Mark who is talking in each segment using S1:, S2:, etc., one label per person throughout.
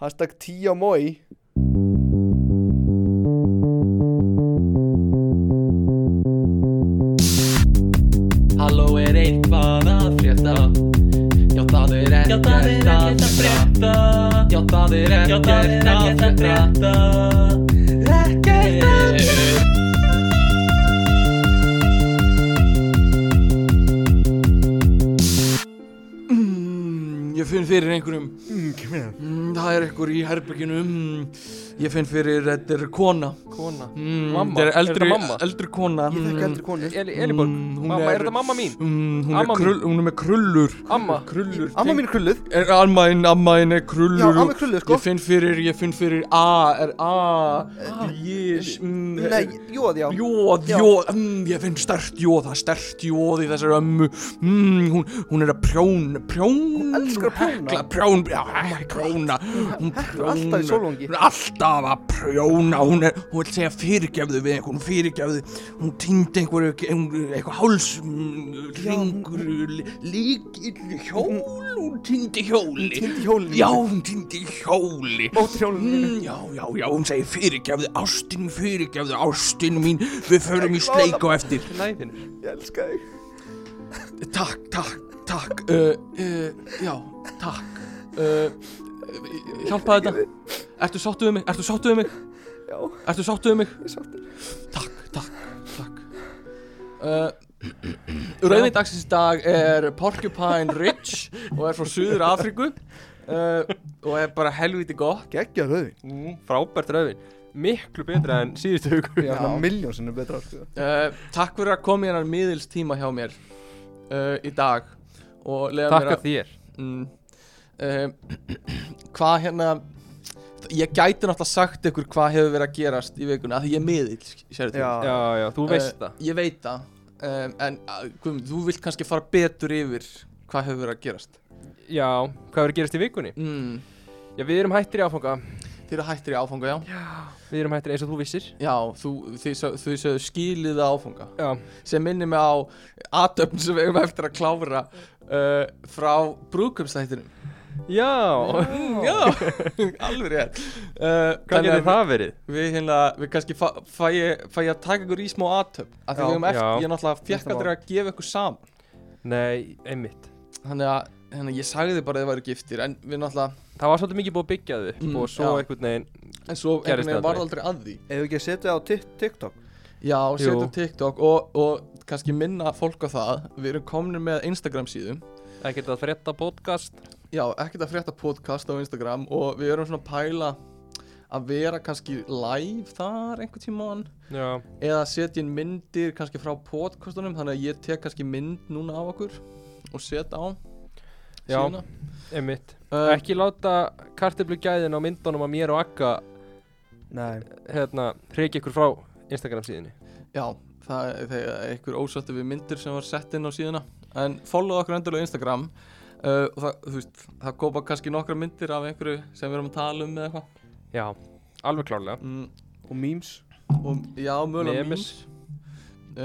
S1: Hashtag tíamói
S2: Halló er eitthvað að frétta Já það er ekkert að frétta Já það er ekkert að frétta Ekkert að frétta Mm, Ég finn fyrir einhverjum mm, Það er einhver í herbygginu mm, Ég finn fyrir, þetta er kona
S3: Kona
S2: mm,
S3: Mamma?
S2: þetta er
S3: Er
S2: eldri,
S3: þetta mamma?
S2: eldri kona
S1: Ég þekki eldri konu
S3: Eli, Eliborg
S2: Mm, hún
S3: Mamma,
S2: er-
S3: er þetta mamma mín?
S2: Mm, hún, er
S3: Amma mín.
S2: krull, hún er með krullur
S3: Amma
S2: Krullur
S1: Amma mín er krulluð
S2: er, Amma mín, amma mín er krullur
S1: Já, amma
S2: og
S1: er krulluð, sko.
S2: Ég finn fyrir, ég finn fyrir A, er A Ég, mm,
S1: Eh, Nei, jóð já
S2: Jóð,
S1: Já.
S2: jóð, mm, ég finn stert jóð, það er stert jóð í þessari ömmu mm, hún, hún er að prjón, prjón Hún
S1: elskar að prjóna. Oh
S2: hekla, Prjón, já, hekla, prjóna Hún
S1: heklar alltaf í
S2: prjónar.
S1: sólvangi.
S2: Hún er alltaf að prjóna, hún er, hún vil segja fyrirgefðu við einhvern, hún fyrirgefðu Hún týndi einhverju, einhver, einhver háls, mm, ringur, líkill, hjól, hún týndi hjóli
S1: Týndi hjóli.
S2: Já, hún týndi hjóli
S1: Móti hjólinu mínu.
S2: Mm, Já, já, já, hún segir fyrirgefðu ástin, fyrirgefðu ástin mín Við förum í
S1: Ég
S2: sleik á eftir
S3: Læðinur
S1: Ég elska þig
S2: Takk, takk, takk uh, uh, Já, takk uh,
S3: Hjálpaði þetta Ertu sáttu við mig? Ertu sáttu við mig?
S1: Já,
S3: Ertu sáttu við mig?
S1: ég sáttur
S2: Takk, takk, takk uh, Rauðin dagsins í dag er Porcupine Ridge Og er frá Suður Afriku
S3: Uh, og er bara helviti gott
S1: Gekkja rauðin
S3: mm, Frábært rauðin Miklu betra en síðustu hugur
S1: Já, hann er miljón sinnum betra sko.
S2: uh, Takk fyrir að koma í hennar miðilstíma hjá mér uh, Í dag Og leiða mér
S3: Takk
S2: að
S3: að þér
S2: mm, uh, hvað hérna ég gæti náttúrulega sagt ykkur hvað hefur verið að gerast í vikunni að því ég er miðill sk- sérðu til.
S1: Já.
S3: Já, já, þú
S2: Eh,
S3: veist það
S2: ég veit það um, en uh, Guðmund, þú vilt kannski fara betur yfir hvað hefur verið að gerast
S3: Já, hvað verður að gerast í vikunni?
S2: mm,
S3: Já, við erum hættir í áfanga
S2: þið eru hættir í áfanga, já
S3: Við erum hættir eins og þú vissir
S2: já, þú, þið, sö- þau sögðu skilið að áfanga
S3: Já,
S2: sem minnir mig á aðtöfn sem við erum eftir að klára uh, frá brúkumstættinum
S3: já
S2: mm, já, alveg rétt uh,
S3: Hvað
S2: þannig að
S3: getur það verið?
S2: Við hérna, við kannski fæ, fæ, ég, fæ ég að taka ykkur í smá aðtöp Af því
S3: Já.
S2: við höfum eftir,
S3: Já.
S2: ég náttúrulega fekk
S1: Næsta
S2: aldrei að gefa ykkur saman
S3: Nei, einmitt
S2: Þannig að, hérna, ég sagði bara að þið væru giftir En við náttúrulega,
S3: Það var svolítið mikið búið að byggja þau upp
S2: Mm,
S3: og svo
S2: já.
S3: einhvern veginn
S2: en svo einhvern
S3: Gerðist
S2: veginn varð
S3: aldrei.
S2: aldrei að því
S1: Ef ekki að setja það á Tik- TikTok
S2: Já,
S3: Jú.
S2: setjum TikTok og, og kannski minna fólk á það Við erum komnir með Instagram síðum
S3: ekkert að frétta podcast
S2: Já, ekkert að frétta podcast á Instagram Og við erum svona að pæla að vera kannski live þar einhvern tímann
S3: Já,
S2: eða setja inn myndir kannski frá podcastunum þannig að ég tek kannski mynd núna á okkur og set á
S3: Já.
S2: síðuna.
S3: einmitt
S2: Uh,
S3: Ekki láta kartiblu gæðin á myndunum að mér og Akka
S1: Nei
S3: hérna, reykja ykkur frá Instagram síðinni
S2: Já, það er þegar einhver ósætti við myndir sem var sett inn á síðuna En follow okkur endur á Instagram uh, og það, þú veist, það kópa kannski nokkra myndir af einhverju sem við erum að tala um eða eitthvað
S3: Já, alveg klárlega
S2: mm,
S1: Og memes
S2: og, Já, mögulega
S3: Memes.
S2: memes. uh,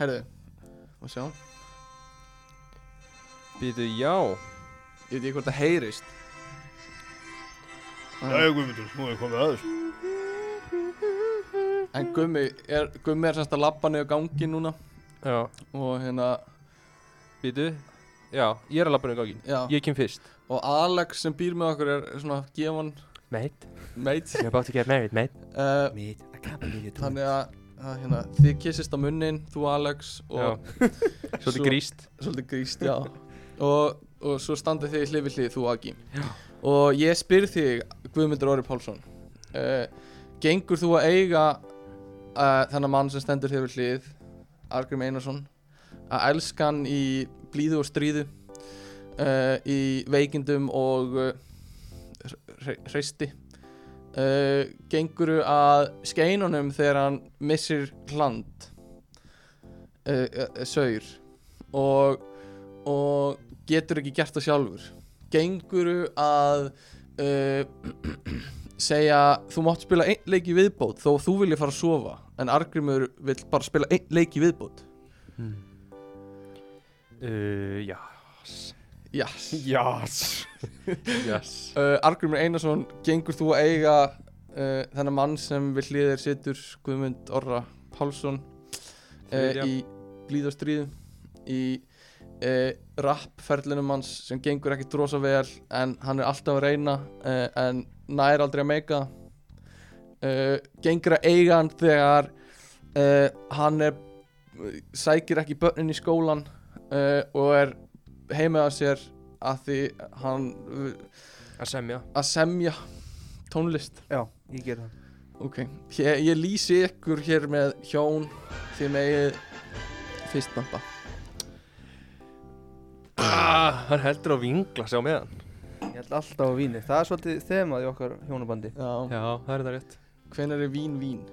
S2: Herðu, og sjá
S3: Býtu, já
S2: Ég veit ekki hvort það heyrist
S4: Jæja Guðmundur, nú er komið aðeins
S2: En Gummi er, Gummi er semst að labba niður gangi núna
S3: Já,
S2: og hérna,
S3: býtu Já, ég er að labba um gangin
S2: já
S3: Ég kem fyrst
S2: Og Alex sem býr með okkur er svona gefan
S3: Mate,
S2: meit
S3: you're about to get married, mate
S2: uh,
S1: Mít, I can't believe you
S2: Þannig að, að hérna, þið kissist á munnin, þú Alex
S3: Já,
S2: og
S3: svolítið
S2: Svo-
S3: gríst
S2: svolítið gríst, já og, og svo standið þið hlið við hlið, þú Agi já. og ég spyr þig, Guðmundur Orri Pálsson uh, gengur þú að eiga uh, þennan mann sem stendur hlið við hlið Argrim Einarsson að elska hann í blíðu og stríðu uh, í veikindum og uh, hreisti uh, genguru að skeinunum þegar hann missir hland uh, uh, saur og, og getur ekki gert það sjálfur genguru að uh, segja þú mátt spila einn leik í viðbót þó þú vilji fara að sofa en Argrimur vill bara spila einn leik í viðbót
S3: uh, Já,
S2: Yes.
S1: Jás
S3: Yes
S2: uh, Argrymur Einarsson gengur þú að eiga uh, þennan mann sem við hliðir situr Guðmund Orra Pálsson uh,
S3: Þriðja.
S2: í blíðastriðum í uh, rappferlinum hans sem gengur ekki drosa vel en hann er alltaf að reyna uh, en nær aldrei að meika uh, gengur að eiga hann þegar uh, hann er sækir ekki börnin í skólan uh, og er heima að sér að því hann
S3: Að semja
S2: að semja tónlist
S1: Já, ég ger það
S2: ok, ég, ég lýsi ykkur hér með hjón því megið fyrst bamba
S3: ah, Hann heldur á vingla sjá meðan
S1: Ég held alltaf á víni Það er svolítið þemað í okkar hjónabandi
S2: já,
S3: Já, það er það rétt
S2: hvenær er vín vín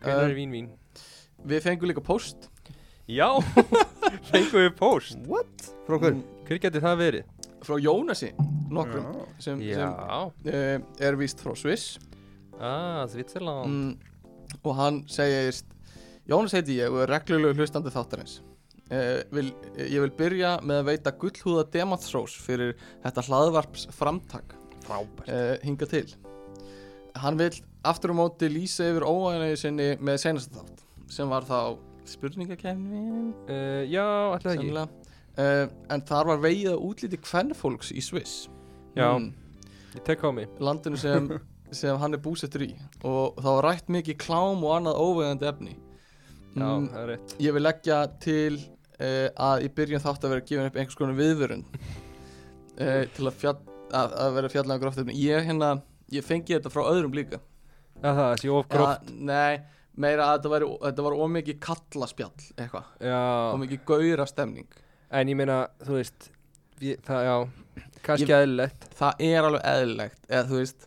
S3: Hvernig
S2: Eh,
S3: er vín vín?
S2: við fengum líka post
S3: Já, fengum við post
S1: What? Frá hver?
S2: Mm,
S3: Hver geti það verið?
S2: frá Jónasi nokkrum
S1: Já.
S2: sem,
S3: Um, Já,
S2: sem uh, er víst frá Sviss
S3: ah, Svitserland
S2: mm, og hann segist Jónas heiti ég og er reglulegu hlustandi þáttarins eh, vil, eh, ég vil byrja með að veita gullhúða demantsrós fyrir þetta hlaðvarps framtak
S3: Frábært
S2: uh, hinga til hann vil aftur á móti lýsa yfir óæðinni sinni með senast þátt sem var þá spurningakefnin
S3: uh, Já, ætli það ekki
S2: uh, en þar var vegið að útliti kvennfólks í Sviss
S3: Já,
S2: Mm,
S3: ég tek á mig
S2: landinu sem, sem hann er búsettur í og það var rætt mikið klám og annað óvegandi efni
S3: Já,
S2: Mm,
S3: það er rétt
S2: ég vil leggja til uh, að í byrjun þátt að vera gefin upp einhvers konar viðvörun uh, til að, fjall, að, að vera fjallega gróft efni ég hérna, ég fengi þetta frá öðrum líka
S3: Já, það sé of gróft
S2: Já, nei, meira að þetta, væri, þetta var ómikið kallaspjall eitthvað,
S3: Já,
S2: ómikið gauðra stemning
S3: Ah. en ég meina, þú veist ég, Það, já, kannski
S2: Ég-
S3: eðlilegt
S2: það er alveg eðlilegt eða þú veist,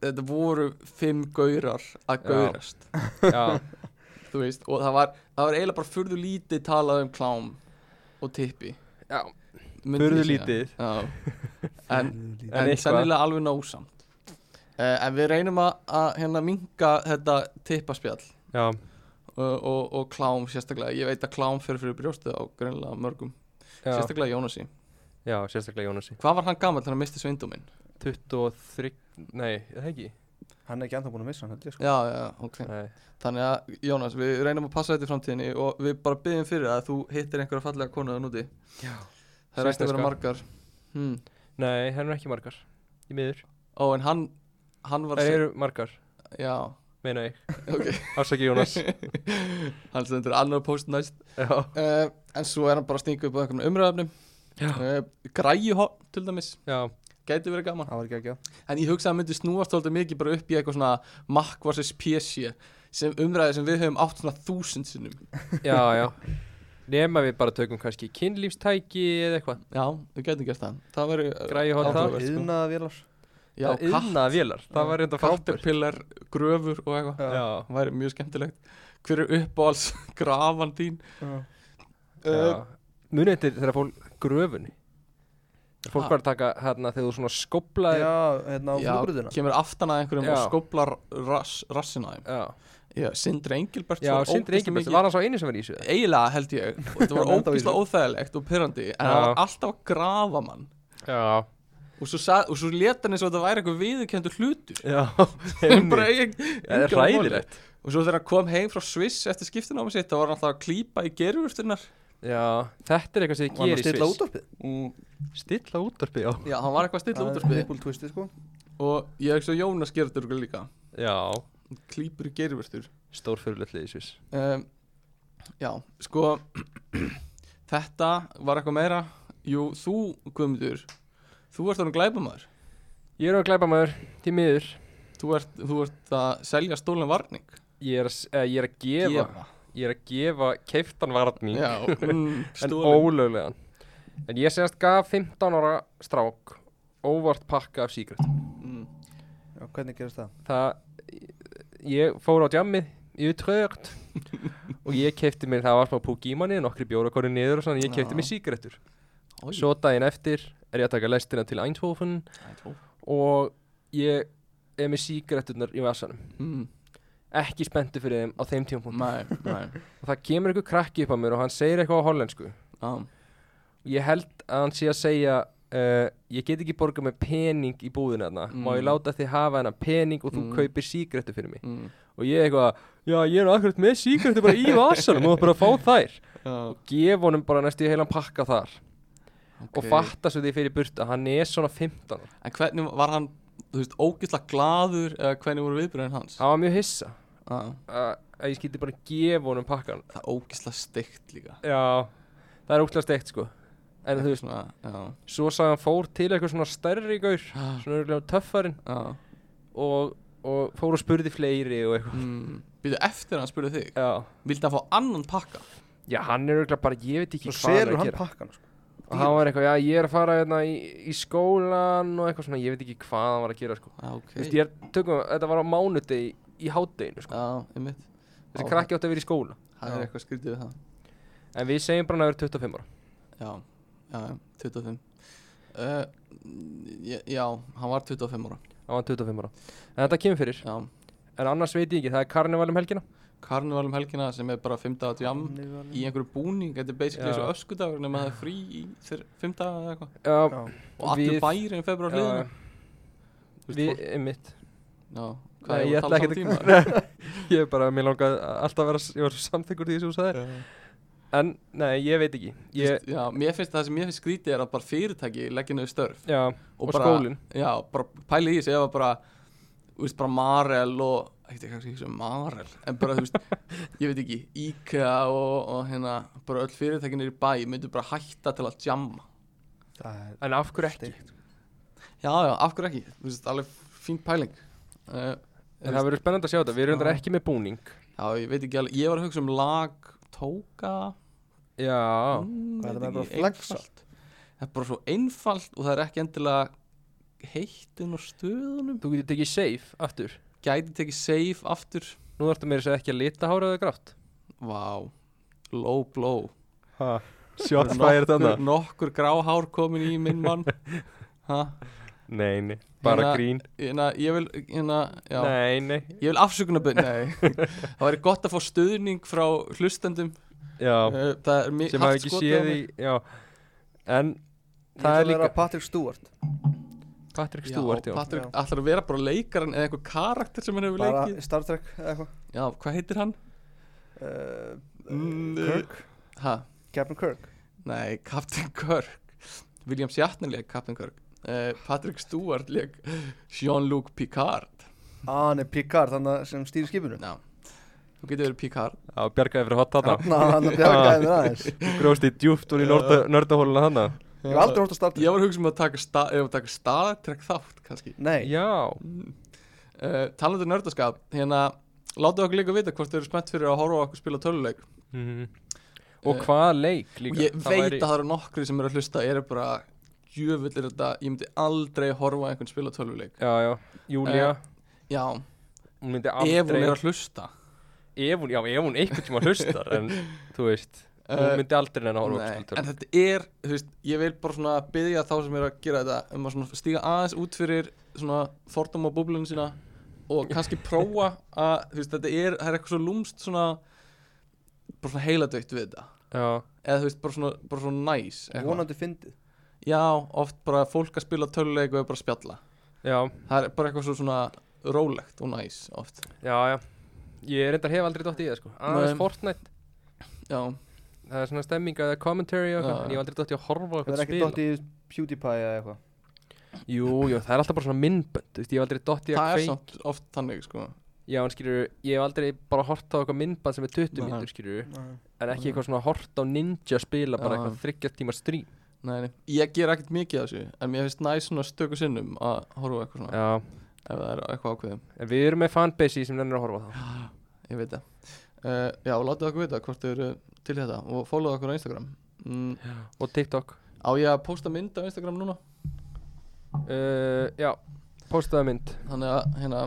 S2: þetta voru fimm gaurar að
S3: Já.
S2: gaurast
S3: Já,
S2: þú veist, og það var, það var eiginlega bara furðu lítið talað um klám og tippi
S3: já,
S2: myndi
S3: burðu
S2: ég segja.
S3: lítið
S2: Já. en,
S1: Furðulítið.
S3: En
S2: en
S3: eitthvað.
S2: sennilega alveg násamt uh, en við reynum að, að hérna minga þetta tippaspjall
S3: Já,
S2: og, og, og klám sérstaklega ég veit að klám fer fyrir brjóstið á greinlega mörgum
S3: já,
S2: sérstaklega Jónasi
S3: já, sérstaklega Jónasi
S2: hvað var hann gammal þegar hann misti sveindóminn
S3: 23, nei, er það ekki
S1: Hann er ekki anþá búin að missa hann held ég sko
S2: já, já, ok
S3: Nei,
S2: þannig að Jónas, við reynum að passa þetta í framtíðinni og við bara byggjum fyrir að þú hittir einhverja fallega konu að núti
S3: Já.
S2: það er eftir að vera
S3: Svissneska.
S2: margar hmm.
S3: nei, það eru ekki margar Í miður,
S2: ó, en hann hann var
S3: það eru margar,
S2: se- já,
S3: meina ég
S2: ok
S3: Afsaki Jónas
S2: hann stendur annar post næst
S3: Já,
S2: uh, en svo er hann bara að stinga upp á einhverjum umræðafnum
S3: Já.
S2: uh, græjuhorn til dæmis
S3: já,
S2: gæti verið gaman
S1: Það var ekki að gjá
S2: en ég hugsa að það myndi snúast alltaf mikið bara upp í eitthvað svona makk versus PC sem umræði sem við höfum átt svona þúsund sinnum
S3: já, já Nema við bara tökum kannski kynlífstæki eða eitthvað
S2: já, við gætum gert það það væri
S3: Græju hótt það
S2: Áhugavert. sko.
S1: Íðnaða vélar
S2: já, katt,
S3: Yðna vélar, það var reynda frábært
S2: kattepillar, gröfur og eitthvað
S3: Já,
S2: það væri mjög skemmtilegt hver er uppáhalds grafan þín
S3: já Eh,
S2: uh,
S3: Munið eftir þegar fólk gröfunni Þegar
S2: Ha.
S3: Fólk var að taka hérna þegar þú svona skoplaði
S1: Já, hérna á flugbröðina
S2: kemur aftan að einhverjum
S3: Já.
S2: og skoplar rass, rassina þeim
S3: Já,
S2: já, Sindri Engilbert
S3: já Sindri Engilbert, var hann sá einu sem var í þessu eða?
S2: eiginlega held ég og þetta var
S1: Hann enda á
S2: ógeðslega óþægilegt og pyrrandi en það
S3: Já.
S2: var alltaf að grafa mann
S3: Já,
S2: og svo, sa- og svo leta hann eins og þetta væri eitthvað viðurkendur hlutur
S3: já
S2: bara eigin
S3: Það er hræðilegt
S2: og svo þegar hann kom heim frá Sviss eftir skiptinámi sitt þá var hann alltaf að klípa í gerurvurtunar
S3: Já, þetta er eitthvað sem þið
S1: Var hann
S3: gerir
S1: að stilla útvarpið
S3: Stilla útvarpi, já
S2: já, hann var eitthvað að stilla
S1: Það
S2: út úr
S1: er
S2: spið
S1: Nipple twistið sko
S2: og ég hef svo Jónas gerður líka
S3: Já,
S2: klípur í gerurvurtur
S3: stórfyrulegt liðið svis
S2: um, já, sko þetta var eitthvað meira jú, þú Guðmundur þú ert þannig glæpamaður
S3: Ég er að glæpa maður, til miður
S2: þú ert, þú ert að selja stólinn varning
S3: Ég er að, s- eh, ég er að gefa Ég er að gefa keiftan varning
S2: Já, mm,
S3: En
S2: stólinn
S3: ólöglegan En ég segast gaf 15 ára strák Óvart pakka af síkret
S2: mm,
S1: Já, hvernig gerist það?
S3: það ég fór á djammið í utrögt og ég kefti mér, það var smá púk í manni nokkri bjóra kori niður og svona, ég kefti
S2: Já.
S3: mér sígrettur
S2: Oj.
S3: svo daginn eftir er ég að taka lestina til Eindhoven og ég er með sígretturnar í vasanum
S2: mm,
S3: ekki spenntu fyrir þeim á þeim tímapunkt
S2: Nei, nei
S3: og það kemur einhver krakki upp á mér og hann segir eitthvað á hollensku
S2: Já,
S3: ég held að hann sé að segja uh, ég get ekki borgað með pening í búðinu þarna má
S2: Mm.
S3: ég láta þig hafa hennar pening og þú
S2: Mm.
S3: kaupir sígrettu fyrir mig
S2: mm,
S3: og ég eitthvað, já ég er akkurat með sígrettu bara í vasanum og bara að fá þær
S2: já,
S3: gef honum bara næstu í heilan pakka þar og
S2: ok.
S3: fatta svo því fyrir burt að hann er svona 15 ára.
S2: En hvernig var hann, þú veist, ógislega gladur eða hvernig voru viðbröðin hans?
S3: hann var mjög hissa
S2: Ah.
S3: að, að ég skildi bara gefa honum pakkan
S2: Það er ógislega steikt líka
S3: já, það er óslega steikt sko en þú veist,
S2: svona, já,
S3: svo sagði hann fór til eitthvað svona stærri gaur
S2: já,
S3: svona örgulega töffarinn
S2: já.
S3: og, og fór og spurði fleiri og eitthvað
S2: Mm. Býtu eftir að hann spurði þig
S3: já,
S2: Vildi hann fá annan pakka?
S3: já hann er örgulega bara, ég veit ekki
S1: Svo
S3: hvað hann er
S1: selur
S3: að
S1: hann
S3: gera
S1: pakkan sko.
S3: og hann var eitthvað, já ég er að fara hérna, í, í skólan og eitthvað svona, ég veit ekki hvað hann var að gera sko.
S2: Já, ok
S3: þú veist, ég er, tökum, þetta var á mánudegi í hátdeginu sko.
S2: Já, einmitt
S3: þessi
S2: Já.
S3: krakki átti að vera í skóla
S2: Það
S3: Já.
S2: er eitthvað skrítið við það
S3: en við segjum bara að hann er 25 ára
S2: Já, já, já, 25 uh, ég- Já, hann var 25 ára
S3: hann var 25 ára, en þetta kemur fyrir
S2: Já,
S3: en annars veit ég ekki, það er karnivalum helgina
S2: karnival um helgina sem er bara 5 dagat jam
S1: Karnivalinn.
S2: Í einhverju búning, þetta er basically
S3: Já.
S2: svo öskudagur nema það er frí í 5 daga eða eitthvað
S3: já,
S1: Já.
S2: Og allir
S3: Við-
S2: bærin februar hliðina
S3: já,
S2: Þú veist,
S3: við,
S2: fólk-
S3: mitt
S2: Já, hvað
S3: Nei, ég
S2: er
S3: ætla
S2: það
S3: ekkert
S2: saman tíma?
S3: ég er bara, mér langaði alltaf að vera, ég var svo samþykkur því sem þú sagðir
S2: Já.
S3: en, nei, ég veit ekki ég,
S2: Fyrst, já, mér finnst það sem mér finnst skrítið er að bara fyrirtæki leggja niður störf
S3: já, og
S2: bara,
S3: skólinn.
S2: Já, bara pæli í þessu ef að bara, þú veist, bara Marel og, eitthvað kannski ekki sem um Marel, en bara, þú veist, ég veit ekki, IKEA og, og hérna, bara öll fyrirtækinir í bæ myndu bara hætta til að jamma.
S1: Það er
S3: en af hverju ekki
S1: steikt.
S2: Já, já, af hverju ekki, þú veist, alveg fín pæling. Uh,
S3: en það verður spennandi að sjá þetta, við erum
S2: Já.
S3: þetta ekki með búning
S2: já, ég veit ekki alveg, ég var að hugsa um lag, tóka,
S3: já,
S2: mm,
S1: Hvað er
S2: veit
S1: það bara
S2: ekki,
S1: flexa?
S2: einfalt. Það er bara svo einfalt og það er ekki endilega heittinn og stöðunum.
S3: þú getur tekið safe aftur
S2: gæti tekið save aftur
S3: nú þarftu meira að segja ekki að lita háraðu grátt
S2: Vá, low blow
S3: shots
S2: nokkur, nokkur gráhár komin í minn mann Ha,
S3: nei, nei, bara
S2: Hérna-
S3: grín
S2: hérna, ég vil hérna, já,
S3: nei, nei,
S2: ég vil afsökunarbyrð Nei, það væri gott að fá stuðning frá hlustendum
S3: já
S2: uh, Það er mjög
S3: sem hafa ekki séð í, já en það er
S1: Ég ætla að vera
S3: líka
S1: Patrick Stewart
S3: Patrick Stewart,
S2: Stúart,
S3: já,
S2: já, Patrik
S1: Já.
S2: ætlar að vera bara leikaran eða eitthvað karakter sem hann hefur
S1: Bara
S2: leikið
S1: Star Trek eða eitthvað
S2: Já, hvað heitir hann?
S1: uh,
S2: Mm,
S1: Kirk
S2: Ha,
S1: Captain Kirk
S2: nei, Captain Kirk William Shatner leik Captain Kirk uh, Patrick Stewart leik Jean-Luc Picard
S1: Ah, hann er Picard, þannig að sem stýri skipinu
S2: Já Þú getur verið Picard
S3: já, bjargaði fyrir hot þarna
S1: Þannig að hann bjargaði mér aðeins Ég
S3: gróðst í djúpt og í nördahóluna þarna
S1: hef aldrei hórt að Star
S2: Ég
S1: Trek
S2: var að hugsa um að taka, sta ef að taka staðtrekk þátt kannski
S1: Nei,
S3: já,
S2: uh, Talandi um nördaskap Hérna Láta okkur líka vita hvort þau eru spennt fyrir að horfa á okkur spila töluleik
S3: Mhm.
S2: Eh,
S3: og hvaða leik líka
S2: Og ég
S3: Það
S2: veit
S3: væri-
S2: að það eru nokkri sem eru að hlusta Eru bara Jöfull er þetta Ég myndi aldrei horfa á einhvern spila töluleik
S3: já, já, Júlia,
S2: Já
S3: hún myndi
S2: Eh, Ef hún
S3: aldrei
S2: er að hlusta
S3: ef hún, já, ef hún einhvern tíma hlustar en þú veist, hún
S2: Eh,
S3: myndi aldrei neina horfa
S2: Nei,
S3: uppskiltur
S2: en þetta er, þú veist, ég vil bara svona byggja þá sem er að gera þetta um að svona stíga aðeins út fyrir svona fordóma búblunum sína og kannski prófa að, þú veist, þetta er, það er eitthvað svo lúmst svona bara svona heiladaukt við þetta
S3: já,
S2: eða þú veist, bara svona, bara svona næs nice,
S1: vonandi fyndið
S2: Já, oft bara fólk að spila töluleik og er bara að spjalla
S3: já,
S2: Það er bara eitthvað svo svona rólegt og næs nice oft
S3: já, já ég reyndar hef aldrei dótt í það sko aðeins
S2: Nei.
S3: Fortnite,
S2: Já,
S3: það er svona stemming eða commentary og
S2: Já,
S3: eitthvað, en
S2: já.
S3: ég hef aldrei dótt í að horfa á
S1: Það
S3: eitthvað
S1: er ekki
S3: spila
S1: dott í PewDiePie eða eitthvað
S3: Jú, jú, það er alltaf bara svona myndbönd Þú veist, ég hef aldrei dott í að
S2: það er
S3: kveik
S2: samt oft þannig, sko
S3: Já, en skilur, ég hef aldrei bara hort á eitthvað myndband sem er 20
S2: Nei.
S3: mínútur, skilur
S1: Nei.
S3: En
S2: Nei.
S3: ekki eitthvað svona hort á ninja spila bara
S2: Já.
S3: eitthvað þryggja tíma stream
S2: Nei, nei, ég ger ekkert mikið af þessu en mér finnst næs svona stöku sinnum að horfa á eitthvað svona
S3: Já,
S2: ef það er eitthvað ákveðum
S3: en við erum með fanbase í sem nennir að horfa á það
S2: ég veit það uh, já, látið okkur vita hvort þau eru til í þetta og followa okkur á Instagram mm,
S3: Og TikTok
S2: á ég að posta mynd á Instagram núna
S3: uh, Já, postaði mynd
S2: þannig að, hérna,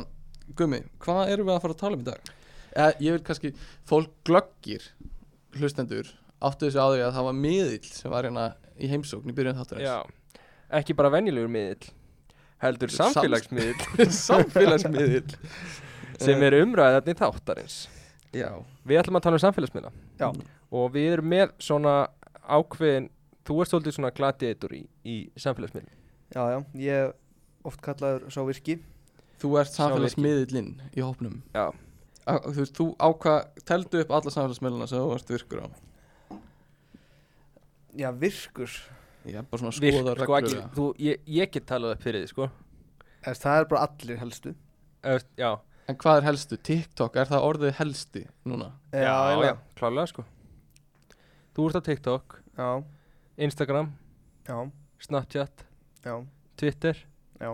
S2: gummi hvað erum við að fara að tala um í dag? Eh, ég vil kannski, fólk glöggir hlustendur, áttu þessu áður að það var miðill sem var hérna í heimsókn í byrjun þáttarins
S3: Já, ekki bara venjulegur miðill Heldur
S2: Sam-
S3: samfélagsmiðill
S2: samfélagsmiðill
S3: sem
S2: Eh.
S3: er umræðarni þáttarins
S2: já,
S3: Við ætlum að tala um samfélagsmiðla
S1: Já.
S3: Og við erum með svona ákveðin þú ert svolítið svona gladiator í, í samfélagsmiðlum.
S1: Já, já, ég er oft kallaður sá virki
S2: Þú ert samfélagsmiðlinn í hópnum
S3: Já.
S2: Á- Þú veist, þú ákvað, teldu upp alla samfélagsmiðluna sem þú ert virkur á
S1: Já, virkur
S2: Ég er bara svona að
S3: Virk,
S2: skoða
S3: sko,
S2: reglur
S3: ekki, þú, ég, ég get talað upp fyrir því, sko.
S1: Þess, Það er bara allir helstu
S3: Eftir, já,
S2: En hvað er helstu? TikTok, er það orðið helsti núna?
S1: eiginlega.
S3: klálega, sko. Þú ert á TikTok,
S1: já,
S3: Instagram,
S1: já,
S3: Snapchat,
S1: já,
S3: Twitter,
S1: já,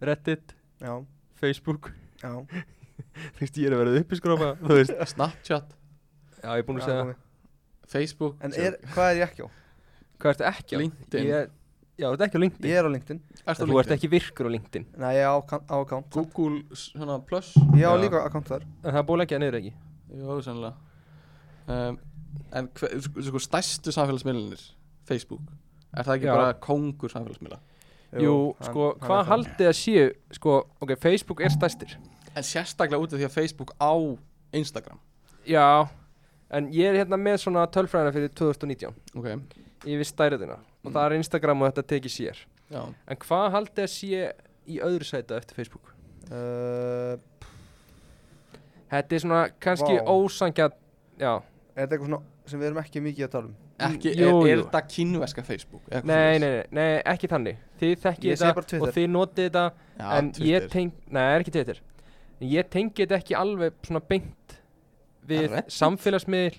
S3: Reddit,
S1: já,
S3: Facebook.
S1: já
S3: Þú veist, ég er að vera uppiskrópa, þú veist.
S2: Snapchat,
S3: Já, ég er búin
S1: Já,
S3: að segja,
S1: ok.
S2: Facebook
S1: En er, hvað er ég ekki á?
S3: hvað ertu ekki á?
S2: LinkedIn
S3: Ég, já, þú ert ekki á LinkedIn.
S1: Ég er á LinkedIn
S2: Ertu á
S3: þú ert
S2: LinkedIn?
S3: ekki virkur á LinkedIn.
S1: Nei, ég er á, kan- á account
S2: Google svona plus
S1: Ég á
S3: Já.
S1: líka account þar
S3: En það er búin að leggja niður ekki.
S2: Jó, sannlega um, En hver, sko, sko, stærstu samfélagsmiðlunir Facebook Er það ekki
S3: Já.
S2: bara kongur samfélagsmiðla?
S3: Jú, sko, hvað haldið að séu, sko, ok, Facebook er stærstir.
S2: En sérstaklega út af því að Facebook á Instagram
S3: Já, en ég er hérna með svona tölfræðina fyrir 2019
S2: Ok,
S3: yfir stærðina og það er Instagram og þetta tekið sér.
S2: já
S3: En hvað haldið að sé í öðru sæta eftir Facebook?
S1: uh,
S3: Þetta er svona kannski
S1: Vá.
S3: wow. ósangja, já,
S1: Er þetta eitthvað svona sem við erum ekki mikið að tala um?
S2: Ekki,
S3: Jú,
S2: er, er
S3: jú.
S2: þetta kínverska Facebook? Eða eitthvað
S3: nei,
S2: svoleiðis?
S3: nei, nei, nei, ekki þannig. Þið
S1: Ég
S3: þekkið
S1: segi bara
S3: þetta
S1: Twitter.
S3: og þið notið þetta
S2: Já,
S3: en ég
S2: Twitter.
S3: teng, nei, það er ekki Twitter en ég tengi þetta ekki alveg svona beint við
S2: Reddit?
S3: samfélagsmiðl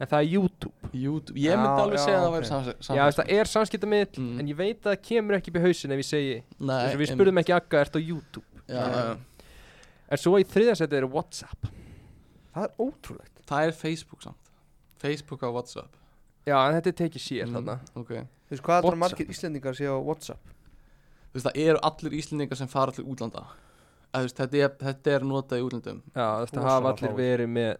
S3: en það er YouTube
S2: YouTube, ég
S1: Já,
S2: myndi alveg
S1: já,
S2: segja að það
S1: ok.
S2: væri samfélags
S3: já, veist, það er samskiptamiðl
S2: Mm.
S3: en ég veit að það kemur ekki upp í hausin ef ég segi
S2: Nei,
S3: Nei, við
S2: einmitt.
S3: spurðum ekki Akka, ertu á YouTube
S2: já, já, já.
S3: en svo í þriðarsæti er WhatsApp
S1: Það er ótrúlegt
S2: Það er Facebook samt Facebook á WhatsApp
S3: já, en þetta er tekið sér
S2: Mm,
S3: þarna
S2: Ok
S1: Þú veist, hvað er
S2: WhatsApp.
S1: þetta margir Íslendingar séu á WhatsApp?
S2: Þú veist, það eru allir Íslendingar sem fara til útlanda Eða, þú veist, þetta, er, þetta er notað í útlandum
S3: já, þetta
S1: Rosalega
S3: hafa allir
S1: fáir.
S3: verið með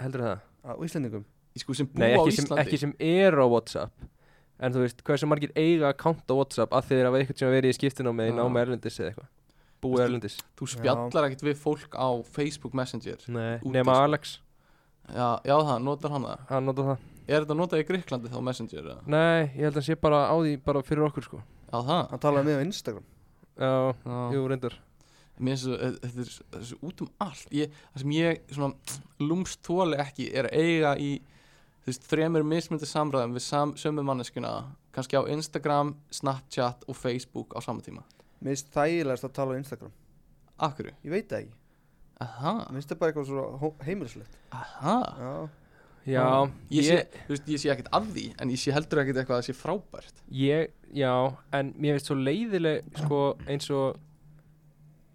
S3: heldur það?
S1: Á Íslendingum?
S2: Í sko sem búa
S3: nei,
S2: á
S3: ekki sem,
S2: Íslandi
S3: ekki sem er á WhatsApp en þú veist, hversu margir eiga account á WhatsApp að þeir hafa eitthvað sem verið í skiptinu með í
S2: Já.
S3: náma erlendis eða eitthvað búið
S2: Veistu-
S3: erlendis
S2: Þú spjallar ekkert við fólk á Facebook Messenger
S3: Nei,
S2: Úti,
S3: nema
S2: sko.
S3: Alex,
S2: Já, já það, notar hann það
S3: hann nota það
S2: Er þetta notað í Gríklandi þá Messenger? eða?
S3: Nei, ég held að hann sé bara á því bara fyrir okkur sko
S2: Já, það
S1: Hann talaði með á Instagram
S3: Já,
S2: já.
S3: jú, reyndar
S2: Mér finnst þessu- þetta þetta er s- þetta er svo út um allt ég, Það sem ég svona lúmst þóli ekki er að eiga í þú veist, þremur mismyndi samræðum við sam, sömu manneskuna kannski á Instagram, Snapchat og Facebook á sama tíma
S1: Mér finnst þægilegast að tala á Instagram
S2: Akkur?
S1: Ég veit það ekki
S2: Aha,
S1: Mér finnst það bara eitthvað svo heimilislegt
S2: aha
S1: Já,
S3: Já,
S2: ég sé,
S3: ég,
S2: þú veist, ég sé ekkert að því en ég sé heldur ekkert eitthvað að það sé frábært
S3: ég, já, en mér finnst svo leiðileg sko eins og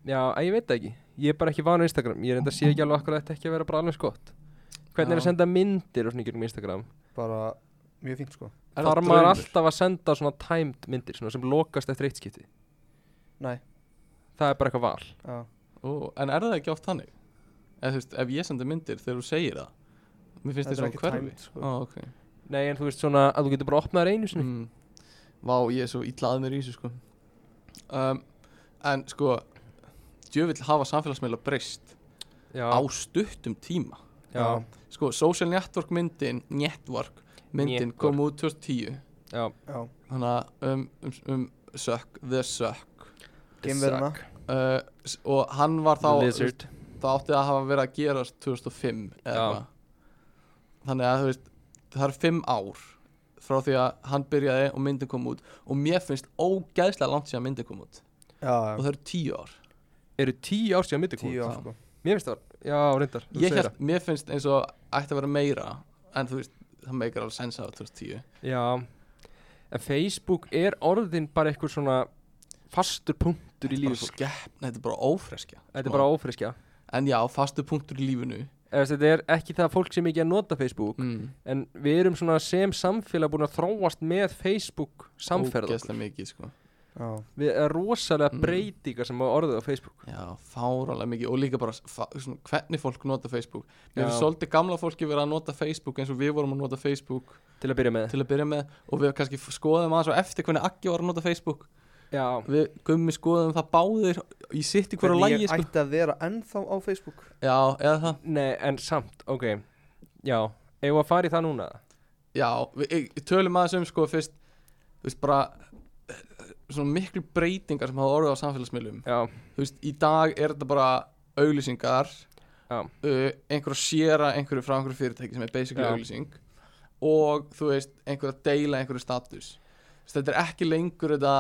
S3: Já, að ég veit það ekki Ég er bara ekki vanur Instagram, ég reyndar sé ekki alveg akkur að þetta ekki að vera bara alveg gott Hvernig er
S2: Já.
S3: að senda myndir og svona í gegnum Instagram
S1: bara mjög fínt sko
S2: Er
S3: Þar
S2: það
S3: maður
S2: draumur?
S3: alltaf að senda svona timed myndir svona sem lokast eftir eitt skipti
S1: Nei,
S3: Það er bara eitthvað val
S1: já
S2: Ó, en er það ekki oft þannig? Eða, þú veist, ef ég sendi myndir þegar þú segir það Mér
S1: Þetta
S2: finnst það
S1: er
S2: svona
S1: ekki
S2: hverfi
S1: timed, sko.
S2: Ó, okay.
S3: Nei, en þú veist svona að þú getur bara opnað þær einu sinni
S2: mm. Vá, ég er svo illa að mér í þessu sko. um, En sko Djövill hafa samfélagsmeila breyst
S3: Já,
S2: á stuttum tíma
S3: já,
S2: Sko, social network myndin Network myndin
S3: Network.
S2: kom út 2010
S3: já
S1: já
S2: Þannig að um, um, um Suck, The Suck
S1: Geimveruna
S2: uh, s- og hann var þá
S3: The Lizard
S2: það átti að hafa verið að gerast 2005 eða
S3: Já.
S2: eitthvað þannig að þú veist það er fimm ár frá því að hann byrjaði og myndin kom út og mér finnst ógeðslega langt síðan myndin kom út og
S1: Já,
S2: það eru tíu ár
S3: eru tíu ár síðan myndi komið
S1: tíu ár
S2: Já.
S1: sko
S3: Mér finnst það var, já, reyndar þú
S2: ég
S3: segir
S2: held, mér finnst eins og ætti að vera meira en þú veist það meikar alveg sensa á 2010
S3: það. Já, en Facebook er orðin bara eitthvað svona fastur punktur í
S2: bara
S3: lífi fólk
S2: skepp, þetta er bara sko. ófreskja
S3: Þetta er bara ófriskja
S2: en já, fastu punktur í lífinu
S3: Eða, Þetta er ekki það að fólk sem ekki að nota Facebook
S2: mm,
S3: En við erum svona sem samfélag búin að þróast með Facebook samferð okkur
S2: ógeðslega mikið sko
S1: Já,
S3: Við erum rosalega
S2: Mm.
S3: breytingar sem hafa orðið á Facebook
S2: Já, fáralega mikið og líka bara fa- svona, hvernig fólk nota Facebook Mér
S3: Já.
S2: finnst svolítið gamla fólki verið að nota Facebook eins og við vorum að nota Facebook
S3: Til að byrja með
S2: til að byrja með og við kannski f- skoðum aðeins og eftir hvernig Aggi var að nota Facebook
S3: Já,
S2: Við gummi skoðum það báðir í sitt í hverju
S1: Hvernig
S2: lægi
S1: ég
S2: sko.
S1: ætti að vera ennþá á Facebook
S2: Já, eða það
S3: nei, en samt, ok Já, eigum við að fara í það núna?
S2: Já, við ég- tölum aðeins um sko fyrst þú veist bara eh, svona miklu breytingar sem hafa orðið á samfélagsmiðlum
S3: já,
S2: þú veist, í dag er þetta bara auglýsingar
S3: Já.
S2: uh, einhver að séra einhverju frá einhverju fyrirtæki sem er basically
S3: Já.
S2: auglýsing og þú veist, einhver að deila einhverju status Þú veist, þetta er ekki lengur þetta,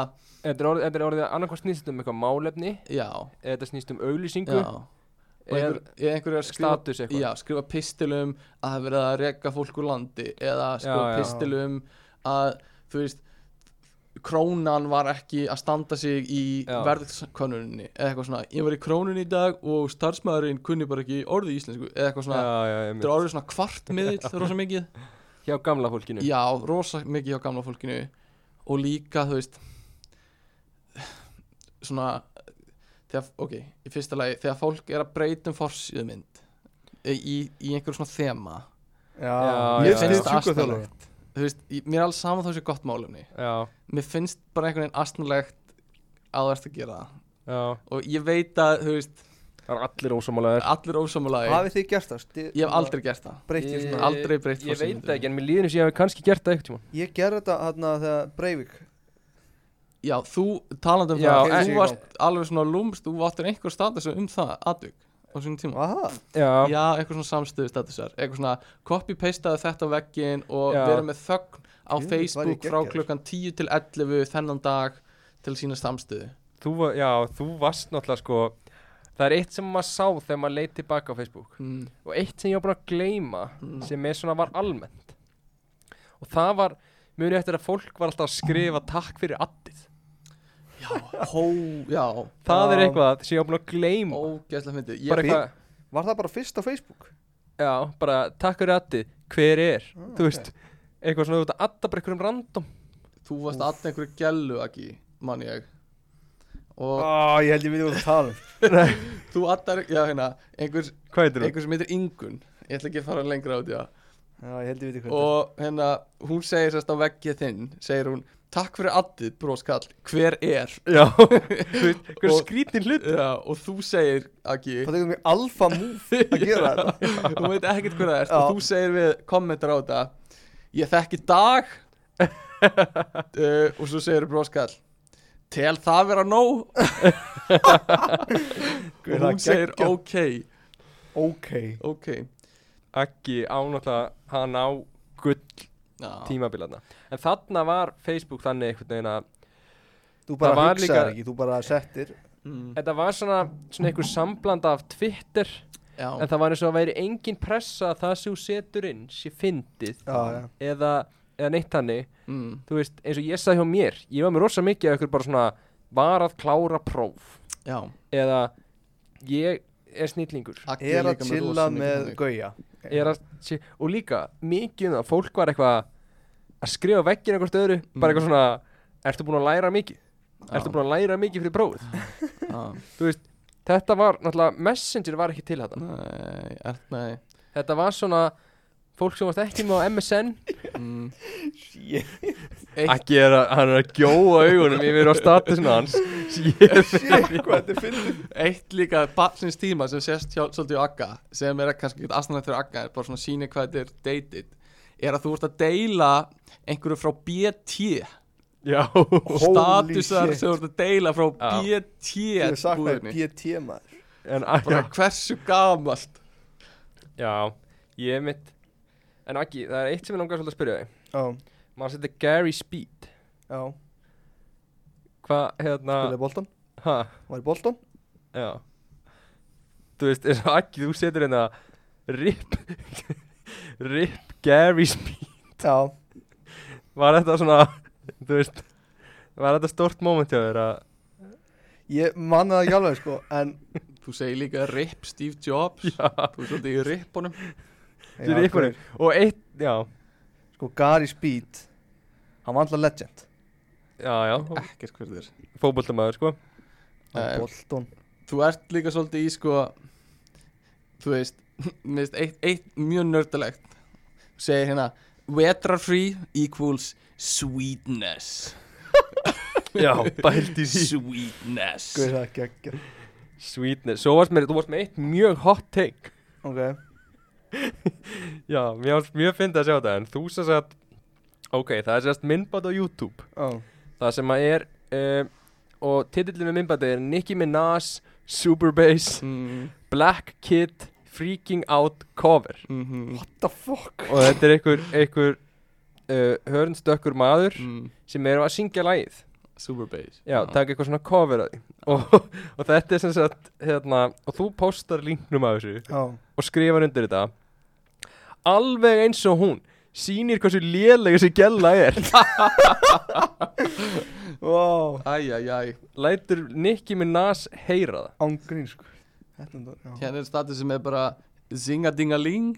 S3: þetta er orðið, þetta er orðið annarkvæmst snýst um eitthvað málefni
S2: já,
S3: eða þetta snýst um
S2: já
S3: auglýsingu
S2: og
S3: eða
S2: einhver, einhver er að skrifa
S3: status eitthvað
S2: já, skrifa pistilum að það er verið að reka fólk úr landi eða skrifa
S3: já.
S2: pistilum að þú veist krónan var ekki að standa sig í
S3: Já.
S2: verðskönnunni eða eitthvað svona, ég var í krónunni í dag og starfsmaðurinn kunni bara ekki orðið í íslensku eða eitthvað svona,
S3: já, já,
S2: þetta er
S3: einmitt.
S2: orðið svona kvartmiðill rosa mikið,
S3: hjá gamla fólkinu
S2: já, rosa mikið hjá gamla fólkinu og líka, þú veist svona þegar, ok, í fyrsta lagi þegar fólk er að breyta um forsýðumynd í, í einhverjum svona þema
S3: Já,
S1: Ég
S3: já,
S1: finnst
S2: já.
S1: sjúkraþjálfara.
S2: þú veist, ég- mér er alls saman þá sé gott málumni
S3: já,
S2: mér finnst bara einhvern veginn astnulegt að þú ert að gera það
S3: já.
S2: og ég veit að, þú veist,
S3: það er allir ósámálaðir
S2: allir ósamlega
S1: Hafið þið gert það? Sti-
S2: ég hef aldrei gert það
S1: Breytt í svona
S2: Ég- aldrei breytt
S3: ég veit
S2: forsendum.
S3: það ekki en mér líður eins og ég hef kannski gert það eitthvað
S1: Ég gerði þetta hérna þegar Breivik
S2: já, þú talandi um
S3: Já,
S2: það,
S1: en-
S2: þú varst alveg svona lúmst þú áttir einhver status um það, atvik á sínum tíma
S1: Aha,
S3: já, já,
S2: já, eitthvað svona samstöðu statusar eitthvað svona copy-pastaðu þetta á veggin og
S3: Já.
S2: verið með þögn á
S1: Jú, væri
S2: Facebook frá
S1: geggjaður.
S2: klukkan 10 til 11 þennan dag til sína samstöðu
S3: þú, var- já, þú varst náttúrulega sko það er eitt sem maður sá þegar maður leit tilbaka á Facebook
S2: mm.
S3: og eitt sem ég var búin að gleyma
S2: Mm.
S3: sem er svona var almennt og það var mjög eftir að fólk var alltaf að skrifa takk fyrir addið
S2: já, hó, já
S3: það er
S1: Já.
S3: eitthvað sem ég var búin að gleyma
S2: ógeðslega myndið
S3: bara eitthvað,
S1: var það bara fyrst á Facebook?
S3: já, bara takk fyrir addið hver er, þú veist eitthvað svona þú ert að adda bara einhverjum random
S2: þú varst alltaf einhverju gælu ekki, mann ég
S3: Ah.
S2: og
S1: Ó, ég held ég við þú að tala um
S2: þú allar, já hérna einhver,
S3: hvað heitir
S2: einhver sem heitir Ingun ég ætla ekki að fara lengra út í það
S1: Já, ég held ég við þú hvað
S2: og hérna, hún segir sérst á veggið þinn segir hún, takk fyrir addið broskall, hver er
S3: já, þú veist, hver
S2: Og-
S3: skrítin hlut
S2: já, og þú segir, Aggi
S1: Það tekur mér alfa move að gera þetta
S2: þú veit ekkert hver það er
S1: Já.
S2: og þú segir við kommentar á þetta ég þekki dag uh, og svo segir broskall tel það vera nóg og
S1: það
S2: hún segir
S1: geggjað?
S2: ok
S1: Ok
S2: ok
S3: ekki ánáttúrulega hann á gull
S2: Já.
S3: tímabilarna en þarna var Facebook þannig einhvern veginn að
S1: Þú
S3: Það
S1: bara
S3: var
S1: hugsaðir
S3: líka-
S1: ekki, þú bara settir
S2: Mm.
S3: þetta var svona, svona einhver samblanda af Twitter
S2: Já.
S3: en það var eins og að væri engin pressa að það sem þú setur inn sé fyndið
S1: Já, já.
S3: eða, eða neitt hannig
S2: Mm.
S3: þú veist, eins og ég sagði hjá mér ég var með rosa mikið af ykkur bara svona var að klára próf
S2: Já.
S3: eða ég er snillingur
S2: Aggi
S1: Er
S2: líka
S1: að
S2: með
S1: chilla
S2: rosa mikið
S1: með
S2: þannig.
S1: gauja
S3: er að, sé, og líka mikið um það, fólk var eitthvað að skrifa veggin eitthvað öðru, bara eitthvað svona ertu búin að læra mikið, ertu búin að læra mikið fyrir prófið,
S2: Já.
S3: þú veist þetta var, náttúrulega, messenger var ekki til þetta
S2: Nei, er, nei.
S3: þetta var svona, fólk sem varst ekki með á MSN,
S2: Mm.
S1: Shit,
S3: ekki er að hann er að gjóa augunum yfir á statusinu hans Shit.
S1: hvað þetta er fyndið
S2: Eitt líka barnsins tíma sem sést hjá, svolítið á Agga sem er kannski ekki aðstæðanlegt fyrir Agga er bara svona síni hvað þetta er dated er að þú ert að deila einhverju frá BT
S3: já,
S1: Holy
S2: statusar
S1: shit.
S2: sem þú ert að deila frá
S3: Já.
S2: BT
S1: Ég hef sagt það,
S2: búðinni.
S1: PT maður
S3: en
S2: bara
S3: já,
S2: hversu gamalt
S3: já, ég er mitt en ekki, það er eitt sem ég langar svolítið að spyrja þig
S1: Já,
S3: maður setja Gary Speed
S1: já,
S3: hvað, hérna,
S1: spilaði boltan
S3: hæ
S1: Var í boltan
S3: Já Þú veist, eins og ekki, þú setur hérna RIP RIP Gary Speed
S1: Já,
S3: Var þetta svona, þú veist Var þetta stort moment hjá þér að
S1: ég manna það ekki alveg sko En
S2: þú segir líka RIP Steve Jobs
S3: Já,
S2: þú er svolítið í RIP-unum
S3: þú er ykkur Og eitt, já,
S1: Sko, Gary Speed Hann var alltaf legend
S3: já, já
S2: ekkert hverður
S3: Fótboltamaður, sko
S2: Nei.
S1: Bolton
S2: þú ert líka svolítið í sko þú veist, mér veist eitt, eitt mjög nördalegt segir hérna vetrarfrí equals sweetness
S3: Já, bælt í því
S2: sweetness
S1: Guð, það er geggja
S3: Sweetness, svo varst með, þú varst með eitt mjög hot take
S1: Ok
S3: Já, mér varst mjög fyndið að sjá þetta En þú sem sagt Ok, það er sérst myndband á YouTube
S1: Ó,
S3: Það sem að er um, Og titillin við myndbandi er Nicki Minaj Superbass
S2: mm
S3: Black Kid Freaking Out Cover
S2: -hmm.
S1: What the fuck?
S3: Og þetta er einhver, einhver uh, Hörnstökkur maður
S2: mm.
S3: Sem eru að syngja lagið
S2: Super bass
S3: Já, taka eitthvað svona cover að því og, og þetta er sem sagt hérna, Og þú postar linknum af þessu
S1: Ó,
S3: og skrifar undir þetta alveg eins og hún sýnir hversu lélega þessi gælla er
S1: wow
S2: Æj, æj, æj
S3: lætur Nicki Minaj heyra það
S1: Ángrín sko Þetta er þetta, já.
S2: Hérna er status sem er bara Zingadingaling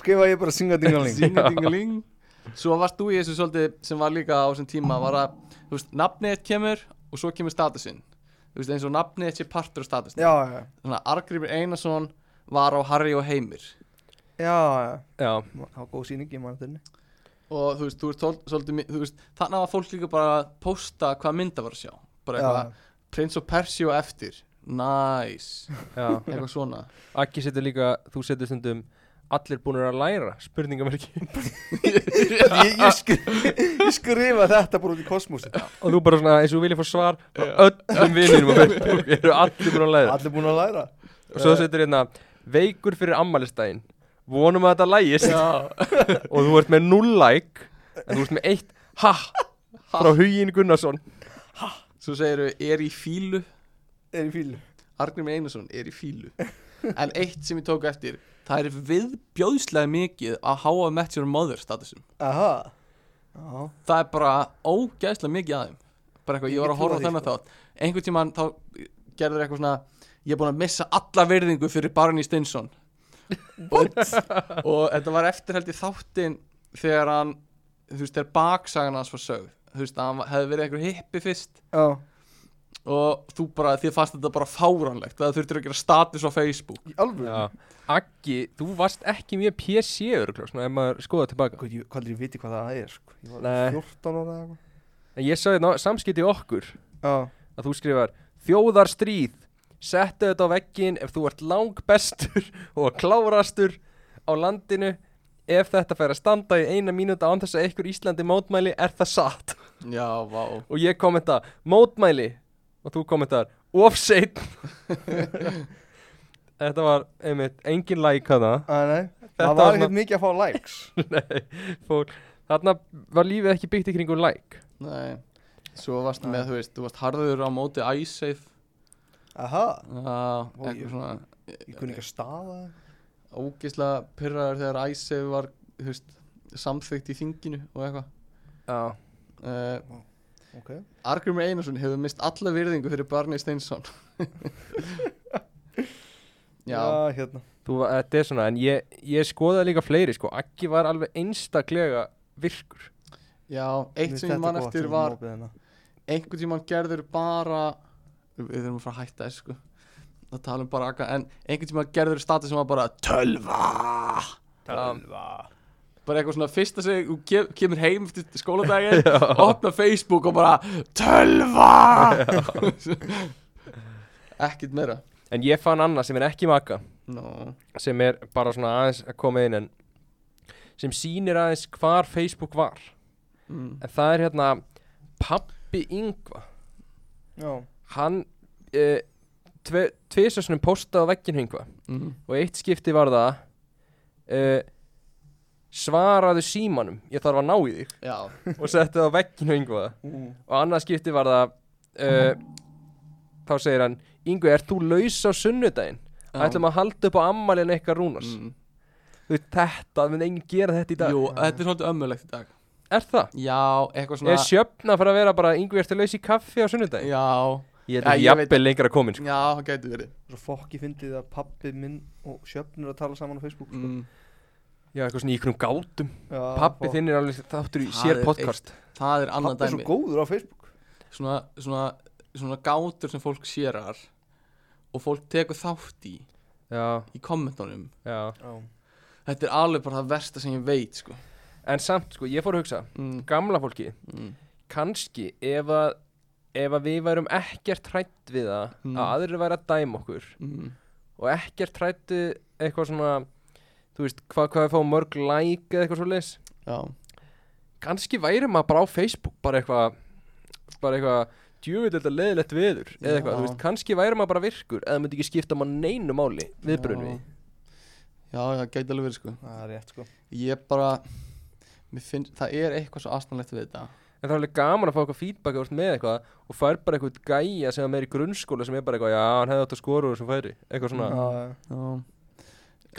S1: Skrifa ég bara singa dingaling
S2: Zingadingaling Svo varst þú í þessu svolítið sem var líka á þessum tíma var að, þú veist, nafnið eitt kemur og svo kemur statusinn Þú veist, eins og nafnið eitt sé partur á statusinn
S1: Já, já,
S2: Þannig að Argrimur Einarsson var á Harry og Heimir
S1: já, já
S3: Já,
S1: Það var góð sýning í mannatörni
S2: og þú veist, þú veist, tól, svolítið, mi- þú veist þannig var fólk líka bara að posta hvað mynda var að sjá bara eitthvað, Prince of Persia og eftir nice,
S3: já.
S2: eitthvað svona
S3: Akki setur líka, þú setur stundum allir búinir að læra, spurningamerki
S1: ég, ég, skrifa, ég skrifa þetta bara út í kosmosi
S3: og þú bara svona, eins og þú viljið fá svar frá öllum vinnum á Facebook eru allir búin að læra
S1: Allir búin að læra
S3: og svo setur hérna, veikur fyrir ammælistægin vonum að þetta lægist og þú ert með 0 like en þú ert með eitt ha frá Hugin Gunnarsson
S2: svo segir þau, er í fílu
S1: Er í fílu
S2: Arngrim Einarsson er í fílu en eitt sem ég tók eftir það er viðbjóðslega mikið að háa Match Your Mother statusum
S1: Aha Já
S2: það er bara ógæðslega mikið aðeim bara eitthvað, ég
S1: Ég
S2: var að
S1: get
S2: horfa á
S1: trúað því,
S2: þennan þátt einhvern tímann þá gerður eitthvað svona ég er búin að missa alla verðingu fyrir Barney Stinson og, og þetta var eftir held í þáttin þegar hann þú veist, þegar baksagan hans var sögð þú veist, hann hefði verið einhver hippi fyrst
S1: Já
S2: og þú bara, þið fannst þetta bara fáranlegt það þurftir að gera status á Facebook
S1: Í alvöru
S3: Já. Aggi, þú varst ekki mjög PC örglá, svona ef maður skoða tilbaka
S1: Hvað ég, hvað ég viti hvað það er sko Ég var
S3: Nei.
S1: 14 ára eða eitthvað
S3: en ég sagði ná, samskipti okkur
S1: Já
S3: að þú skrifar þjóðar stríð settu þetta á veggin ef þú ert langbestur og klárastur á landinu ef þetta fær að standa í eina mínúta án þess að einhver Íslandi mótmæli er það satt
S2: já, vá
S3: og ég kommenta mótmæli og þú kommentar offseit þetta var einmitt engin like hana
S1: Æ, nei
S3: Þetta
S1: Það
S3: var
S1: var ekkert mikið að fá likes
S3: Nei, fólk Þarna var lífið ekki byggt í kringu like
S2: Nei. svo varst
S1: Nei.
S2: með, þú veist, þú varst harður á móti Æsseif
S1: Aha Ó, ég-
S2: eitthvað svona
S1: Ég kunni ekki að stafa það.
S2: ógislega pyrraður þegar Æsef var þú veist, samþykkt í þinginu og eitthvað
S3: Já
S2: uh,
S1: Ok
S2: Argrymur Einarsson hefur mist alla virðingu fyrir Barney Steinsson já,
S1: Já, hérna
S3: Þú, var- þetta er svona, en ég, ég skoðaði líka fleiri sko Akki var alveg einstaklega virkur
S2: já, eitt sem ég man eftir var einhvern tímann gerður bara við þurfum að fara að hætta þessu sko að tala um bara akka, en einhvern tímann gerður status sem var bara tölva
S1: Tölva
S2: bara eitthvað svona fyrsta sem þú ke kemur heim eftir skóladaginn, opna Facebook og bara TÖLVA ekkert meira
S3: En ég fann annað sem er ekki maka
S2: no.
S3: Sem er bara svona aðeins að koma inn en Sem sýnir aðeins hvar Facebook var
S2: mm.
S3: En það er hérna Pappi Ingva
S1: Já
S3: Hann eh, tve, Tvisasunum postaði á vegginu Ingva
S2: Mm.
S3: og eitt skipti var það uh, svaraðu símanum ég þarf að ná í þig
S2: já,
S3: og settu það á vegginu yngva
S1: Mm.
S3: og annað skipti var það uh, þá segir hann yngva, ert þú laus á sunnudaginn? ætlum að halda upp á ammælinu eitthvað rúnars
S2: mm.
S3: þú veit þetta, það mun enginn gera þetta í dag
S2: jú, þetta er svolítið ömmulegt í dag
S3: er það?
S2: já, eitthvað svona
S3: er sjöfna fyrir að vera bara yngva, ert þú laus í kaffi á sunnudaginn?
S2: já,
S3: ég
S2: Já,
S3: held að
S2: ég
S3: jafnvel lengra komin sko.
S2: já, það gæti verið
S1: Svo fokki fyndið að pappi minn og sjöfnur að tala saman á Facebook sko.
S2: mm.
S3: já, eitthvað svona í ykkurum gátum
S1: Já,
S3: pappi
S1: fokk.
S3: þinn er alveg þáttur í
S2: Það er
S3: sér
S2: eitt-
S3: podcast
S2: það er annað
S1: Pappi er svo
S2: dæmi
S1: góður á Facebook
S2: svona, svona, svona gátur sem fólk sérar og fólk tekur þátt í
S3: já,
S2: í kommentunum
S3: já
S1: Já
S2: þetta er alveg bara það versta sem ég veit sko.
S3: en samt, sko, ég fór að hugsa
S2: mm.
S3: gamla fólki
S2: Mm.
S3: kannski ef að ef að við værum ekkert hrætt við það
S2: Mm.
S3: að aðrir væri að dæma okkur
S2: Mm.
S3: og ekkert hrættu eitthvað svona þú veist, hvað, hvað við fáum mörg like eða eitthvað svo leis
S2: já
S3: kannski væri maður bara á Facebook bara eitthvað bara eitthvað djúvill þetta leðilegt veður eða eitthvað,
S2: Já.
S3: þú veist, kannski væri maður bara virkur eða myndi ekki skipta maður neinu máli viðbrun við
S2: Já, já, það gæti alveg verið sko
S1: það er rétt sko
S2: Ég bara, mér finnst, það er eitthvað svo astanlegt við þetta
S3: en það er alveg gaman að fá eitthvað feedback eða þú ert með eitthvað og fær bara eitthvað gæja sem er meir í grunnskóla sem er bara eitthvað, já, hann hefði átt að skora úr þessum færi eitthvað svona,
S1: Já,
S2: Já,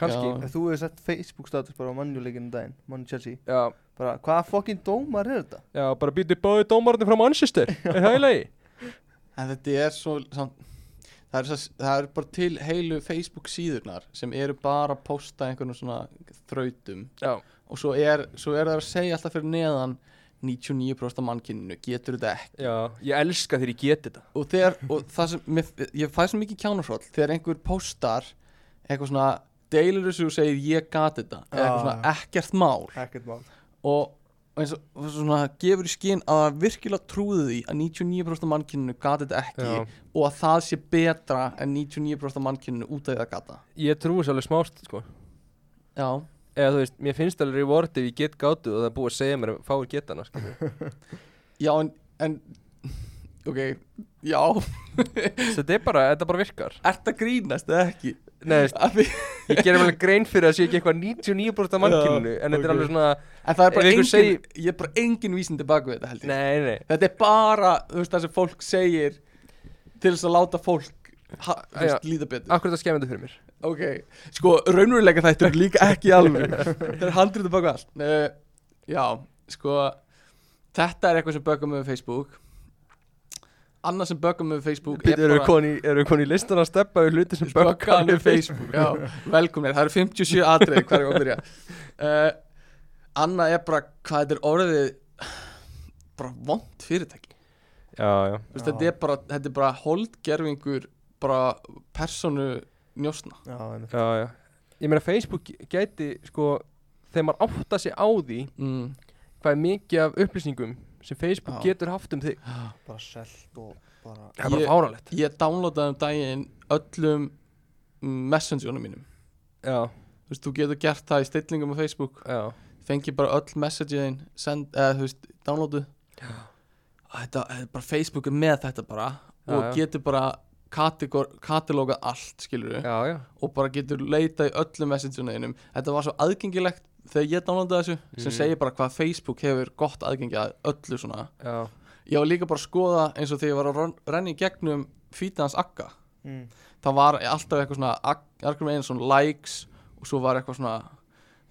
S3: kannski
S2: Já.
S1: En þú hefur sett Facebook status bara á mannjuleikinu daginn Mann Chelsea
S3: já,
S1: Bara hvaða fokkin dómar er þetta?
S3: já, bara býti báði dómarnir frá Manchester er það í lagi?
S2: en þetta er svo samt, það, er svo, það er bara til heilu Facebook síðurnar sem eru bara að posta einhvernum svona þrautum
S3: Já,
S2: og svo er, svo er það að segja alltaf fyrir neðan 99% af mannkinninu getur þetta ekki
S3: já, ég elska þegar ég geti þetta
S2: og, þegar, og það sem, mér, ég fæ svo mikið kjánarsóll þegar einhver postar eitthvað svona deilir þessu og segir ég gat þetta eða
S1: Já,
S2: eitthvað svona ekkert mál
S1: Ekkert mál
S2: og og eins og, og svona gefur í skinn að það virkilega trúði því að 99% af mannkyninu gat þetta ekki
S3: Já.
S2: og að það sé betra en 99% af mannkyninu út af því það gata
S3: Ég trúi þessu alveg smást, sko
S2: Já,
S3: eða þú veist, mér finnst alveg reward ef ég get gátu og það er búið að segja mér að fáir geta hana sko. skilur.
S2: já en, en ok, já
S3: þetta er bara, þetta bara virkar
S2: Ert að grínast eða ekki?
S3: Nei, þú veist,
S2: Af því-
S3: ég gerir alveg grein fyrir að sé ekki eitthvað 99% af mannkyninu
S2: Já,
S3: en þetta
S2: ok.
S3: er alveg svona,
S2: En það er
S3: Ef
S2: bara
S3: einhver
S2: engin,
S3: segir-
S2: ég er bara engin vísindi baku þetta held ég
S3: nei, nei
S2: Þetta er bara, þú veist það sem fólk segir til þess að láta fólk ha, þú veist, líða betur
S3: akkur þetta skemmið þetta fyrir mér
S2: Ok, sko raunveruleika þættur eru líka ekki alveg Það er handrið baka allt uh, Já, sko Þetta er eitthvað sem bögum með Facebook Annað sem bögum með Facebook
S3: Býtu, eru við koni, eru koni í listan að steppa við hluti sem bökkan
S2: Böggan við Facebook Já, velkomnir, það eru 57 atrið Hvað er að byrja uh, Annað er bara, hvað þetta er orðið Bara vond fyrirtæki
S3: já, já,
S2: Þú veist, þetta er bara, þetta er bara holdgerfingur Bara personu njósna
S1: Já, einmitt
S3: já, já ég meina Facebook gæti, sko þegar maður átta sig á því
S2: mm.
S3: hvað er mikið af upplýsingum sem Facebook
S2: Já.
S3: getur haft um þig
S1: Bara selt og bara
S3: það er bara
S2: Ég-
S3: fáralegt
S2: ég downloadaði um daginn öllum messengerunum mínum
S3: já,
S2: þú veist, þú getur gert það í stillingum á Facebook
S3: já,
S2: fengi bara öll messagein send, eða þú veist, downloadu þetta, þetta er bara Facebook er með þetta bara
S3: Já,
S2: og
S3: já.
S2: getur bara kategor, katalogað allt, skilur
S3: já, já
S2: og bara getur leita í öllum messageunum þetta var svo aðgengilegt þegar ég downloadaði þessu, sem
S3: Mhm.
S2: segir bara hvað Facebook hefur gott aðgengi að öllu svona
S3: Já,
S2: ég var líka bara að skoða eins og þegar ég var að ron- renna í gegnum fýtaðans akka
S1: Mm.
S2: það var alltaf eitthvað svona Argrim Einarsson likes og svo var eitthvað svona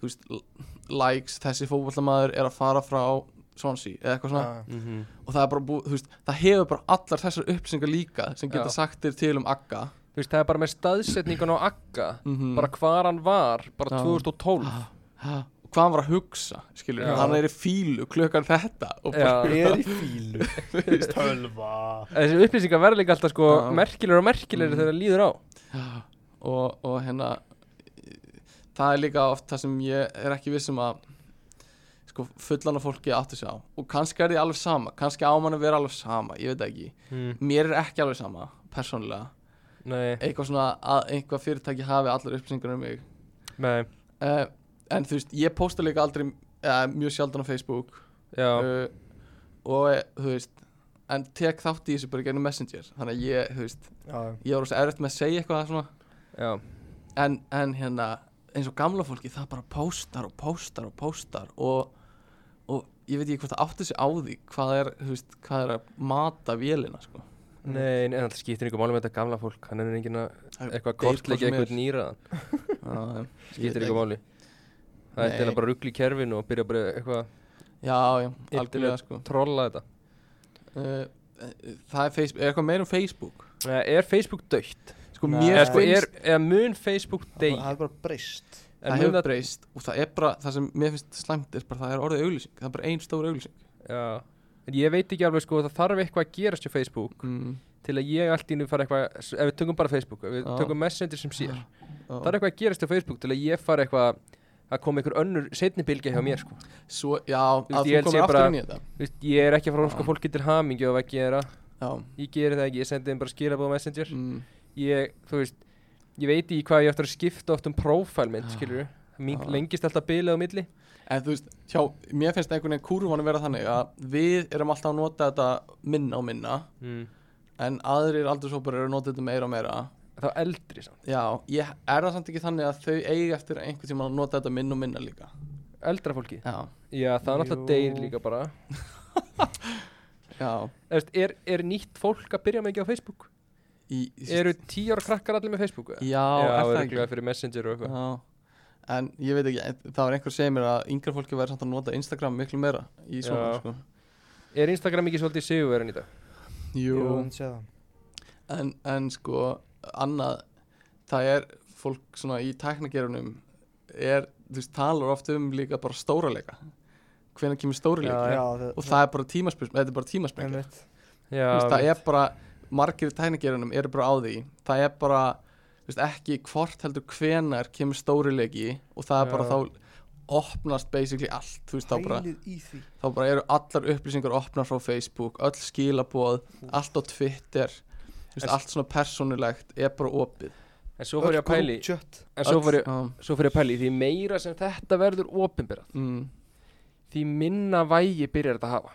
S2: þú veist, l- likes, þessi fótballamaður er að fara frá Swansea eða eitthvað svona
S1: Já,
S3: mhm.
S2: og það er bara búið, þú veist, það hefur bara allar þessar upplýsingar líka sem geta
S3: Já.
S2: sagt þér til um Agga
S3: Þú veist, það er bara með staðsetningun á Agga
S2: Mhm.
S3: Bara hvar hann var, bara
S2: Já. Ah.
S3: 2012
S2: Ha, og hvað hann var að hugsa, skilur
S3: Já.
S2: hann er í fílu klukkan þetta og bara,
S3: Já,
S1: Ég er í fílu
S4: Tölva
S3: þessi upplýsingar verða líka alltaf sko
S2: Já. Mhm.
S3: merkilegur og merkilegur þegar það líður á
S2: og, og hérna e, það er líka oft það sem ég er ekki viss um að sko fullana fólki áttu sig á og kannski er því alveg sama, kannski á mann að vera alveg sama ég veit það ekki,
S3: mm.
S2: mér er ekki alveg sama persónulega,
S3: Nei,
S2: eitthvað svona að einhvað fyrirtæki hafi allar upplýsingar um mig
S3: nei,
S2: uh, en þú veist, ég posta líka aldrei uh, mjög sjaldan á Facebook
S3: já,
S2: uh, og eh, þú veist en tek þátt í þessu bara gennum Messenger þannig að ég, þú veist,
S1: Já,
S2: ég var rosa erfitt með að segja eitthvað svona
S3: já
S2: en, en hérna eins og gamla fólki það bara póstar og póstar og póstar og, og ég veit ekki hvort það átti sig á því hvað er, þú veist, hvað er að mata vélina sko.
S3: Nei, nei, en alltaf skiptir einhver máli með þetta gamla fólk Hann er enginn að
S2: Það
S3: eitthvað
S2: deyr
S3: kortleiki
S2: hvort sem
S3: eitthvað
S2: er.
S3: nýraðan
S2: Já,
S3: Skiptir
S2: veit
S3: einhver máli Það er
S2: Nei.
S3: til að bara rugla í kerfinu og byrja bara eitthvað
S2: já, já, algjörlega
S3: Internet.
S2: sko.
S3: trolla þetta
S2: uh, Það er, Facebook, er eitthvað meir um Facebook
S3: Nei, Er Facebook dögt?
S2: Sko
S1: Nei.
S2: mér
S3: Eða sko,
S2: finnst
S3: er, er mun Facebook
S1: það
S3: deg?
S1: er bara breyst
S2: það hefur breyst og það er bara, það sem mér finnst slæmt er bara það er orðið auglýsing, það er bara ein stór auglýsing
S3: Já, en ég veit ekki alveg sko, það þarf eitthvað að gerast hjá Facebook
S2: mm.
S3: til að ég allt í nú fara eitthvað, s- ef við tökum bara Facebook, ef við
S2: Já.
S3: tökum Messenger sem sér, það
S2: Já.
S3: er eitthvað að gerast hjá Facebook til að ég fara eitthvað að koma einhver önnur setni bylgja hjá mér sko.
S2: Svo, já,
S3: veist,
S2: að
S3: ég
S2: þú
S3: held sé
S2: komir aftur
S3: bara-
S2: inn í þetta
S3: Þú veist, ég er ekki að fara að
S2: Já.
S3: sko fólki til hamingi og að gera,
S2: Já,
S3: ég geri það ekki, ég sendi þeim bara skilabóð á Messenger,
S2: mm.
S3: ég, þú veist, ég veit í hvað ég eftir að skipta oft um prófælmynd, skilur við, mink,
S2: Já.
S3: lengist alltaf bilið á milli
S2: En þú veist, hjá, mér finnst einhvern veginn kúrvan að vera þannig að við erum alltaf að nota þetta minna og minna
S3: mm.
S2: en aðrir aldurshópar eru að nota þetta meira og meira
S3: Þá eldri samt
S2: Já, ég er það samt ekki þannig að þau eigi eftir einhvern tíma að nota þetta minna og minna líka
S3: Eldra fólki
S2: Já,
S3: Já, það er náttúrulega
S4: Jú.
S3: deyr líka bara
S2: já
S3: Eðast, er, er nýtt fólk að byrja mikið á Facebook?
S2: í, í,
S3: Eru tíu ára krakkar allir með Facebook? eða?
S2: Já, er það
S3: örugglega
S2: ekki
S3: fyrir Messenger og eitthvað
S2: Já En ég veit ekki, en það var einhver sem segir mér að yngra fólki væri samt að nota Instagram miklu meira í svona
S3: Já.
S2: sko
S3: Er Instagram ekki svolítið sigurverðin í dag?
S1: Jú,
S2: Jú,
S1: hann sé það
S2: en, en sko annað, það er fólk svona í tæknagerunum er, þú veist, talar oft um líka bara stóralega hvenær kemur stóralega
S3: Já,
S1: Já,
S2: og það er bara tímaspurs þetta er bara tímaspengja
S1: einmitt.
S3: Já,
S2: það
S3: mitt.
S2: er bara, margir í tæknagerunum eru bara á því það er bara, þú veist, ekki hvort heldur hvenar kemur stóralegi og það er bara
S3: Já.
S2: þá opnast basically allt, þú veist, þá bara
S1: Pælið í því
S2: þá bara eru allar upplýsingar opnar frá Facebook, öll skilaboð allt á Twitter þú veist,
S3: En-
S2: allt svona persónulegt er bara opið
S3: En svo fór
S1: Öll
S3: ég að pæli
S1: group chat.
S3: En svo fór ég,
S2: Já,
S3: svo fór ég að pæli Því meira sem þetta verður opinberað
S2: mm,
S3: Því minna vægi byrjar þetta að hafa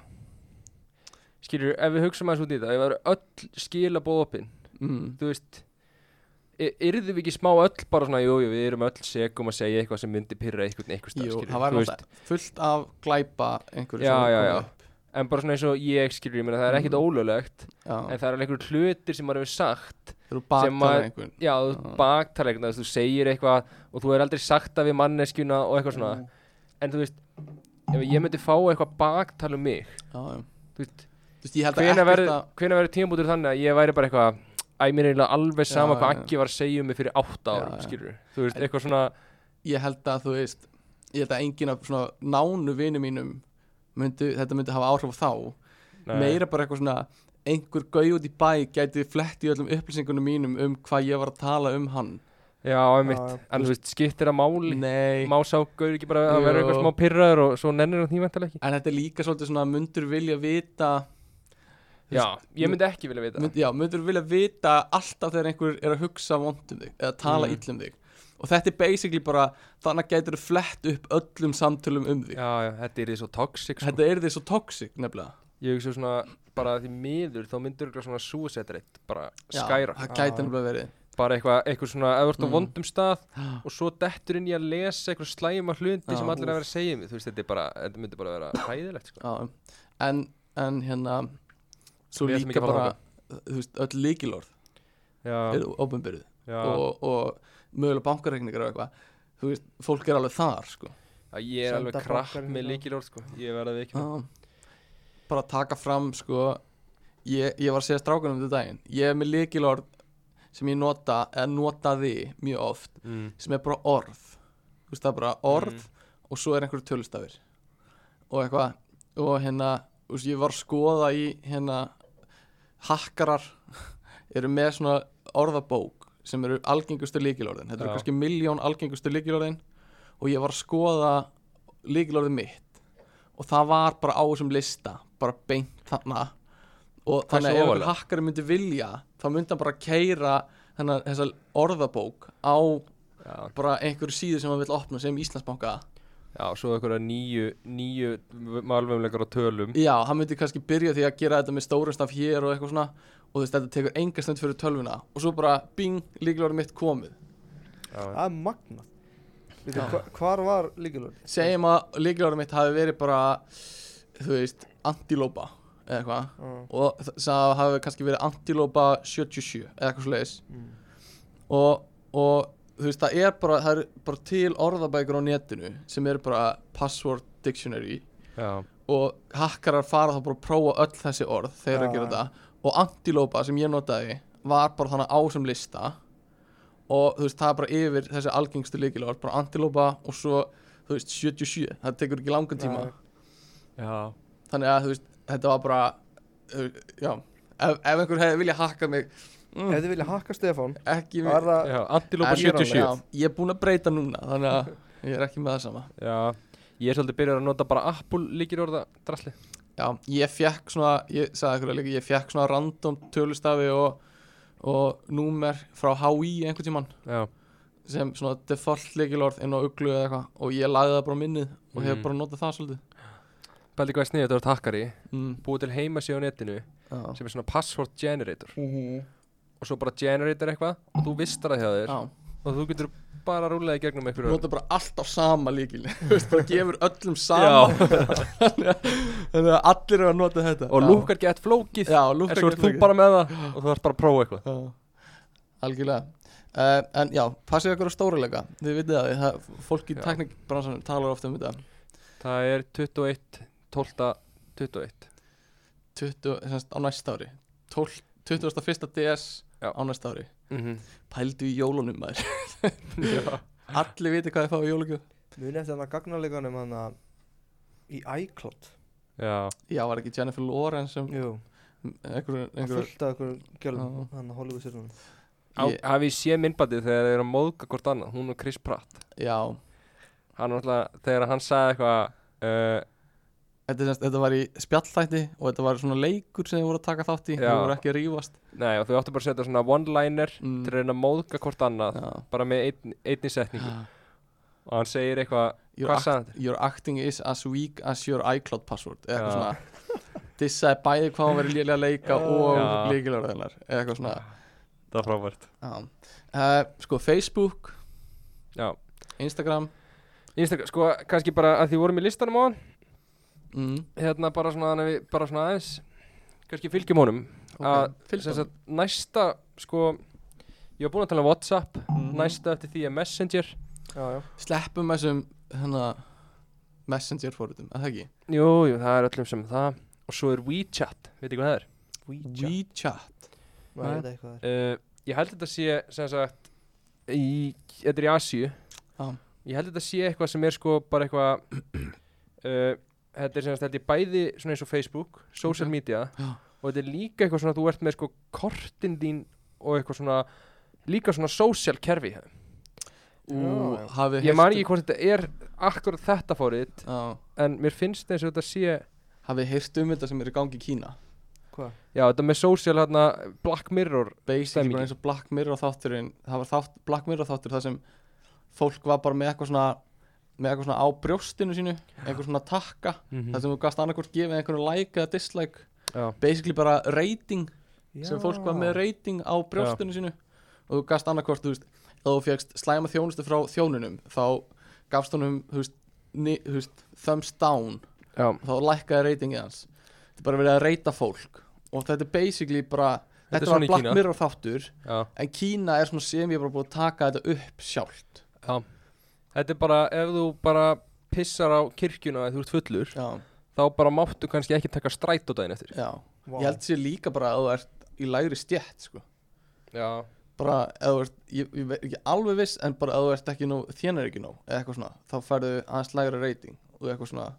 S3: Skilur, ef við hugsaum aðeins út í þetta Ef það eru öll skilabóð opin
S2: mm,
S3: Þú veist y- Yrðum við ekki smá öll bara svona Jú, jú, við erum öll segum að segja eitthvað sem myndi pyrra eitthvað einhvers stað
S2: jú,
S3: skilurðu,
S2: það
S3: þú
S2: væri
S3: veist.
S2: náttúrulega fullt af glæpa einhverju
S3: Já,
S2: sem
S3: já,
S2: kom
S3: já.
S2: upp.
S3: En bara svona eins og ég skilur, ég meina það er ekkert
S2: Mm.
S3: ólöglegt
S2: já.
S3: En það eru alveg einhverjum hlutir sem maður hefur sagt
S2: þeir eru
S3: sem
S2: baktalega
S3: maður-
S2: einhvern
S3: Já, þú
S2: Já.
S3: baktar eitthvað, þú veist, þú segir eitthvað Og þú er aldrei sagt það við manneskjuna og eitthvað svona
S1: Mm.
S3: En þú veist, ef ég myndi fá eitthvað baktal um mig
S2: já, já.
S3: Þú veist,
S2: þú veist, ég held að
S3: hvena
S2: ekkert
S3: verður
S2: að
S3: verð tímabútur þannig að ég væri bara eitthvað Æ, mér er eiginlega alveg sama
S2: Já,
S3: hvað
S2: já.
S3: Aggi var að segja um mig fyrir átta
S2: Já,
S3: árum,
S2: já.
S3: skilur Þú veist, eitthvað svona,
S2: ég held að þú veist ég held að enginn af svona nánu vinum mínum myndu, þetta myndi hafa áhrif á þá
S3: nei,
S2: meira bara eitthvað svona einhver gauð út í bæ gæti flett í öllum upplýsingunum mínum um hvað ég var að tala um hann
S3: Já, einmitt,
S1: Já, já.
S3: en þú veist, skiptir að máli
S2: Nei,
S3: Má sá gaur ekki bara að vera eitthvað
S2: Jú.
S3: smá pyrraður og svo nennir hann því vantilega ekki
S2: en þetta er líka svolítið svona myndur vilja vita
S3: Já, ég
S2: mynd-
S3: myndi ekki vilja vita
S2: mynd, Já, myndur vilja vita alltaf þegar einhver er að hugsa vondum þig eða tala
S3: Mm.
S2: mm. illum þig og þetta er basically bara þannig gætur þú flett upp öllum samtölum um þig
S3: Já, já, þetta er því svo toxic sko.
S2: Þetta er því svo toxic nefnilega
S3: Ég hugsa svona, bara því miður þá myndir eitthvað svona suicide rate bara
S2: Já,
S3: skæra
S2: Það gæti nefnilega verið
S3: Bara eitthvað, eitthvað svona, ef þú ert á
S2: Mm.
S3: vondum stað
S2: Já.
S3: og svo dettur inn í að lesa eitthvað slæma hluti
S2: Já,
S3: sem allir
S2: úff.
S3: er að vera að segja mig þú veist þetta er bara, þetta myndi bara vera hæðilegt sko.
S2: Já, um. en, en hérna svo
S3: Við ætlum ekki
S2: líka
S3: að fara
S2: bara þú veist, öll líkilorð
S3: já,
S2: eru ofinbyrðu
S3: já.
S2: og, og mögulega bankareikningar og eitthvað þú veist, fólk er alveg þar sko.
S3: já, ég er
S1: Senda
S3: alveg krapp
S1: bankarinn
S3: með
S1: og-
S3: líkilorð sko. ég verði ekki
S2: hérna. Já. bara taka fram sko, ég, ég var að segja strákunum þetta daginn, ég er með líkilorð sem ég nota, eða notaði mjög oft,
S3: mm.
S2: sem er bara orð þú veist, það er bara orð og svo er einhverju tölustafir og eitthvað, og hérna þú veist, ég var að skoða í hérna hakkarar eru með svona orðabók sem eru algengustu líkilorðin þetta eru
S3: Já.
S2: kannski miljón algengustu líkilorðin og ég var að skoða líkilorðið mitt og það var bara á þessum lista bara beint þarna og
S3: Hversu
S2: þannig að ef einhver
S3: ofarlega?
S2: hakkari myndi vilja þá myndi hann bara keira þennan, þessa orðabók á
S3: já,
S2: bara einhverju síðu sem hann vill opna sem Íslandsbanka
S3: já, svo einhverja nýju nýju malvumlegar á tölum
S2: Já, hann myndi kannski byrja því að gera þetta með stórum staf hér og eitthvað svona og þú veist, þetta tekur enga stund fyrir tölvuna og svo bara, bing, líkilværi mitt komið
S3: já,
S1: Það er magnað Veitu,
S2: Já.
S1: hva- Hvar var líkilur?
S2: segjum að líkilværi mitt hafi verið bara þú veist, antilópa eða eitthvað og þ- það hafi kannski verið antilópa 77 eða eitthvað svoleiðis
S1: Mm.
S2: og, og þú veist, það er bara, það er bara til orðabækur á netinu sem eru bara password dictionary
S3: já,
S2: og hakkarar fara þá bara að prófa öll þessi orð þegar
S1: Já,
S2: að gera
S1: já.
S2: þetta og antilópa sem ég notaði var bara þannig á sem lista og þú veist það er bara yfir þessi algengstu líkilorð bara antilópa og svo þú veist 77, það tekur ekki langan tíma
S1: Nei.
S3: já.
S2: þannig að þú veist þetta var bara þú, já, ef, ef einhver hefði viljað hakka mig
S1: Ef
S2: mm,
S1: þið vilja hakka Stefán
S2: ekki
S1: Það
S2: mig
S1: er það
S3: já. antilópa
S2: En-
S3: 77
S2: já, ég er búin að breyta núna þannig að ég er ekki með það sama
S3: já, ég er svolítið byrjar að nota bara Apple líkilorða drasli
S2: Já, ég fekk svona, ég sagði ykkur líka, ég fekk svona random tölustafi og, og númer frá HÍ einhvern tímann
S3: já,
S2: sem svona default leikilorð inn á uglu eða eitthvað og ég lagði það bara á minnið og hef
S3: Mm.
S2: bara notað það svolítið
S3: Pældi hvað er sniðið að vera takkari
S2: mm.
S3: Búið til heimasíð á netinu
S2: Já,
S3: sem er svona password generator
S1: Mhm.
S3: og svo bara generator eitthvað og þú vistar það hjá þér
S2: já.
S3: og þú getur bara rúlega í gegnum einhverju
S2: nota bara allt á sama líkil Þú veist, bara gefur öllum sama þannig að- þannig að allir eru að nota þetta
S3: og
S2: Já.
S3: lúkar gett flókið
S2: já,
S3: en
S2: lúkar
S3: svo ert þú bara með það og þú ert bara að prófa eitthvað
S2: Já, algjörlega uh, En já, passið ykkur á stóruleika Þið vitið það, það, fólk í
S3: Já.
S2: teknikbransanum talar ofta um þetta
S3: það er 21 12 21
S2: 20, semst, á næsta ári 12, 21. DS
S3: Já.
S2: á næsta ári
S3: mm
S2: Pældu í jólunum maður Allir viti hvað þið fá í jólugjöf
S1: Muni eftir hann að gagnarleikanum hann að í iCloud
S3: já
S2: Já, var ekki Jennifer Lawrence sem
S1: Jú,
S2: einhver,
S1: að
S2: einhver,
S1: fullta ykkur gjörlum
S2: Já.
S1: hann að Hollywood stjórnum
S2: Ég-
S3: hafið sé myndbandið þegar þeir eru að móðga hvort annað hún og Chris Pratt
S2: Já,
S3: hann er alltaf þegar hann sagði eitthvað uh,
S2: þetta, er semst, þetta var í spjallþætti og þetta var svona leikur sem þið voru að taka þátt í
S3: Já.
S2: Þið voru ekki að rífast
S3: nei og þau áttu bara að setja svona one liner
S2: Mm.
S3: til að reyna að móðga hvort annað
S2: Já.
S3: bara með einn, einni setningu og hann segir eitthvað
S2: your,
S3: Hvað sagði
S2: act, your acting is as weak as your iCloud password eða eitthvað
S3: Já.
S2: svona dissaði bæði hvað hann verið lélega að leika
S3: Já.
S2: og líkilorðinar eða eitthvað svona
S3: það er frábært
S2: uh, sko Facebook,
S3: já
S2: Instagram
S3: Instagram, sko, kannski bara að því vorum í listanum á hann
S2: mm,
S3: hérna bara svona, þannig að við- bara svona aðeins kannski fylgjum honum Að-
S2: ok,
S3: Ah, sem
S2: fylgst
S3: sagt, næsta, sko ég var búinn að tala um Whatsapp
S2: Mhm.
S3: næsta eftir því er Messenger
S1: Já, já
S2: sleppum þessum hana, messenger fórutum, að það ekki
S3: jú, jú, það er öllum sem það og svo er WeChat, veit ekki hvað það er
S2: WeChat
S1: Maður veit eitthvað þar
S3: uh, ég held þetta sé, sem sagt í, þetta er í Asíu
S2: Já.
S3: ég held þetta sé eitthvað sem er sko bara eitthvað uh, þetta er sem sagt, þetta er bæði svona eins og Facebook, social
S2: Ok.
S3: media
S2: Já.
S3: og þetta er líka eitthvað svona, þú ert með sko kortin þín og eitthvað svona líka svona social kerfi
S2: Ú,
S1: Já.
S2: hafið um-
S3: ég man ekki hvort þetta er akkurat þetta fórið
S2: Já,
S3: en mér finnst eins og þetta sé já,
S2: hafið heyrt um þetta sem er í gangi í Kína
S1: Hvað?
S3: þetta með social hérna Black Mirror
S2: basically
S3: Stemmingi.
S2: bara eins og Black Mirror þátturinn það var þátt, Black Mirror þáttur þar sem fólk var bara með eitthvað svona með eitthvað svona á brjóstinu sínu eitthvað svona takka,
S3: Mm.
S2: þar sem þú gast annarkvort gefið einhverju like eða dislike
S3: já,
S2: basically bara rating
S1: Já.
S2: sem fólk var með rating á brjóstinu sínu og þú gast annarkvort, þú veist þá þú fegst slæma þjónustu frá þjónunum þá gafst honum, þú veist, ni, þú veist thumbs down
S3: já,
S2: og þá lækkaði ratingið hans þetta er bara verið að reyta fólk og þetta er basically bara þetta,
S3: er svona
S2: var
S3: í
S2: Black
S3: Kína.
S2: Mirror þáttur
S3: já,
S2: En Kína er svona sem ég bara búið að taka þetta upp sjálft
S3: já þetta er bara, ef þú bara pissar á kirkjuna eða þú ert fullur
S2: Já,
S3: þá bara máttu kannski ekki taka stræt á daginn eftir
S2: já
S1: Vá.
S2: Ég held sér líka bara að þú ert í lægri stjætt sko.
S3: já,
S2: Bara ef þú ert, ég, ég veit ekki alveg viss En bara ef þú ert ekki nóg, þénar ekki nóg Eða eitthvað svona, þá færðu aðeins lægra reyting Og eitthvað svona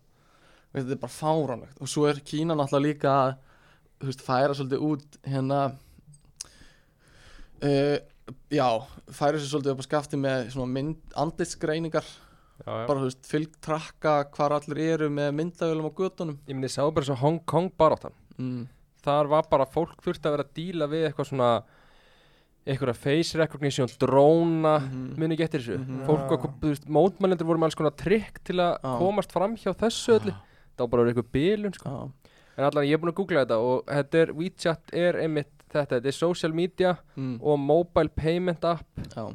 S2: veit, Þetta er bara fáránlegt Og svo er Kína náttúrulega líka að þú veist, Færa svolítið út hérna uh, Já, færa sér svolítið upp að skafti Með svona mynd, andlitsgreiningar
S3: já, já.
S2: bara þú veist, fylg trakka hvar allir eru með myndavölum á götunum
S3: ég myndi sá bara svo Hong Kong baráttan
S2: mm.
S3: þar var bara fólk þurfti að vera að díla við eitthvað svona eitthvað face recognition, dróna mm
S2: Mhm.
S3: minni ekki eftir þessu
S2: Mhm.
S3: fólk var,
S1: Já.
S3: þú veist, mótmælendur voru með alls konar trikk til að
S2: Já.
S3: komast fram hjá þessu öllu það var bara verið eitthvað bilun sko.
S2: Já,
S3: en allan ég er búin að googla þetta og þetta er WeChat er einmitt þetta, þetta er social media
S2: mm,
S3: og mobile payment app
S2: já,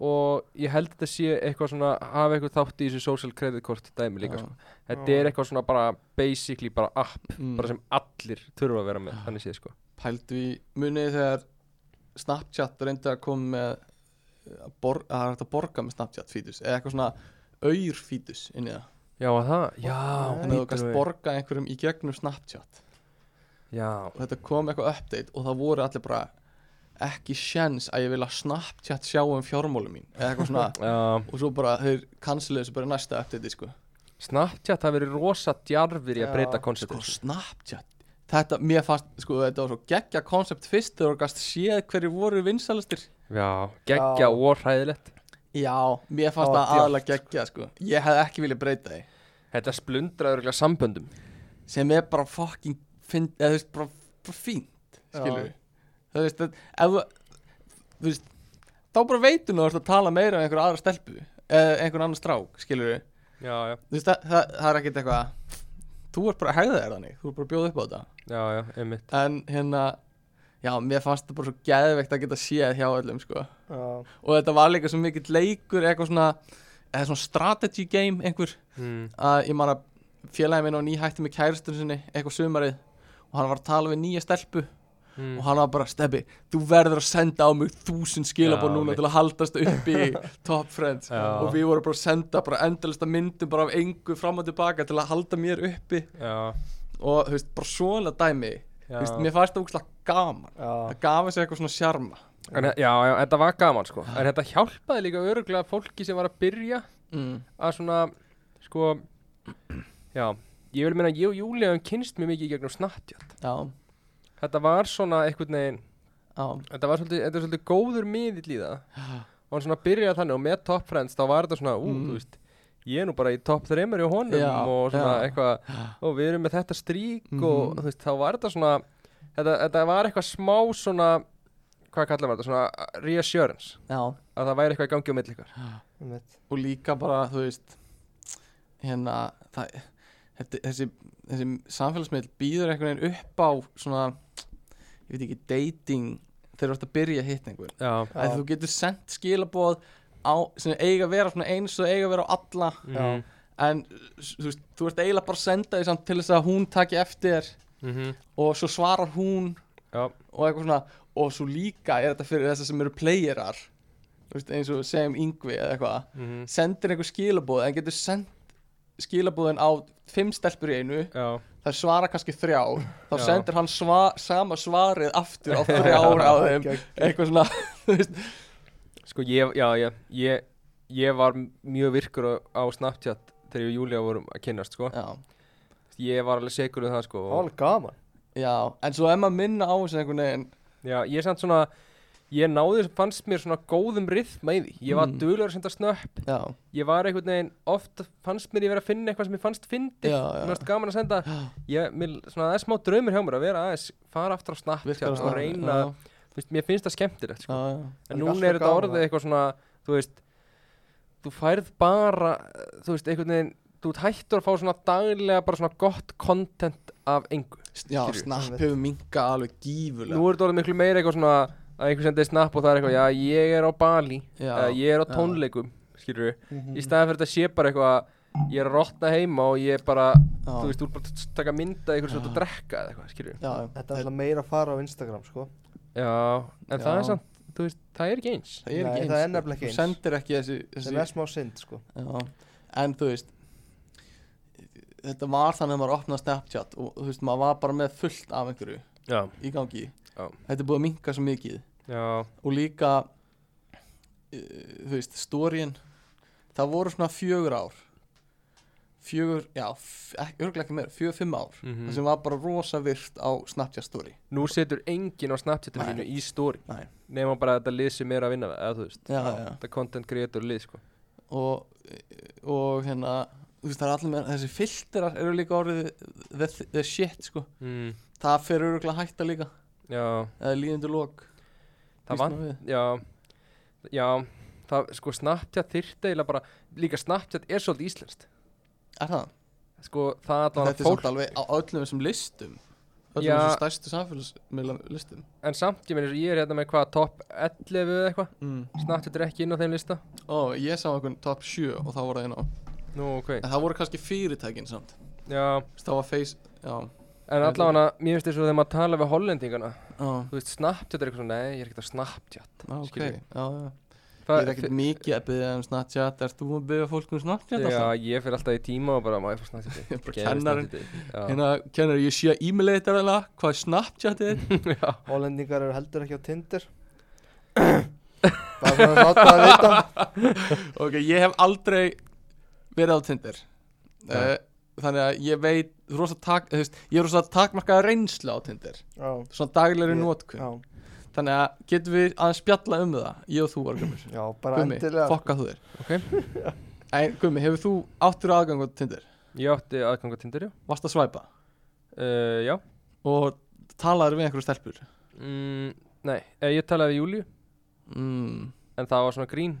S3: og ég held þetta sé eitthvað svona hafa eitthvað þátt í þessu social credit kort dæmi
S2: já,
S3: líka sko. þetta er eitthvað svona bara basically bara app
S2: mm.
S3: bara sem allir þurfa að vera með þannig séð sko
S2: Pældu í munið þegar Snapchat reyndi að koma með að bor- að það er hægt að borga með Snapchat fítus eða eitthvað svona auður fítus inn í það
S3: Já, var það, já,
S2: þannig að þú
S3: bíddu
S2: kannst
S3: við.
S2: borga einhverjum í gegnum Snapchat
S3: Já,
S2: og þetta kom eitthvað update og það voru allir bara ekki sjens að ég vil að Snapchat sjá um fjármálum mín eða eitthvað svona
S3: já,
S2: og svo bara þeir kansilega þessu bara í næsta update sko
S3: Snapchat hafi verið rosa djarfir í að
S1: Já.
S3: breyta
S2: sko
S3: konceptið
S2: Snapchat þetta, mér fannst, sko, þetta var svo geggja koncept fyrst þegar þú gast séð hverju voru vinsalistir
S3: Já, geggja
S1: Já.
S3: og hræðilegt
S2: já, mér fannst
S1: Það var
S2: það aðalega geggja, sko ég hef ekki viljað breyta því
S3: Þetta splundraður ekki samböndum
S2: sem er bara fucking finn, eða þú veist, bara, bara fínt skilur
S1: Já.
S2: þú veist, að, ef þú- þú veist þá bara veitum þú að þú ert að tala meira um einhverja aðra stelpu eða einhvern annan strák, skilur við
S3: já, já,
S2: þú veist, það, það, það er ekkert eitthvað þú ert bara að hegða þér þannig, þú ert bara að bjóða upp á þetta
S3: já, já, einmitt
S2: en hérna, já, mér fannst þetta bara svo geðveikt að geta séð hjá öllum sko.
S3: já.
S2: og þetta var líka svo mikill leikur eitthvað svona, eða svona strategy game einhver,
S3: Mm.
S2: að ég man að félagi minn og nýhætti með kæristun sinni eitthvað sumarið og hann var að tala við nýja stelpu
S3: Mm.
S2: og hann var bara, Stebbi, þú verður að senda á mig þúsund skilabóð
S3: Já,
S2: núna
S3: mitt.
S2: til að haldast upp í Top Friends
S3: Já.
S2: og við vorum bara að senda bara endalista myndum bara af engu fram og tilbaka til að halda mér uppi
S3: já,
S2: og þú veist, bara svona dæmi
S3: já.
S2: þú veist, mér fannst það úkslega gaman
S1: Já,
S2: það gaf þessu eitthvað svona sjarma
S3: En, já, já, þetta var gaman sko En þetta hjálpaði líka öruglega fólki sem var að byrja
S2: mm.
S3: Að svona, sko Já, ég vil meina að ég og Júlia hefum kynst mjög mikið í gegnum snattjátt
S2: já,
S3: Þetta var svona einhvern veginn
S2: já,
S3: Þetta var svolítið, þetta er svolítið góður miðill í það Og hann svona byrjaði þannig og með Top Friends Þá var þetta svona, ú,
S2: Mm.
S3: þú veist Ég er nú bara í top 3 hjá honum
S2: Já,
S3: Og svona
S2: já.
S3: eitthvað, og við erum með þetta strík Og
S2: Mhm.
S3: þú veist, þá var þetta svona Þetta, þetta var eitthvað smá svona Hvað kallar maður þetta, svona reassurance
S2: já
S3: að það væri eitthvað í gangi á milli ykkar
S1: einmitt.
S2: og líka bara, þú veist hérna, það þetta, þessi, þessi samfélagsmiðl býður einhvern veginn upp á svona, ég veit ekki, dating þegar þú ert að byrja að hitta einhvern
S3: já,
S1: Já.
S2: að þú getur sendt skilaboð á, sem eiga að vera svona eins og eiga að vera á alla
S1: Já.
S2: en s- þú, veist, þú ert eiginlega bara að senda því samt til þess að hún taki eftir þér og svo svarar hún
S3: já.
S2: og eitthvað svona og svo líka er þetta fyrir þess sem eru playerar þú veist, eins og segjum yngvi eða eitthvað sendir einhver skilaboð en getur sendt skilaboðin á fimm stelpur í einu
S3: já.
S2: það svara kannski þrjá þá
S3: Já.
S2: sendir hann sva, sama svarið aftur á þrjár á þeim
S1: Gegn-
S2: eitthvað svona þú veist
S3: sko ég, já, já, ég ég var m- mjög virkur á, á Snapchat þegar ég og Júlia vorum að kynnast sko.
S2: já
S3: ég var alveg segur um það sko.
S1: Það var
S3: og,
S1: alveg gaman
S2: Já, en svo ef maður minna á þessu einhvern veginn
S3: já, ég samt svona ég náði, fannst mér svona góðum rithma í því ég var
S2: Mm.
S3: mm. duglegur að senda snöpp
S2: Já,
S3: ég var einhvern veginn, oft fannst mér ég vera að finna eitthvað sem ég fannst fyndið
S2: Já, já.
S3: Mér fannst gaman að senda
S2: Já.
S3: ég, mér, svona, það er smá draumur hjá mér að vera aðeins fara aftur á Snapchat
S2: virkar
S3: og
S2: það
S3: reyna,
S2: Já,
S3: þú veist, mér finnst það skemmtilegt sko.
S2: já, já,
S3: En
S1: Það er
S3: núna
S1: alltaf
S3: er þetta
S1: gaman
S3: orðið
S1: að-
S3: eitthvað svona, þú veist, þú færð bara, eh, þú veist, einhvern veginn, þú ert hættur að fá svona daglega bara svona gott content af engu.
S2: já
S3: Skilju,
S2: snapp
S1: einmitt.
S2: hefur minga alveg
S3: Nú
S2: gífulega
S3: er þetta orðið miklu meira eitthvað svona að einhver sendið snapp og það er eitthvað, já, ég er á Bali,
S2: Já,
S3: eða ég er á
S2: já.
S3: tónleikum, skilur við,
S1: Mhm.
S3: í staðan fyrir þetta sé bara eitthvað, ég er að rotna heima og ég er bara,
S2: Já.
S3: þú veist, þú er bara að taka mynda eitthvað sem þú ert að drekka eða eitthvað, skilur við.
S2: Já,
S1: Þetta er alltaf meira að fara á Instagram sko
S3: Já, en það
S2: Já.
S3: er samt, þú veist, það er ekki eins.
S2: það er
S1: Nei,
S2: ekki eins
S1: það er
S2: sko.
S1: nefnilega ekki
S2: Þú
S1: eins.
S2: sendir ekki þessi,
S1: Sem er
S2: þessi
S1: smá synd sko
S2: já. En þú veist Þetta var þannig að maður opnaði Snapchat og þú veist, maður var bara með fullt af einhverju
S3: Já,
S2: í gangi
S3: Já.
S2: Þetta er búið að minga svo mikið
S3: já,
S2: og líka uh, þú veist, stórin það voru svona fjögur ár fjögur, já f- ekki- örugglega ekki meira, fjögur, fimm ár
S3: Mhm.
S2: það sem var bara rosa virt á Snapchat story
S3: Nú setur enginn á Snapchatinu
S2: Nei.
S3: mínu í story
S2: Nei.
S3: Nefnum bara að þetta lið sem er að vinna við eða þú veist
S2: Já,
S3: Já,
S2: já.
S3: Þetta er content creator lið sko
S2: og, og hérna þú veist, það er allir með, þessi filterar eru líka orðið the, the shit, sko
S3: mm.
S2: það fer örugglega að hætta líka
S3: Já,
S2: eða líðendur lók
S3: það vann Já, já Það, sko, Snapchat þyrfti eiginlega bara Líka Snapchat er svolítið íslenskt
S2: er það?
S3: Sko, það að
S2: þetta er samt alveg á öllum þessum listum öllum
S3: Já.
S2: þessum stærstu samfélagsmiðla listum
S3: En samt, ég meina, eins og ég er hérna með hvað Top 11 eða eitthvað
S2: mm.
S3: Snapchat er ekki inn á þeim lista
S2: og ég sá einhvern top 7 og þá var það einn á
S3: Nú, ok
S2: En það voru kannski fyrirtækin samt
S3: Já,
S2: Þú veist, Það var face Já,
S3: en allavega Mér finnst þess að þegar maður tala við hollendingana
S2: já,
S3: Þú veist, Snapchat er eitthvað svona Nei, ég er ekkert á Snapchat
S2: já, ok
S3: Skilju.
S2: já, já. Ég
S3: Það-
S2: er ekkert mikið að byggja um Snapchat Erst þú að byggja fólk um Snapchat
S3: Já,
S2: alltaf?
S3: ég fyrir alltaf í tíma og bara má ég fá Snapchat
S2: Ég er bara
S3: Gefið
S2: kennarinn.
S3: Snapchatið, já.
S2: Hérna, kennar ég sé að e-mail eitt er alveg Hvað er Snapchat þitt?
S1: Hollendingar eru heldur ekki á Tinder Bara svona láta það vita
S2: ok, ég hef aldrei verið á Tinder uh,
S3: Nei.
S2: Þannig að ég veit rosa tak, þú veist, Ég er rosa takmarkaða reynsla á Tinder
S1: Já,
S2: Svona daglegri
S1: Ég-
S2: notkun
S1: já,
S2: Þannig að getum við aðeins spjalla um það Ég og þú, Argumur
S1: já, bara
S2: Gumi,
S1: endilega sko.
S2: fokka þú þér En Gumi, hefur þú áttur aðgang á Tinder?
S3: Ég átti aðgang á Tinder, já.
S2: Varst að svæpa?
S3: Uh, já.
S2: og talaður við einhverju stelpur
S3: Mm, nei, eh, ég talaði við Júliu.
S2: mm.
S3: en það var svona grín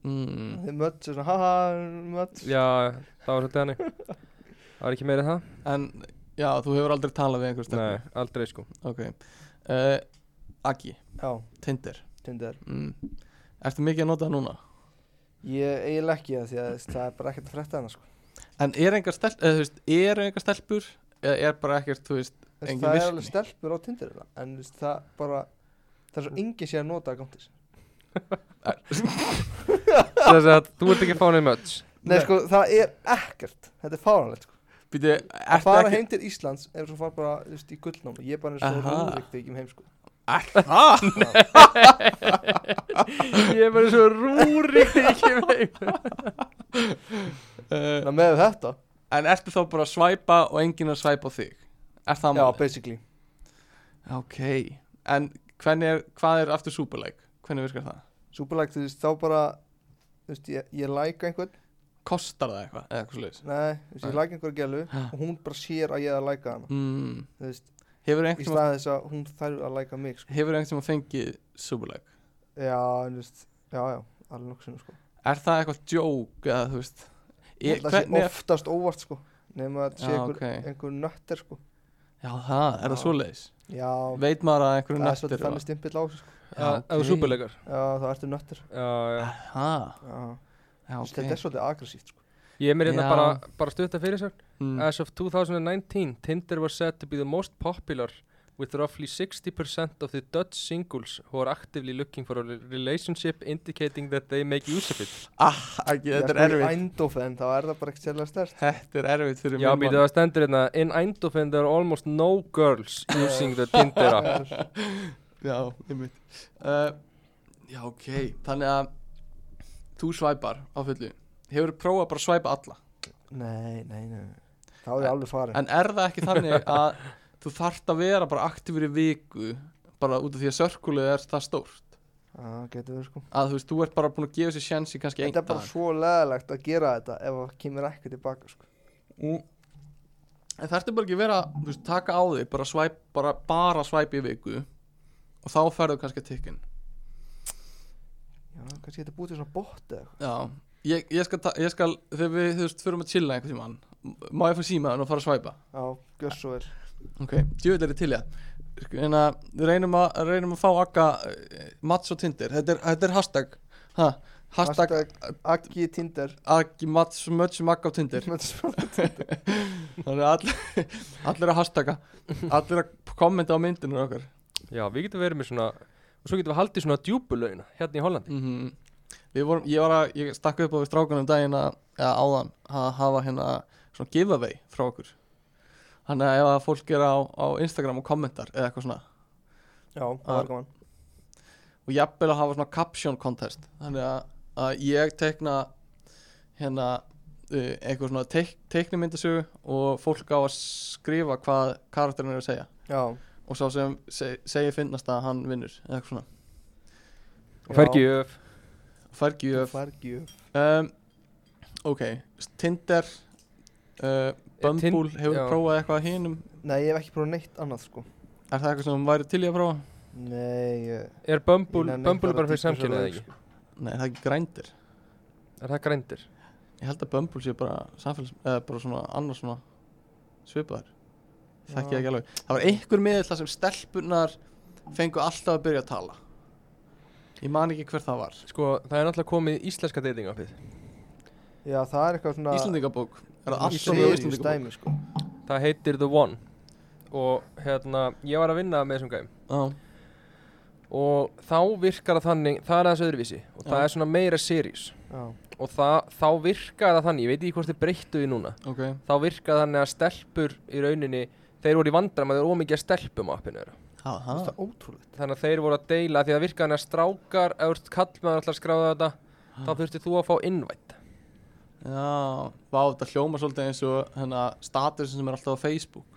S2: mm.
S1: Þið mött, svona, haha, mött
S3: Já, það var svolítið hannig Það var ekki meira en það
S2: En já, þú hefur aldrei talað við einhver
S3: Nei,
S2: stelpu
S3: aldrei sko
S2: Ok uh, Agi,
S1: Já,
S2: Tinder
S1: Tinder
S2: mm. Ertu mikið að nota það núna?
S1: Ég eiginlega ekki það því að það er bara ekkert að frétta hana sko
S2: En er einhver stelpur, eða þú veist, er einhver stelpur Eða er bara ekkert,
S1: Þú
S2: þú veist
S1: veist,
S2: Engin
S1: Það er
S2: virkni.
S1: alveg stelpur á Tinder þetta, en þú veist, það bara það
S2: Mm.
S1: er svo engin sé að nota að komtis
S3: Þess að þú ert ekki fánið möts
S1: Nei, sko, það er ekkert Þetta er fáranlegt sko.
S2: Býtu,
S1: Að
S2: ertu
S1: fara
S2: ekki
S1: heim til Íslands ef þú fara bara, þú veist, í gullnámi Ég er bara eins og
S2: Aha.
S1: rúðrikt þegar ég kem heim sko.
S2: Það?
S3: Ég er bara svo rúri ekki meim
S1: Ná, með þetta
S2: Eh, En ertu þá bara að svæpa og enginn að svæpa á þig? Er það
S1: Já,
S2: málið?
S1: basically
S2: Ok, en hvernig er, hvað er aftur súperleik? Hvernig virkar það?
S1: Superlæk, þú veist, þá bara Þú veist, ég, ég læka einhvern
S2: Kostar það eitthvað? Eða eitthvað slags?
S1: Nei, þú veist, ég
S2: Nei.
S1: læka einhver gælu
S2: Ha.
S1: og hún bara sér að ég er að læka hana
S2: Mm.
S1: Þú veist,
S2: Hefur
S1: í
S2: einhvern tímann-
S1: staðið þess að hún þarf að læka mig sko.
S2: hefur einhvern tíma fengið súperleik?
S1: Já, en þú veist, já, já, alveg nokkuð sinni sko.
S2: Er það eitthvað djók eða þú veist?
S1: Ég,
S2: Ég,
S1: það sé
S2: hvernig er...
S1: oftast óvart sko nema að þetta sé
S2: Já,
S1: einhver,
S2: ok.
S1: einhver nöttir sko
S2: Já, það, er
S1: Já.
S2: það svoleiðis?
S1: Já,
S2: Veit maður að einhverju
S1: það er svolítið
S2: nættir
S1: þannig stimpill á þessu sko.
S3: Það er súperleikar
S1: Já, þá ertu nöttir
S3: Já, já
S2: Það,
S1: Já,
S2: já,
S1: okay.
S2: ok
S1: þetta er svolítið aggressíft sko.
S3: Ég er mér hérna
S2: Já.
S3: bara, bara stutta fyrir sér
S2: Mm.
S3: As of 2019, Tinder was said to be the most popular with roughly 60% of the Dutch singles who are actively looking for a re- relationship indicating that they make use of it.
S2: Ah, ekki, þetta
S1: Í
S2: er erfitt
S1: Eindhoven, þá er það bara ekkert sérlega stert
S2: Þetta er erfitt fyrir
S3: Já,
S2: minn
S3: býtu
S2: mann.
S3: það stendur hérna In Eindhoven there are almost no girls using the Tinder app
S2: Já, einmitt uh, Já, ok, þannig að þú svæpar á fullu Hefur prófað bara að svæpa alla
S1: Nei, nei, nei nei. Þá er ég alveg farin
S2: En er það ekki þannig að þú þarft að vera bara aktífur í viku bara út af því að sörkulið er það stórt
S1: Já, getur verið sko
S2: að þú veist, þú ert bara búin að gefa sér sjens í kannski einn
S1: Þetta er bara
S2: dag.
S1: svo leðalegt að gera þetta ef það kemur ekki tilbaka sko.
S2: Mm. En þarftu bara ekki að vera þú veist, taka á þig, bara svæp bara, bara svæp í viku og þá ferðu kannski að tikkin
S1: Já, kannski þetta búið til svona bótt eða eitthvað
S2: Já, ég, ég, skal, ta- ég skal þegar við, þú veist, förum að chilla einhvern tímann m- má ég fara símaðan og fara að svæpa
S1: Já, gjör svo er
S2: ok, djúvill er ég til ég en að hérna, við reynum að, reynum að fá akka Mats og Tinder, þetta er, þetta er hashtag ha, hashtag,
S1: Hashtag Aggi Tinder
S2: Aggi Mats Mötsi Magga á Tinder þannig að all, allir að hashtagga allir að kommenta á myndinu okkar
S3: Já, við getum verið með svona og svo getum við haldið svona djúbulögina hérna í Hollandi
S2: mm við vorum, ég var að ég stakk upp á við strákunum daginn að, eða áðan að hafa hérna svona giveaway frá okkur þannig að ef að fólk er á, á Instagram og kommentar eða eitthvað svona
S1: Já, það var gaman
S2: og jafnvel að hafa svona caption contest þannig að, að ég tekna hérna uh, eitthvað svona teik, teiknimyndasögu og fólk á að skrifa hvað karakterin er að segja
S1: Já,
S2: og sá sem seg, segir finnast að hann vinnur eða eitthvað svona
S3: og fær ekki öf
S2: og fær gjöf
S1: Fargjöf
S2: um, ok, Tinder uh, Bumble,
S3: Tin-
S2: hefur
S3: já.
S2: prófað eitthvað að hinum
S1: Nei, ég hef ekki prófað neitt annað sko
S2: er það eitthvað sem þú væri til í að prófa?
S1: Nei, ég
S3: Er
S1: Ég
S3: Bumble,
S1: nenni
S3: Bumble
S1: bara
S3: bara fyrir
S1: að dýpka svo
S3: samkynið eða
S1: leið, sko.
S3: ekki?
S2: nei, það er ekki grændir
S3: Er það grændir?
S2: ég held að Bumble sé bara samfélags eða bara svona annars svona svipaðar
S1: Já.
S2: þekki ég ekki alveg það var einhver miðill þar sem stelpunar fengu alltaf að byrja að tala ég man ekki hver það var
S3: Sko, það er náttúrulega komið íslenska dating appið
S1: Já, það er eitthvað svona
S2: Íslandingabók er það allt
S1: Íslandingabók
S2: saman á
S1: Íslandingabók
S2: Íslandingabók
S1: Stæmi sko
S3: Það heitir The One og hérna, ég var að vinna með þessum gæm
S2: Já.
S3: og þá virkar það þannig, það er aðeins öðruvísi og það
S2: Já.
S3: er svona meira series
S1: Já,
S3: og það, þá virkar það þannig, ég veit ekki hvort þið breyttu því núna
S2: ok
S3: þá virkar þannig að stelpur í rauninni þeir voru í vandram að þeir voru ómikið að stelpum á appinu þeirra
S2: ha, ha.
S1: það er ótrúlegt
S3: þannig að þeir voru að deila því að það virka þannig að strákar ef þú ert kallmaður alltaf að skráða þetta þá þurftir þú að fá innvætt
S2: Já, vá, þetta hljóma svolítið eins og hérna, statusin sem er alltaf á Facebook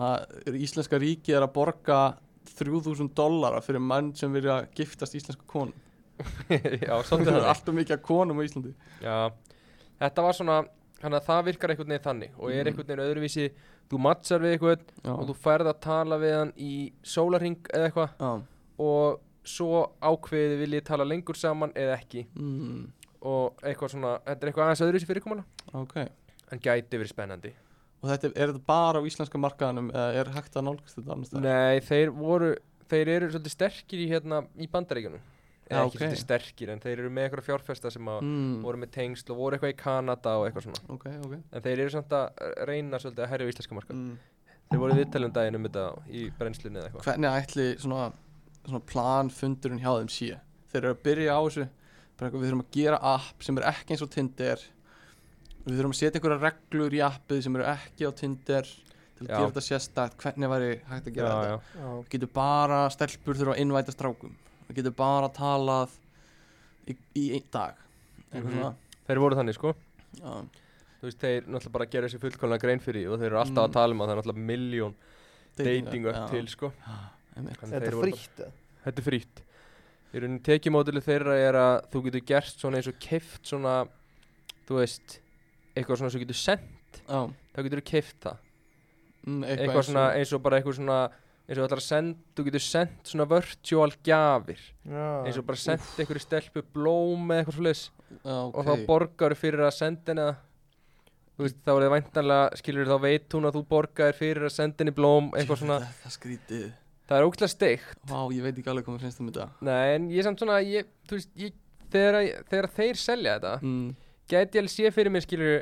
S2: að íslenska ríkið er að borga 3000 dollara fyrir mann sem vilja giftast íslenska konum
S3: Já,
S2: það
S3: svolítið
S2: er
S3: þannig.
S2: alltaf mikið af konum á Íslandi
S3: Já, þetta var svona þannig að það virkar einhvern veginn þannig og er
S2: Mm.
S3: einhvern veginn öðruvísi þú matchar við einhvern
S2: Já,
S3: og þú færð að tala við hann í sólarring eða eitthvað
S2: já,
S3: og svo ákveðið vil ég tala lengur saman eða ekki
S2: mm,
S3: og eitthvað svona, þetta er eitthvað aðeins öðru sér fyrir
S2: ok
S3: en gæti verið spennandi
S2: og þetta er, er þetta bara á íslenska markaðanum eða er hægt að nálgast þetta annars staðar?
S3: Nei, þeir voru þeir eru svolítið sterkir í hérna í bandaríkjunum
S2: Já,
S3: eða
S2: ok.
S3: ekki svolítið sterkir en þeir eru með eitthvað fjárfesta sem að
S2: mm,
S3: voru með tengsl og voru eitthvað í Kanada og eitthvað svona
S2: ok, ok
S3: en þeir eru samt að eh, reyna svolítið að herja í íslenska marka
S1: Mm.
S3: þeir voru viðtalum daginn um þetta í brennslunni eða eitthvað
S2: hvernig ætli svona, svona planfundurinn hjá þeim sé þeir eru að byrja á þessu bara eitthvað, við þurfum að gera app sem er ekki eins og Tinder við þurfum að setja einhverja reglur í appið sem eru ekki á Tinder til að
S3: Já.
S2: gera þetta sérstætt hvernig væri hægt að gera þetta
S3: já,
S2: Þú getur bara, stelpur þurfa að innvæta strákum Þú getur bara talað í, í einn dag eitthvað
S3: Mhm.
S2: svona
S3: já. þeir voru þannig sko
S2: já,
S3: þú veist, þeir náttúrulega bara gera þessi fullkomlega grein fyrir því og þeir eru alltaf
S2: Mm.
S3: að tala um að það er náttúrulega miljón dating upp
S2: já, Ah,
S3: til sko
S2: einmitt.
S3: Þannig
S1: Þetta
S3: þeir
S1: er
S3: voru
S1: frítt eða?
S3: Þetta er frýtt Í rauninni tekjumóduli þeirra er að þú getur gert svona eins og keift svona þú veist, eitthvað svona sem þú getur sent
S2: Já,
S3: þá getur þú keift það
S2: mm,
S3: eitthvað, svona eins og bara eitthvað svona eins og þú ætlar að senda, þú getur sendt svona virtual gjafir
S1: Ah,
S3: eins og bara sendt einhverju stelpu blóm eða eitthvað svoleiðis
S2: já, okay.
S3: og þá borgar þú fyrir að senda henni það þú veist, þá er það væntanlega skilur þá veit hún að þú borgar fyrir að senda henni blóm eitthvað svona,
S2: það, það skrítið
S3: það er ógæslega steikt
S2: Vá, ég veit ekki alveg hvað mér finnst um þetta
S3: Nei, en ég samt svona, ég, þú veist, ég, þegar, að- þegar þeir selja þetta,
S2: mm,
S3: gæti ég alveg sé fyrir mér, skilur,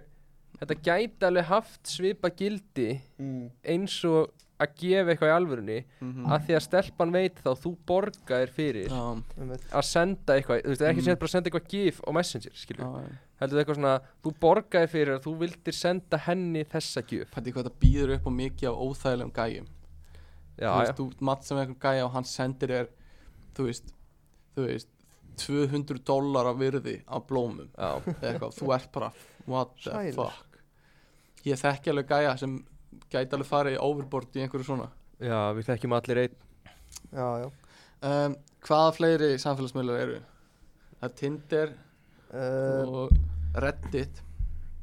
S3: þetta gæti alveg haft svipa gildi
S1: Mm.
S3: eins og að gefa eitthvað í alvörunni,
S2: mm
S3: að því að stelpan veit þá, þú borgaðir fyrir
S2: Já,
S1: einmitt.
S3: að senda eitthvað, þú veist, ekki
S2: Mm.
S3: mm. bara að senda eitthvað gif og messenger, skilur,
S2: já,
S3: ja.
S2: já.
S3: heldur eitthvað svona, þú borgaðir fyrir að þú vildir senda henni þessa gif.
S2: Pæti hvað það býður upp á mikið af óþægilegum gæjum Þú
S3: Já, já,
S2: veist, þú matt sem einhver gæja og hann sendir þér Þú veist, þú veist 200 dólar af virði af blómum
S3: já,
S2: eða eitthvað, þú ert bara what the
S1: Sælir.
S2: fuck ég þekki alveg gæja sem gæti alveg farið í overboard í einhverju svona
S3: já, við þekkjum allir einn.
S1: Já, já
S2: um, hvaða fleiri samfélagsmiðlar eru? það er Tinder
S1: Uh,
S2: og Reddit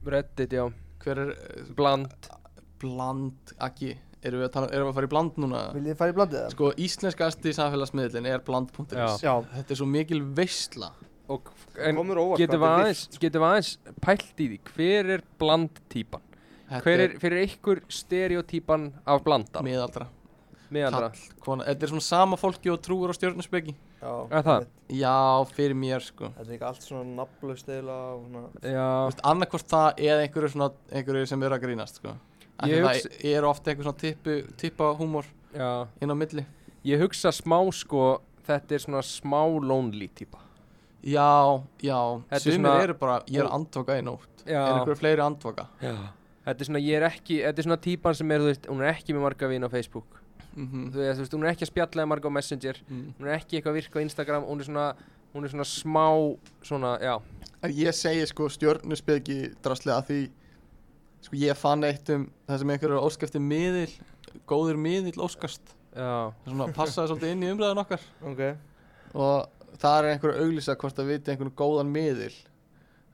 S3: Reddit, já,
S2: hver er eh,
S3: bland,
S2: bland ekki, erum við að, tala, erum við að fara í bland núna?
S1: Viljið þið fara í blandið það?
S2: sko íslenskasti samfélagsmiðlin er bland.is
S1: Já,
S2: þetta er svo mikil veistla
S3: og, en,
S1: komur óvart hvað
S3: getum við
S1: þetta er
S3: aðeins,
S1: virkt.
S2: sko.
S3: getum við aðeins pælt í því, hver er blandtýpan?
S2: Þetta
S3: Hver er fyrir ykkur stereotýpan af blanda?
S2: miðaldra,
S3: Miðaldra?
S2: kall, kona þetta er svona sama fólki og trúur á stjórnusbyggi
S1: Já,
S3: Er það?
S1: einmitt.
S2: já, fyrir mér sko
S1: Þetta er líka allt svona nafnlaust eiginlega og svona
S3: Já,
S2: annarkvort það eða einhverju, svona, einhverju sem eru að grínast sko. Af því
S3: Ég
S2: Það er ofta einhver svona tippu, tippa húmor
S3: já.
S2: inn á milli
S3: Ég hugsa smá sko, þetta er svona smá lonely týpa.
S2: Já, já,
S3: Þetta er
S2: sumir
S3: svona-
S2: eru bara ég er að andvaka í nótt Er
S3: Já.
S2: einhverju fleiri að andvaka?
S3: Þetta er svona, ég er ekki, þetta er svona týpan sem er, þú veist, hún er ekki með marga vin á Facebook.
S2: Mhm,
S3: Þú veist, þú veist, hún er ekki að spjalla við marga á Messenger.
S2: mm.
S3: Hún er ekki eitthvað virk á Instagram, hún er svona, hún er svona smá, svona, já.
S2: En Ég segi sko stjórnuspeki drastlega því sko, ég fann eitt um það sem einhverju óskæfti miðil góður miðil óskast
S3: Já,
S2: Það svona passaði svolítið inn í umræðan okkar
S1: Ok
S2: og það er einhver að auglýsa hvort að viti einhvern góðan miðil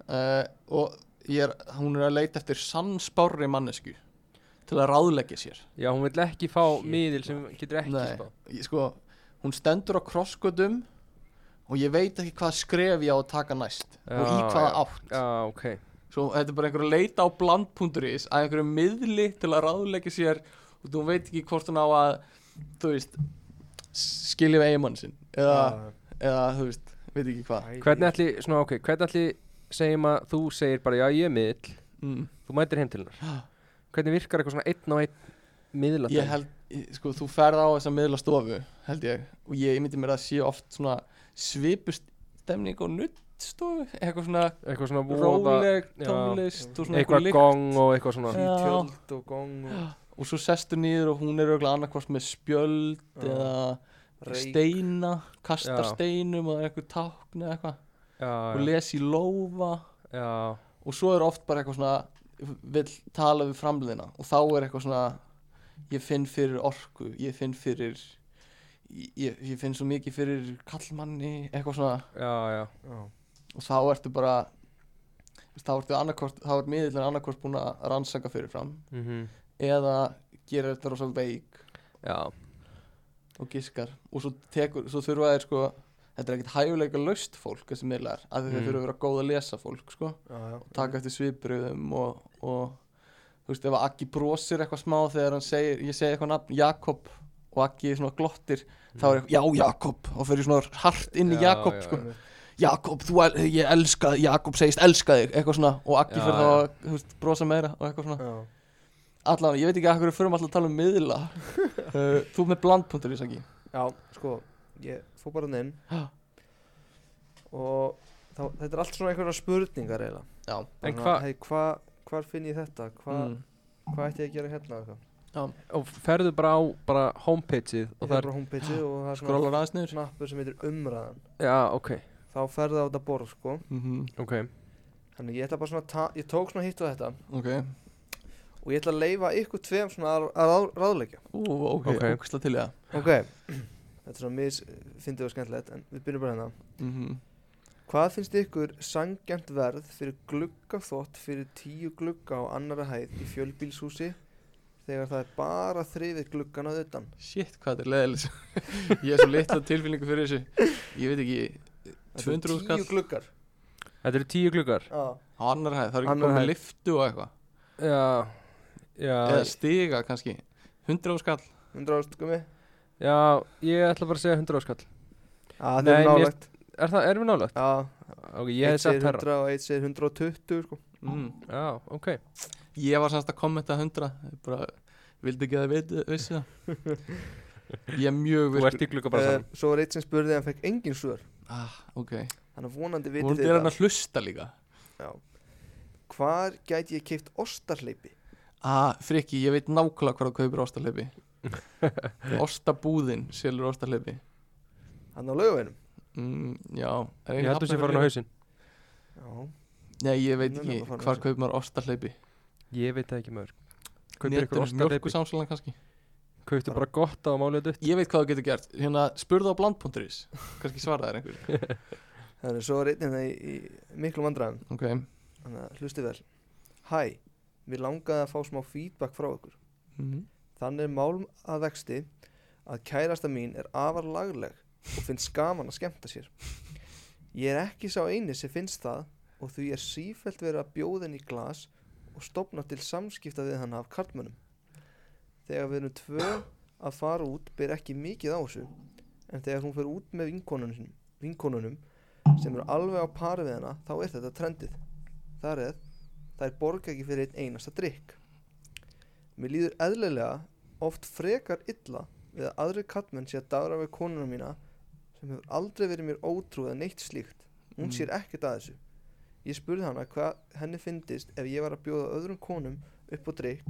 S2: uh, og ég er, hún er að leita eftir sannspárri mannesku til að ráðleggja sér
S3: já, hún vil ekki fá miðil sem getur ekki
S2: Nei,
S3: spá.
S2: ég, sko, hún stendur á krossgötum og ég veit ekki hvað skref ég á að taka næst og í
S3: Já,
S2: hvaða átt
S3: Já, ok.
S2: svo þetta er bara einhver að leita á bland.is að einhverju miðli til að ráðleggja sér og þú veit ekki hvort hún á að þú veist skilja við eiginmann sinn eða, eða þú veist, veit ekki hvað
S3: Hvernig ætli, svona, ok, hvernig ætli segjum að þú segir bara, já, ég er miðl,
S2: mm.
S3: þú mætir heim til hennar. Hvernig virkar eitthvað svona einn á einn miðla
S2: ég held, ég- sko, þú ferð á þessa miðlastofu, held ég og ég myndi mér að sé oft svona svipust stemning og nuttstofu eitthvað svona
S3: Eitthvað svona voða,
S2: róleg
S3: já.
S2: tónlist og svona
S3: eitthvað
S2: einhver lykt.
S3: gong og eitthvað svona.
S2: Já.
S1: Tjöld og gong og
S2: og svo sestu niður og hún er auðvitað annarkvort með spjöld
S1: Já.
S2: eða
S1: reik
S2: steina kastar
S3: Já.
S2: steinum og eitthvað tákn eða eitthvað
S3: Já,
S2: og
S3: já,
S2: les í lófa
S3: já,
S2: og svo er oft bara eitthvað svona vill tala við framliðina og þá er eitthvað svona ég finn fyrir orku, ég finn fyrir ég, ég finn svo mikið fyrir kallmanni, eitthvað svona
S3: já, já.
S1: Já,
S2: og þá ertu bara þú veist, þá ertu annarkvort, þá er miðillin annarkvort búin að
S3: Mhm.
S2: rannsaka fyrir fram
S3: Mm
S2: eða gera þetta rosa veik
S3: já.
S2: og giskar og svo, tekur, svo þurfa þeir sko þetta er ekkert hæfuleika laust fólk þessi miðlar, af því þeir
S3: Mm.
S2: þurfa að vera góð að lesa fólk sko,
S1: já,
S2: taka eftir svipriðum og, og þú veist ef Akki brosir eitthvað smá þegar hann segir ég segi eitthvað nafn, Jakob og Akki svona glottir, þá er eitthvað, já Jakob og fyrir svona hart inn í
S3: Mm. Já,
S2: Jakob
S3: já,
S2: sko. Jakob, þú, el, ég elska þig, Jakob segist elska þig, eitthvað svona og Akki
S3: Já,
S2: fyrir
S3: já.
S2: þá að þú veist, brosa meira og eitthvað svona
S1: já.
S2: allan, ég veit ekki að hverju fyrir alltaf að tala um miðla uh, þú ert með blandpuntur í sagi
S1: já, sko ég fór bara hann inn
S2: Já.
S1: og þá, þetta er allt svona einhverja spurningar eiginlega
S2: já,
S3: En
S1: Bara,
S3: hvað-
S1: hey, hva, hvar finn ég þetta hva,
S2: Mm.
S1: hvað ætti ég að gera hérna og eitthvað?
S3: og ferðu bara á bara homepageið
S1: Ég
S3: og
S1: fer
S3: það er,
S1: bara á homepageið og það er svona
S2: skrólar aðeins niður
S1: snappur sem heitir umræðan
S3: já, ok,
S1: þá ferði á þetta borð sko
S2: mm
S3: ok
S1: þannig ég ætla bara svona að ta- ég tók svona hitt og þetta
S2: ok,
S1: og ég ætla að leifa ykkur tveim svona að, að ráð, ráðleika
S2: ú, ok,
S3: Ok.
S2: okay. ógæsla til í það
S1: ok þetta er svona mis fyndið og skemmtilegt en við byrjum bara hérna
S2: mm
S1: hvað finnst ykkur sangjant verð fyrir gluggaþvott fyrir tíu glugga á annara hæð í fjölbílshúsi þegar það er bara þrifið gluggan að utan
S2: shit, hvað þetta er leðilis ég er svo litla tilfinningu fyrir þessu ég veit ekki,
S1: Þetta eru
S2: 200
S1: tíu
S2: skall
S1: gluggar
S3: þetta eru tíu klukar
S1: já
S2: á annar hæð, það er ekki
S1: Annar
S2: komið
S1: hæð.
S2: liftu og eitthvað
S3: já, já,
S2: eða stiga kannski, 100 skall
S1: 100 ást gummi
S3: já ég ætla bara að segja 100 áskall
S1: Já, það
S3: Nei,
S1: er
S3: mér-
S1: nálægt
S3: er það, erum við nálega?
S1: Já,
S3: ok, ég hef sett herra
S1: 100 og eitt segir 120 sko.
S2: mm.
S3: já, ok,
S2: ég var semst að kommenta 100 ég bara, vildi ekki að það vissi það ég er mjög
S3: þú ert
S2: virkur
S3: í klukka bara
S1: uh,
S3: saman
S1: Svo var eitt sem spurði en fekk engin svör
S2: ah, ok,
S1: Þannig að vonandi viti
S2: hún
S1: þið
S2: er hann að hlusta líka
S1: Já. Hvar gæti ég keipt ostarleipi?
S2: Ah, Frikki, ég veit nákvæmlega hvað þú kaupir ostarleipi Ostabúðin selur ostarleipi
S1: Þannig á laugavinum
S2: mm, Já er
S3: ég
S2: ein
S3: hættu sér farin á
S2: Hafnarfirði?
S3: hausinn
S1: Já,
S2: Nei, ég veit
S1: Nei,
S2: ekki
S1: nei, bara farin á
S2: hvar
S1: hausinn.
S2: kaupir maður ostarleipi
S3: ég veit það ekki maður kaupir ykkur
S2: Netinu, mjölku
S3: ostarleipi
S2: samsalan kannski
S3: kauptu bara gott á málið dutt
S2: Ég veit hvað þú getur gert Hérna, spurðu á bland.is Kannski svara þær einhver
S1: þannig að svo var eitt hérna í, í miklu vandræðum
S2: Ok
S1: Þannig að hlusti vel Hæ, mér langaði að fá smá feedback frá ykkur
S3: Mhm.
S2: mm.
S1: Þannig er málum að vexti að kærasta mín er afar lagleg og finnst gaman að skemmta sér. Ég er ekki sá eini sem finnst það og því er sífelt verið að bjóða henni í glas og stopna til samskipta við hann af kartmönnum. Þegar við erum tvö að fara út ber ekki mikið á þessu en þegar hún fer út með vinkonunum, vinkonunum sem eru alveg á pari við hana þá er þetta trendið. Þar eð þær borga ekki fyrir einn einasta drikk. Mér líður eðlilega oft frekar illa við að aðri kattmenn sé að dára við konuna mína sem hefur aldrei verið mér ótrúið að neitt slíkt. Hún
S2: Mm.
S1: sér ekkert að þessu. Ég spurði hana hvað henni fyndist ef ég var að bjóða öðrum konum upp á drikk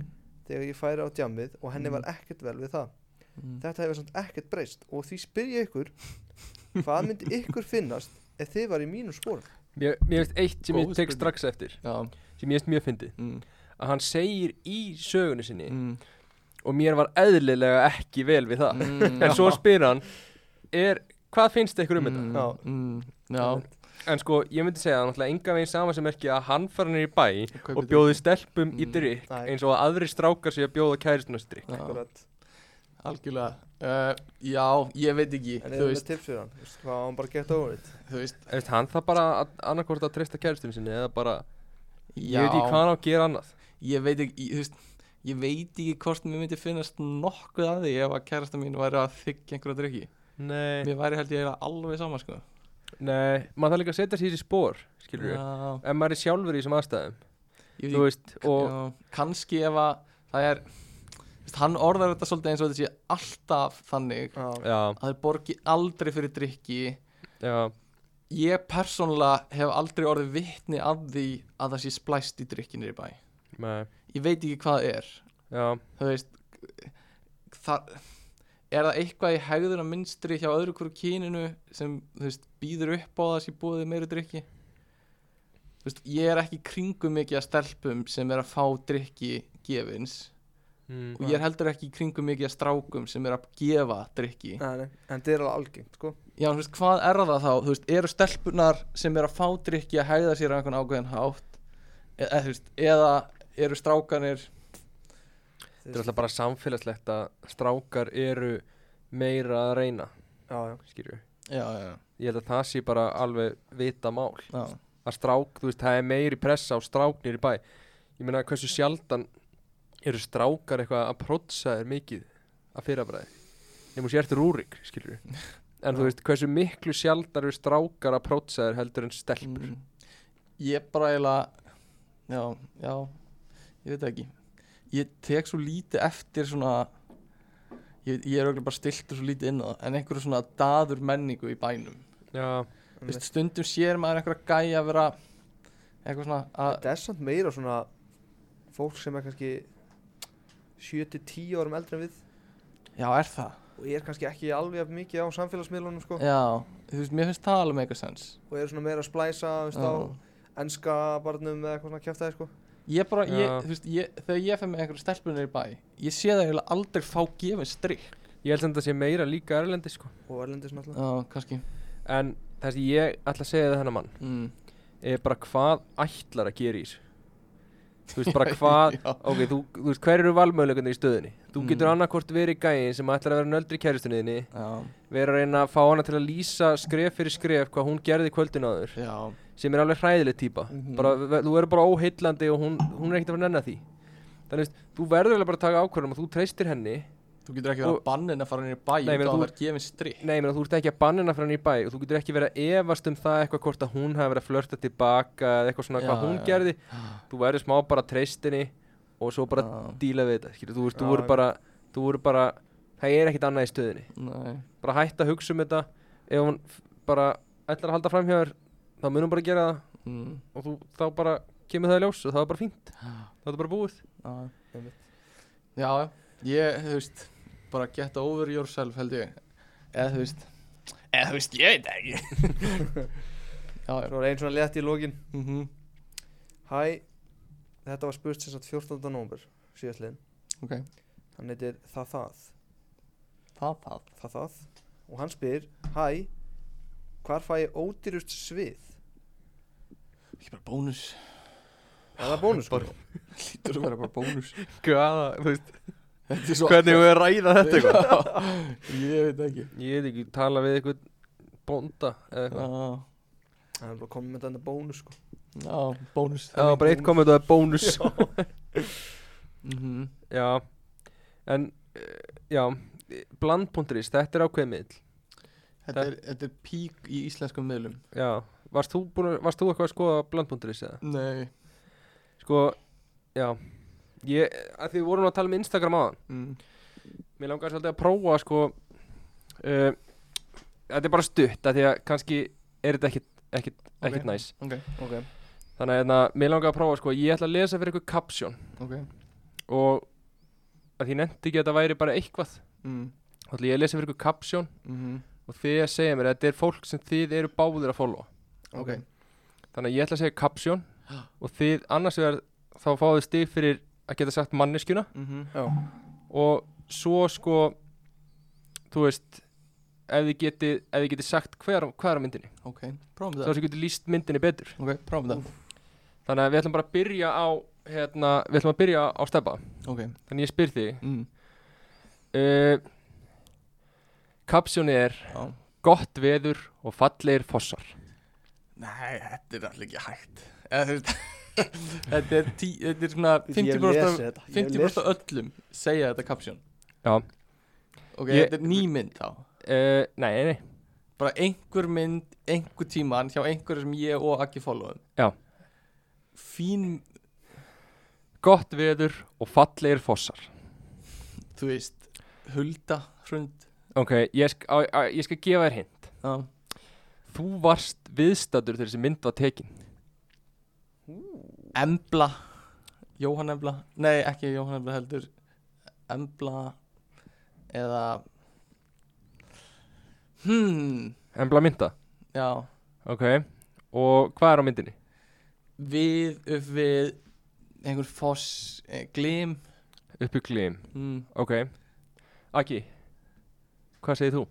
S1: þegar ég færi á djamið og henni
S2: Mm.
S1: var ekkert vel við það.
S2: Mm.
S1: Þetta hefur samt ekkert breyst og því spyr ég ykkur hvað myndi ykkur finnast ef þið var í mínum spórum?
S3: mér mér finnst eitt sem ég
S2: Góð
S3: tek
S2: spurning.
S3: strax eftir
S2: Já
S3: sem ég finnst mjög fyndið
S2: mm.
S3: að hann segir í sögunni sinni
S2: Mm.
S3: og mér var eðlilega ekki vel við það
S2: Mm.
S3: en svo spyr hann er, hvað finnst ykkur um
S2: Mm,
S1: Já.
S2: mm, Já
S3: þetta en sko ég myndi segja að náttúrulega enga veginn sama sem ekki að hann fara nýr í bæ
S2: Kaupir
S3: og bjóði stelpum í
S2: Mm.
S3: drikk
S1: Nei.
S3: eins og að aðri strákar sé að bjóða kæristunars drikk
S2: Já,
S1: Akkurat.
S2: Algjörlega uh, Já, ég veit ekki
S1: En
S2: Þú
S1: erum við
S2: veist,
S1: tips fyrir hann? Þú veist, Hvað á hann bara að geta over it?
S2: þú veist
S3: Eftir, hann það bara annarkort að treysta kæristunum sinni eða bara,
S2: Já,
S3: ég veit ekki hvað hann á að gera annað
S2: ég veit ekki, þú veist ég veit ekki hvort mér myndi finnast nokkuð að því ef að kærasta mín væri að þykja einhverja drikki
S3: nei,
S2: mér væri held ég eiginlega alveg sama sko
S3: nei, maður þarf líka að setja sér í spór skilur við,
S2: já,
S3: ef maður er sjálfur í þessum aðstæðum
S2: ég
S3: þú
S2: veit
S3: veist,
S2: ekki
S3: og
S2: já, kannski ef að það er þú veist, hann orðar þetta svolítið eins og þetta sé alltaf þannig
S1: Já.
S3: já,
S2: að þeir borgi aldrei fyrir drikki
S3: já,
S2: ég persónulega hef aldrei orðið vitni af því að það sé splæst í drikkinir í bæ
S3: nei,
S2: ég veit ekki hvað það er
S3: já
S2: þú veist það, er það eitthvað í hegðuna minnstri hjá öðru hverju kyninu sem þú veist, býður upp á það sem búið meiri drikki þú veist, ég er ekki í kringum mikið að stelpum sem er að fá drikki gefins
S3: mm.
S2: og ég er heldur ekki í kringum mikið að strákum sem er að gefa drikki
S1: Nei, nei, en þetta er alveg algengt, sko.
S2: já, þú veist, hvað er það þá, þú veist, eru stelpunar sem er að fá drikki að hegða sér á einhvern ákveðin hátt E, eða, eða, þú veist, eða eru strákanir
S1: Þú
S3: Þetta er
S1: veist,
S3: alltaf bara samfélagslegt að strákar eru meira að reyna
S1: já, já,
S3: skilju
S2: já, já,
S3: ég held að það sé bara alveg vita mál
S2: já
S3: að strák, þú veist, það er meiri pressa á stráknir í bæ ég meina hversu sjaldan eru strákar eitthvað að prótsa þér mikið að fyrrabræði nema sér eftir rúrik, skilju en þú veist, hversu miklu sjaldar eru strákar að prótsa þér heldur en stelpur
S2: mm. Ég bara eiginlega Já, já Ég veit það ekki Ég tek svo lítið eftir svona Ég, ég er auðvitað bara stiltur svo lítið inn á það En einhverju svona daður menningu í bænum
S3: já,
S2: Þú veist, Stundum sér maður einhverja gæja að vera Eitthvað svona að
S1: þetta er samt meira svona fólk sem er kannski 7-10 árum eldri en við
S2: Já, er það?
S1: og er kannski ekki alveg jafn mikið á samfélagsmiðlunum sko,
S2: Já, þú veist, mér finnst það alveg mega sens
S1: og eru svona meira að splæsa þú veist, á
S2: Já.
S1: enska barnum eða eitthvað svona kjæftæði sko.
S2: Ég bara, ég,
S3: Já.
S2: þú veist, ég, þegar ég fer með einhverju stelpunir í bæ Ég sé það eiginlega aldrei fá gefin strikk
S3: ég held sem þetta sé meira líka erlendi sko.
S1: og erlendis náttúrulega
S2: Já, kannski
S3: en það sem ég ætla að segja það þennan mann
S2: mm.
S3: er Eh, bara hvað ætlar að gera í þessu þú veist bara hvað
S2: Já.
S3: ok, þú, þú veist, hver eru valmöðuleikunni í stöðinni þú
S2: Mm.
S3: getur annarkort verið gæin sem ætlar að vera nöldri kæristunniðinni
S2: Já,
S3: vera að reyna að fá hana til að lýsa skref fyrir skref hvað hún gerði kvöldin áður
S2: já
S3: sem er alveg hræðileg típa
S2: Mhm.
S3: bara, ve- þú verður bara óheillandi og hún, hún er ekkert að vera nenni að því þannig veist, þú verður vel bara að taka ákvörðum og þú treystir henni
S2: Þú getur ekki verið
S3: Og-
S2: að banna henni að fara henni í bæ
S3: Nei,
S2: Nei,
S3: ég meina,
S2: þú
S3: þú-
S2: verður gefin strikk
S3: Nei, menn, þú ert ekki að banna hana frá henni í bæ og þú getur ekki verið að efast um það eitthvað hvort að hún hafi verið að flörta tilbaka eða eitthvað svona
S2: Já,
S3: hvað hún
S2: já.
S3: gerði þú verður smá bara að treystinni og svo bara
S2: Já.
S3: díla við þetta skilur. þú veist, þú
S1: Já,
S3: voru bara, þú voru bara það er ekkit annað í stöðinni
S2: Nei,
S3: bara hætta að hugsa um þetta ef hún f- bara ætlar að halda fram hjá þér þá mun hún bara gera það
S2: mm.
S3: og þú, þá bara kemur það í ljós og það er bara fínt það er bara búið
S2: já.
S1: Einmitt.
S2: já, já. ég, þú veist Bara get over yourself held ég Eða þú veist Eða Eh, þú veist, ég veit það ekki Já, já
S1: svo er einn svona létt í lokin
S2: mm
S1: hæ, þetta var spurt sem sagt 14. november síðastliðin
S2: Ok,
S1: hann heitir það það
S2: það, það
S1: það það og hann spyr hæ, hvar fæ ég ódýrust svið
S2: Ekki bara bónus
S1: er
S2: Ah,
S1: það bónus sko?
S2: Lítur að vera bara bónus
S3: Hvaða, þú veist,
S2: Þetta er svo
S3: við að ræða
S2: eitthvað Ég veit ekki
S3: ég veit ekki, tala við eitthvað bónda eða eitthvað
S2: Já,
S1: hann er bara komið með þetta bónus sko.
S2: já, bónus
S3: það var bara eitt komment og það er bónus
S2: Mhm.
S3: já, en eh, já, bland.is, þetta er ákveðið miðl
S2: Þetta er, þetta er pík í íslenskum miðlum
S3: já, varst þú, búin, að- varst þú eitthvað að skoða bland.is eða?
S2: Nei
S3: sko, já ég, að því við vorum nú að tala um Instagram aðan
S2: mm.
S3: Mér langar svolítið að prófa sko uh, Þetta er bara stutt að Því að kannski er þetta ekkit, ekkit, ekkit
S2: Ok.
S3: næs
S2: Ok, ok,
S3: Þannig að hérna, mér langar að prófa sko Ég ætla að lesa fyrir ykkur kapsjón
S2: ok
S3: Og að því nefndi ekki að þetta væri bara eitthvað
S2: mm.
S3: Þá ætla ég að lesa fyrir ykkur kapsjón
S2: Mm
S3: Og þið að segja mér að þetta er fólk sem þið eru báðir að followa
S2: Ok,
S3: Þannig að ég ætla að segja kapsjón Og þið annars vegar þá fáðu stig fyrir að geta sagt manneskjuna
S2: mhm,
S3: og svo sko þú veist ef þið geti, ef þið geti sagt hver, hver á myndinni
S2: ok, prófum
S3: þá
S2: það
S3: sem geti líst myndinni betur
S2: Ok, prófum það
S3: þannig að við ætlum bara að byrja á hérna, við ætlum að byrja á stefba
S2: Ok,
S3: þannig ég spyr þig
S2: mm.
S3: uh, kapsjóni er
S2: já
S3: gott veður og fallegir fossar
S2: Nei, þetta er allir ekki hægt Eða, þú veist, Þetta er, tí, þetta er svona 50%
S1: les
S2: af-
S1: þetta, ég
S2: 50% af öllum segja þetta kapsjón
S3: já,
S2: Ok,
S3: Ég-
S2: þetta er ný mynd þá
S3: uh, nei, nei, nei
S2: Bara einhver mynd, einhver tíman hjá einhverju sem ég og Akki followum
S3: Já.
S2: Fín,
S3: gott veður og fallegir fossar
S2: þú veist, hulda, hrund
S3: ok, ég, sk á, á, ég skal gefa þér hint
S2: Já,
S3: þú varst viðstadur þegar þessi mynd var tekin
S2: Embla Jóhann Embla Nei, ekki Jóhann Embla heldur Embla Eða Hmm
S3: embla mynda,
S2: Já
S3: ok og hvað er á myndinni?
S2: Við upp við Einhver foss eh, Glim
S3: Uppi glým,
S2: hmm.
S3: ok Aki, hvað segir þú?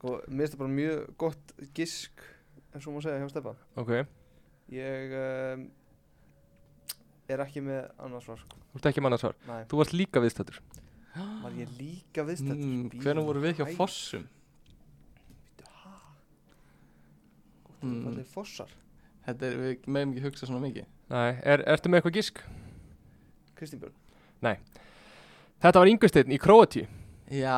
S1: Sko, mér finnst það bara mjög gott gisk ef svo má segja hjá Stefan
S3: Ok, þú
S1: ég um, er ekki með annars svar sko.
S3: ert ekki mannarsvar
S1: Nei.
S3: Þú varst líka viðstættur
S1: var ég líka viðstættur
S2: Mm, Hvernig voru við hjá Fossum? Mm.
S1: Allir fossar
S2: Þetta er, við meðum ekki hugsa svona mikið
S3: Nei, er, ertu með eitthvað gísk?
S1: Kristínbjörn
S3: Þetta var Ingusteinn í Króatíu
S2: Já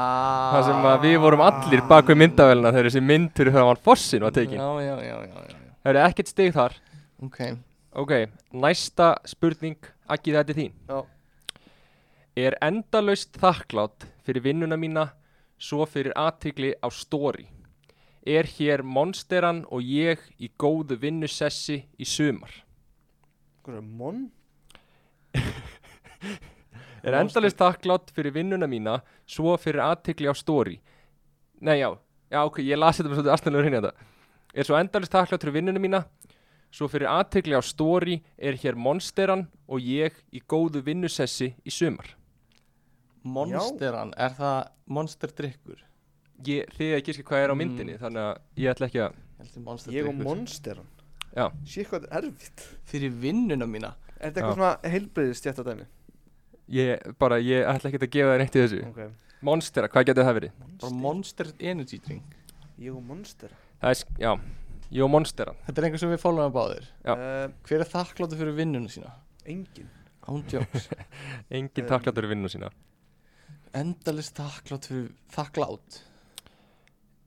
S3: Það sem að við vorum allir bak við myndavélina þegar þessi myndur þegar hann fossin var tekin
S2: Já, já, já, já, já, já.
S3: Það eru ekkert stig þar
S2: Ok
S3: Ok, næsta spurning Akki þetta er þín
S1: Já.
S3: Er endalaust þakklátt fyrir vinnuna mína svo fyrir aðtigli á stóri Er hér monsteran og ég í góðu vinnusessi í sumar
S1: Hvað er Mon?
S3: Er endalaust þakklátt fyrir vinnuna mína svo fyrir aðtikli á stóri Nei já, já ok, ég las þetta með svolítið aðstæðanlega hinn þetta Er svo endalaust þakklátt fyrir vinnuna mína svo fyrir aðtikli á stóri er hér monsteran og ég í góðu vinnusessi í sumar
S2: Monsteran, er það monsterdrykkur?
S3: ég, Þið ekki ekki hvað er á myndinni þannig að ég ætla ekki að
S2: Ég held ég monsterdrykkur
S1: Ég og
S2: sé.
S1: Monsteran
S3: Já.
S1: Sér hvað þetta er erfitt
S2: Fyrir vinnuna mína
S1: Er þetta eitthvað svona heilbreyðist þetta dæmi?
S3: ég, bara, ég ætla ekki að gefa þér neitt í þessu
S1: Ok
S3: Monstera, hvað getur það verið?
S2: Bara monster energy drink
S1: Ég og Monsteran
S3: Það er, sk- já, ég og monsteran
S2: Þetta er einhver sem við fólum að báðir
S3: Já.
S1: uh,
S2: Hver er þakkláttu fyrir vinnuna sína?
S1: Engin
S2: Ándjóks
S3: Engin
S1: Um,
S3: þakklátt fyrir vinnuna sína
S2: Endalist þakklátt fyrir þakklátt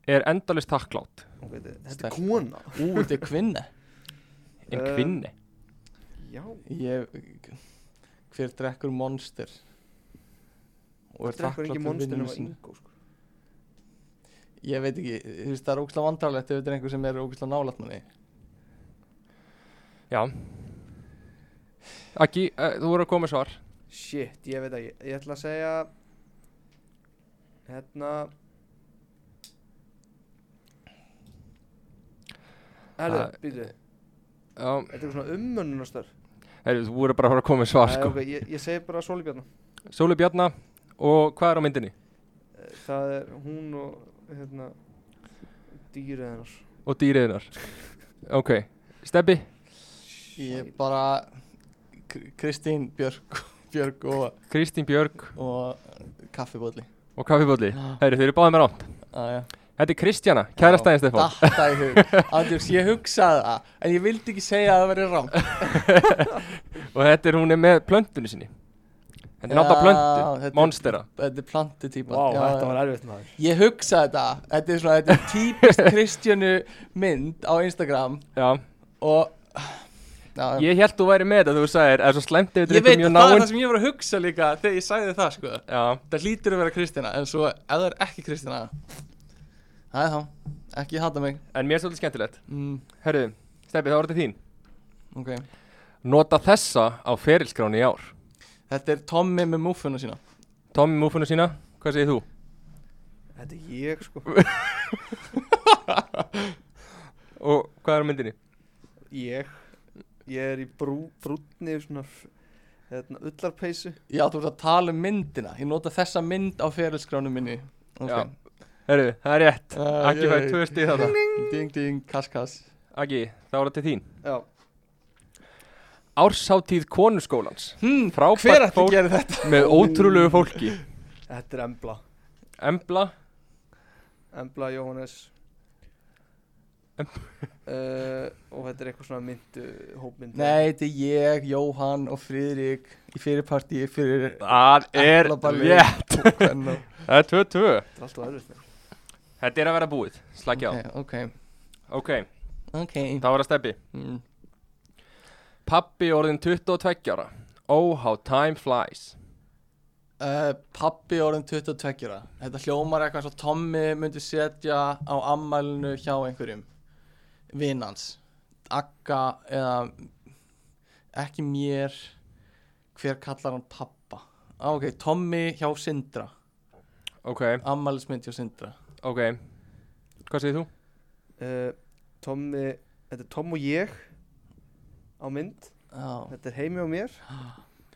S3: Er endalaust þakklátt
S1: Ok, þetta þetta
S2: Stelpa.
S1: er kona
S2: Ú, þetta er kvinna
S3: en
S1: Um,
S3: kvinni
S1: Já
S2: Ég Hver drekkur monster Og er
S1: Þetta er eitthvað
S2: þakklátt
S1: engin
S2: fyrir
S1: Monsteran
S2: vinnuna
S1: var
S2: sína
S1: Ingo sko
S2: Ég veit ekki, þú veist það er ógæslega vandrarlegt ef þetta er einhver sem er ógæslega nálægt manni
S3: Já Akki, uh, þú voru að koma með svar
S1: Shit, ég veit ekki Ég ætla að segja Hérna Herðu,
S3: Það-
S1: býtu
S3: Já,
S1: Þetta er eitthvað svona ummönnunastör
S3: heyrðu, þú voru bara að fara að koma með svar sko.
S1: Ok, ég, ég segi bara hérna. Sóli Bjarnar
S3: Sóli Bjarnar og hvað er á myndinni?
S1: Eh, Það er hún og hérna dýrið hennar
S3: Og dýriðinar Ok, Stebbi
S2: Ég bara Kr- Kristín Björk Björk og,
S3: Kristín Björg
S2: og kaffibóli
S3: og Kaffibólli Heyrðu, þeir eru báðið með rámt
S2: ah,
S3: Þetta er Kristjana, kærastæðin Stefán
S2: Datta Ah, í hug Andjóks, ég hugsaði það En ég vildi ekki segja að það væri rám
S3: Og þetta er hún er með plöntunni sinni Þetta er náttúrulega plöntu, monstera
S2: Þetta er plantu típa
S1: erfitt maður
S2: Ég hugsaði það Þetta er svona, þetta er típist Kristjánu mynd á Instagram
S3: Já,
S2: Og Já,
S3: ég held þú væri með þetta, þú sagðir Er svo slæmt ef þetta
S2: Ég
S3: er
S2: veit
S3: mjög
S2: að það er
S3: náinn
S2: það sem ég var að hugsa líka þegar ég sagði það sko
S3: Já,
S2: Það hlýtur að vera Kristina en svo ef það er ekki Kristina Það er þá, ekki hata mig
S3: en mér er svolítið skemmtilegt
S2: mm,
S3: Herðu, Stebbi, það voru til þín
S2: Ok
S3: Nota þessa á ferilskráni í ár
S2: Þetta er Tommy með múfuna sína
S3: Tommy múfuna sína, hvað segir þú?
S1: Þetta er ég sko
S3: Og hvað er á myndinni?
S1: Ég Ég er í brú, brúnni svona f- hérna ullarpeysu
S2: Já, þú ert að tala um myndina Ég nota þessa mynd á ferilskránu minni Ok
S3: Já. Herðu, það er rétt
S2: Ah,
S3: Akki fær
S2: yay.
S3: tvö stíð þarna
S2: Ding ding, kass kass
S3: Akki, það voru til þín
S1: Já,
S3: Ársháttíð konusskólans
S2: hmm, Hver
S3: Frábært
S2: ætti að
S3: fólk
S2: gera þetta?
S3: með ótrúlegu fólki
S1: þetta er Embla
S3: Embla,
S1: Embla Jóhannes
S3: Em-
S1: uh, Og þetta er eitthvað svona myndu Hópmyndu
S2: Nei, þetta er ég, Jóhann og Friðrik Í fyrirparti fyrir
S3: það er
S2: Eplaballi.
S3: rétt
S2: Kvenna.
S3: Það er tvö tvö
S1: Þetta er alltaf erfitt með
S3: Þetta er að vera búið, slagja á
S2: Eh, Ok,
S3: Ok,
S2: ok
S3: það var að steppi
S2: mm.
S3: Pappi orðin 22 ára Oh, how time flies
S2: Uh, pappi orðin 22 ára Þetta hljómar eitthvað svo Tommy myndi setja á ammælinu hjá einhverjum Vinnans Akka eða ekki mér Hver kallar hann pappa ah, Ok, Tommy hjá Sindra
S3: Ok,
S2: Ammælismynd hjá Sindra
S3: ok Hvað segir þú?
S1: uh, Tommi Þetta er Tom og ég Á mynd
S2: Já,
S1: Þetta er heimi og mér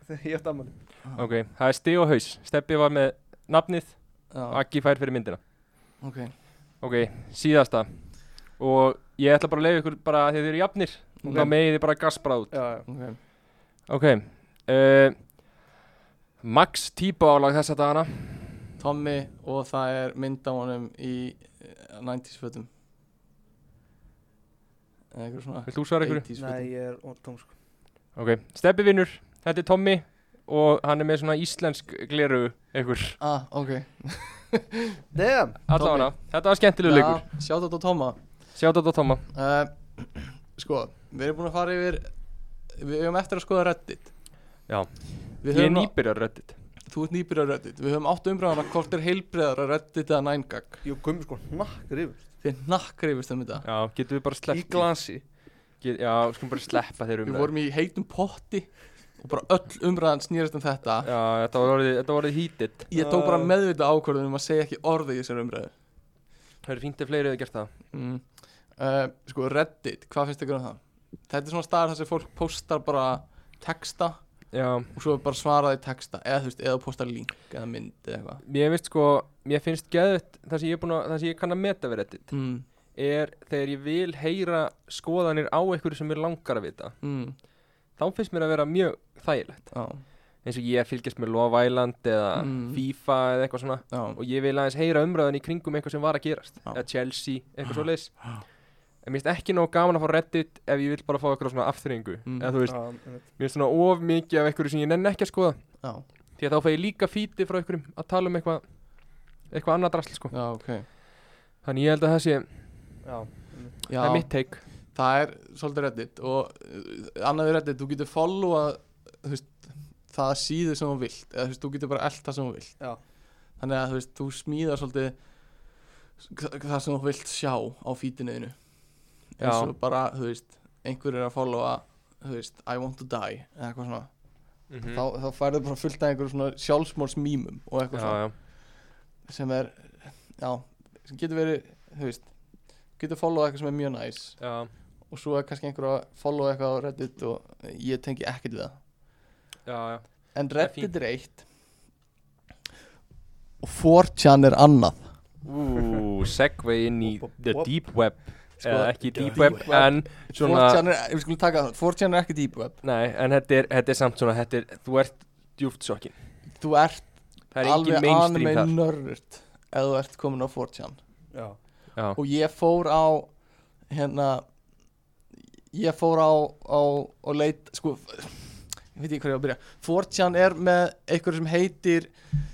S1: Þegar ég átt ammali
S3: Ok, það er stig og haus Steppi var með nafnið
S2: já,
S3: Akki fær fyrir myndina
S2: ok
S3: Ok, síðasta Og ég ætla bara að leiða ykkur bara að þið eru jafnir
S2: Ok.
S3: Þá megið þið bara gaspra út
S1: Já, já
S2: Ok,
S3: Ok uh, eh, Max Tíbo álag þessa dagana
S2: Tommy og það er mynd á honum í eh, 90s fötum eða eitthvað svona
S3: Vilt þú svara ykkur?
S1: Nei,
S2: 80s fötum
S1: ég er orð tóm sko
S3: Ok, steppi vinnur, þetta er Tommy og hann er með svona íslensk gleru ykkur
S2: ah, ok
S1: Damn,
S3: Alla hana, þetta var skemmtileg leikur
S2: sjátt á Toma
S3: Sjátt á Tomma
S2: uh, sko, við erum búin að fara yfir við höfum eftir að skoða Reddit
S3: Já.
S2: Við
S3: Ég er
S2: höfum að-
S3: nýbyrjar reddit
S2: þú ert nýbyrjar á Reddit, við höfum átt umræðan að hvort er heilbreðar að Reddit eða nængag
S1: jú, gummi sko hnakkur yfir
S2: þið nakkrifist um þetta
S3: Já, getum við bara
S1: Í
S3: sleppt
S1: glansi
S3: Get, já, skulum bara sleppa þeir um
S2: við vorum í heitum potti og bara öll umræðan snýrast um þetta
S3: Já, þetta var orðið, þetta var orðið hítið
S2: ég tók
S3: Uh.
S2: bara meðvita ákvörðunum að segja ekki orðið í þessari umræðu
S3: Það eru fínt ef fleiri hefur gert það
S2: mm. uh, sko Reddit, hvað finnst ykkur um það? þetta er svona staðar þar sem fólk postar bara texta
S3: Já,
S2: og svo er bara svaraði texta eða þú veist, eða postar link eða mynd eða eitthvað
S3: mér finnst sko, mér finnst geðut það sem ég er búin að, það sem ég kann að meta við reddit
S2: mm.
S3: er þegar ég vil heyra skoðanir á einhverju sem mér langar að vita
S2: Mm.
S3: þá finnst mér að vera mjög þægilegt
S2: Já,
S3: eins og ég fylgjast með Love Island eða
S2: Mm.
S3: FIFA eða eitthvað svona
S2: já,
S3: og ég vil aðeins heyra umræðan í kringum eitthvað sem var að gerast
S2: Já.
S3: eða Chelsea, eitthvað svo leis
S2: Já.
S3: en mér finnst ekki nóg gaman að fá reddit ef ég vil bara fá eitthvað svona afturringu
S2: Mm.
S3: eða þú veist,
S1: Já, einmitt.
S3: mér finnst svona of mikið af eitthvað sem ég nenn ekki að skoða
S2: já,
S3: því að þá fæ ég líka fíti frá einhverjum að tala um eitthvað eitthvað annað drasl sko
S2: já, ok
S3: þannig ég held að það sé,
S1: Já,
S2: já,
S3: það er mitt take
S2: það er svolítið Reddit og uh, annað við Reddit, þú getur followa þú veist, það síðu sem þú vilt eða þú veist, þú getur bara elta sem þú vilt
S1: já,
S2: þannig að þú veist, þú smíðar svolítið þa- það sem þú vilt sjá á fítinuðinu eins
S3: Já.
S2: og bara, þú veist, einhver er að followa þú veist, I want to die eða eitthvað svona,
S3: Mhm. Mm.
S2: þá, þá færðu bara fullt af einhverjum svona sjálfsmórsmímum og eitthvað
S3: já, já,
S2: svona sem er, já, sem getur verið þú veist, getur followa eitthvað sem er mjög næs
S3: já,
S2: og svo er kannski einhver að followa eitthvað á Reddit og ég tengi ekkert við það
S3: já, já.
S2: En
S3: Það er
S2: Reddit er eitt Og 4chan er annað
S3: Ú, segvei inn í the
S1: Wop.
S3: deep web eða ekki Sko,
S1: Sko,
S3: deep
S1: deep
S3: web
S1: web.
S3: en svona
S2: 4chan er, við skulum taka það 4chan er ekki deep web
S3: nei, en þetta er, þetta er samt svona þetta er, þú ert djúft sokkin
S2: Þú ert
S3: það er engin
S2: alveg
S3: mainstream
S2: anime
S3: þar
S2: nörd Ef þú ert komin á 4chan
S1: já
S3: já,
S2: Og ég fór á Hérna Ég fór á, á Og leit, sko Ég veit ekki hvað ég á að byrja 4chan er með einhverju sem heitir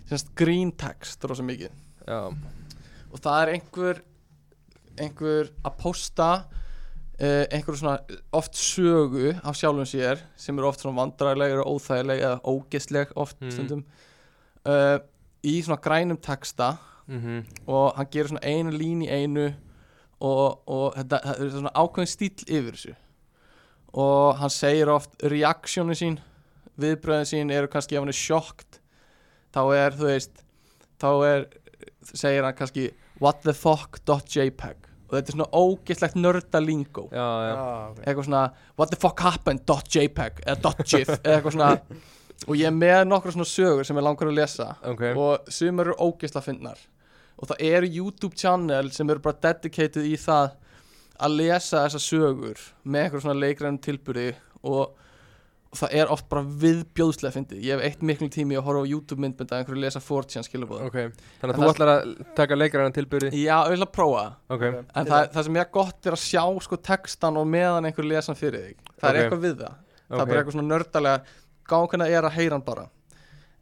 S2: semst, Green text Rósa mikið
S3: já,
S2: og það er einhver einhver að posta uh, einhver svona oft sögu af sjálfum sér sem eru oft svona vandræðileg og óþægileg eða ógæsleg oft
S3: Mhm.
S2: stundum uh, í svona grænum texta
S3: mhm,
S2: og hann gerir svona einu lín í einu og, og þetta, það er svona ákveðin stíl yfir þessu og hann segir oft reaksjónu sín viðbröðin sín eru kannski ef hann er sjokkt þá er þú veist þá er, segir hann kannski whatthefuck.jpg og þetta er svona ógeðslegt nörda lingo
S3: já, já,
S1: ok
S2: eitthvað svona what the fuck happened dot jpeg eða dot gif eða eitthvað svona og ég er með nokkra svona sögur sem ég langar að lesa
S3: ok
S2: og sumar eru ógeðsla fyndnar og það eru YouTube channel sem eru bara dedicated í það að lesa þessa sögur með eitthvað svona leikrænum tilbyrði og það er oft bara viðbjóðslega fyndið ég hef eitt miklu tími í að horfa á YouTube myndbönd að einhverju lesa 4chan skilabóð
S3: ok, þannig
S2: En
S3: að þú
S2: það-
S3: ætlar að taka leikræðan tilbyrði
S2: Já, auðvitað prófa það.
S3: ok,
S2: en það, það sem ég er gott er að sjá sko textan og meðan einhver lesa hann fyrir þig það er
S3: Ok.
S2: eitthvað við það það er
S3: ok
S2: bara eitthvað svona nördalega gáðan er að heyra hann bara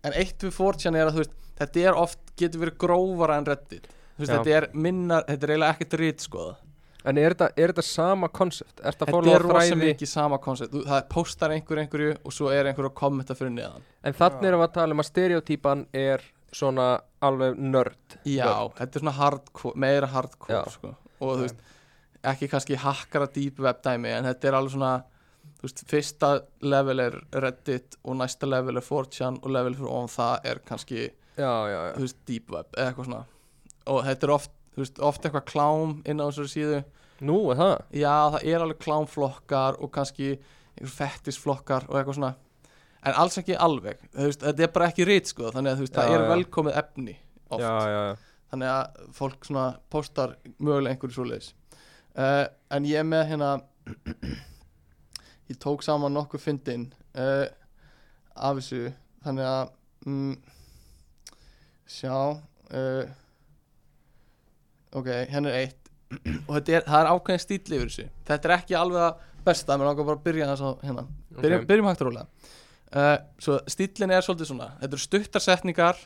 S2: en eitt við 4chan er að þú veist þetta er oft, getur verið grófara en reddit þú veist,
S3: Já.
S2: þetta er minna, þetta er eiginlega ekkert rít sko
S3: en er þetta, er þetta sama koncept? er þetta
S2: þetta
S3: fórlega
S2: er rosa
S3: fræði
S2: mikið sama koncept Þú- það postar einhver einhverju og svo er einhver að kommenta fyrir neðan
S3: en þannig erum við að tala um að stereotýpan er svona alveg nörd
S2: já, þetta er svona hardcore, meira hardcore
S3: Já.
S2: sko. og þú veist ekki kannski hakkara deep web dæmi en þetta er alveg svona þú veist, fyrsta level er reddit og næsta level er 4chan og level fyrir ofan það er kannski
S3: já, já, já,
S2: þú veist, deep web eða eitthvað svona og þetta er oft, þú veist, oft eitthvað klám inn á þessari síðu
S3: nú er það
S2: já, það er alveg klámflokkar og kannski einhver fettisflokkar og eitthvað svona en alls ekki alveg, þú veist, þetta er bara ekki rít sko, þannig að þú veist,
S3: Já,
S2: það er
S3: já.
S2: velkomið efni oft,
S3: já, já, já,
S2: þannig að fólk svona postar mögulega einhverju svoleiðis uh, en ég er með hérna ég tók saman nokkuð fyndin uh, af þessu, eh, þannig að mm, Sjá uh, Ok, hérna er eitt Og þetta er, það er ákveðin stíl yfir þessu Þetta er ekki alveg það besta Mér langar bara að byrja þess að hérna Byrjum,
S3: Ok.
S2: byrjum hægt og rólega uh, Svo stílin er svolítið svona Þetta eru stuttar setningar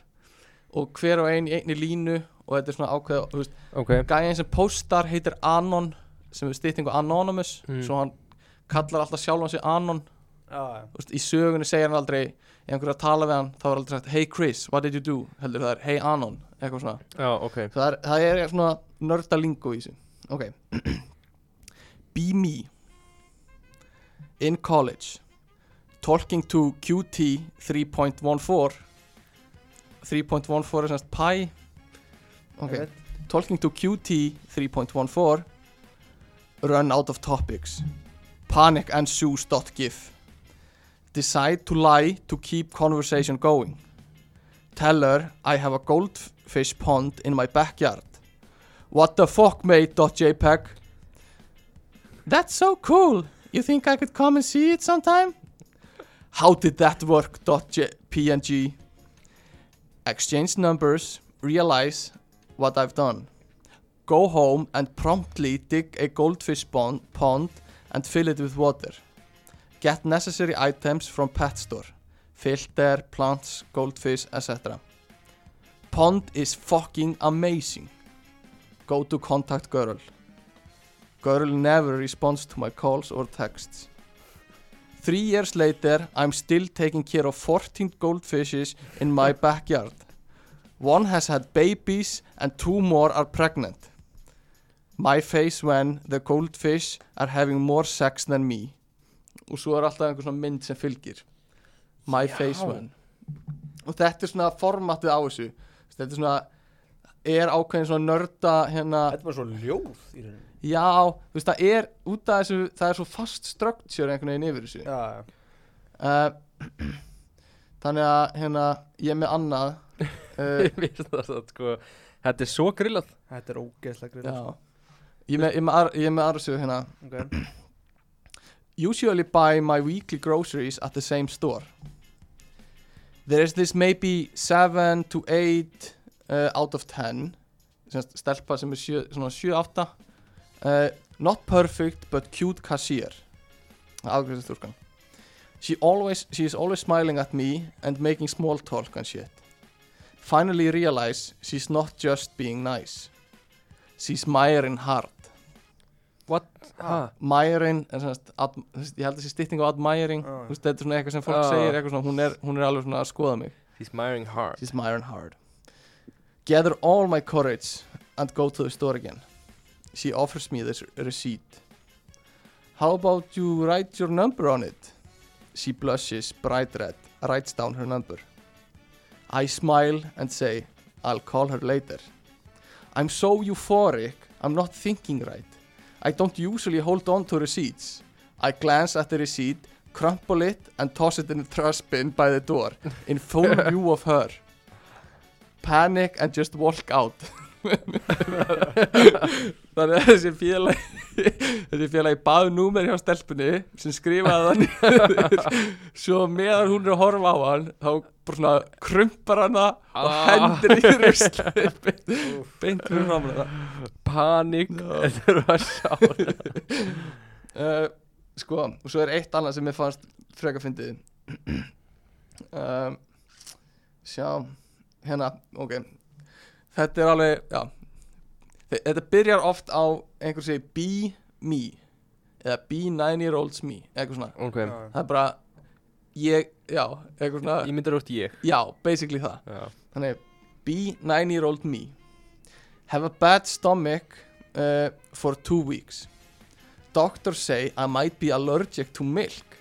S2: Og hver og ein í einni línu Og þetta er svona ákveð þú veist,
S3: Ok
S2: Gæin sem postar heitir Anon Sem er styttingu Anonymous
S3: Mm.
S2: Svo hann kallar alltaf sjálfan sig Anon
S4: Já,
S2: Þú veist, í sögunni segir hann aldrei ef einhver er að tala við hann, þá er aldrei sagt hey Chris, what did you do, heldur það er hey Anon eitthvað svona,
S3: Já, ok
S2: það er, það er svona nörda lingo í þessu ok be me in college talking to QT 3.14 3.14 er semst pi ok,
S1: Einmitt.
S2: talking to QT 3.14 run out of topics panic and shoes.gif decide to lie to keep conversation going tell her I have a goldfish pond in my backyard what the fuck mate .jpg that's so cool you think I could come and see it sometime how did that work .png exchange numbers realize what I've done go home and promptly dig a goldfish pond, pond and fill it with water. Get necessary items from pet store. Filter, plants, goldfish, etc. Pond is fucking amazing. Go to contact girl. Girl never responds to my calls or texts. Three years later, I'm still taking care of 14 goldfishes in my backyard. One has had babies and two more are pregnant. My face when the goldfish are having more sex than me. Og svo er alltaf einhver svona mynd sem fylgir. My face when. Og þetta er svona formatið á þessu. Þetta er svona, er ákveðin svona nörda hérna.
S4: þetta var svo ljóð í rauninni.
S2: Já, þú veist, það er út af þessu, það er svo fast structure einhvern veginn yfir þessu.
S4: Já,
S2: Uh, þannig að, hérna, ég er með annað. Uh,
S3: Ég veist það satt, sko Þetta er svo grillað
S1: Þetta er ógeðslega sko. grinn
S2: já. Ég er með, ég er með, ar- ég er með aðra sögu hérna.
S1: okay.
S2: usually buy my weekly groceries at the same store. There is this maybe 7 to 8 uh, out of 10 sem sagt stelpa sem er sjö, svona 7-8 uh, not perfect but cute cashier afgjörsturkan she always she is always smiling at me and making small talk and shit finally realize she's not just being nice she's myring hard
S3: Ha,
S2: admiring en semast, ad, þú veist, ég held að þessi stytting á admiring
S1: Já, já.
S2: þú veist, þetta er svona eitthvað sem fólk
S3: Já.
S2: segir eitthvað svona, hún, er, hún er alveg svona að skoða mig
S3: she's miring hard
S2: she's myron hard gather all my courage and go to the store again she offers me this receipt how about you write your number on it she blushes bright red writes down her number I smile and say I'll call her later I'm so euphoric I'm not thinking right I don't usually hold on to receipts. I glance at the receipt, crumple it and toss it in the trash bin by the door in full view of her. Panic and just walk out. Þannig að þessi félagi þessi félagi baðu númer hjá stelpunni sem skrifaði hann niður. svo meðan hún er að horfa á hann þá bara svona krumpar hann það og
S3: Ah.
S2: hendur í rusli beint, beint fyrir framlega
S3: Panik Þetta er að sjá
S2: uh, sko, og svo er eitt annað sem mér fannst freka fyndið um, sjá hérna, ok þetta er alveg, já Þe- þetta byrjar oft á einhver segi be me eða be nine year olds me, eitthvað svona
S3: Ok
S2: það er bara, ég, já eitthvað svona,
S3: Ég myndar út ég
S2: já, basically það
S3: Já
S2: Þannig, be nine year old me Have a bad stomach uh, for two weeks Doctors say I might be allergic to milk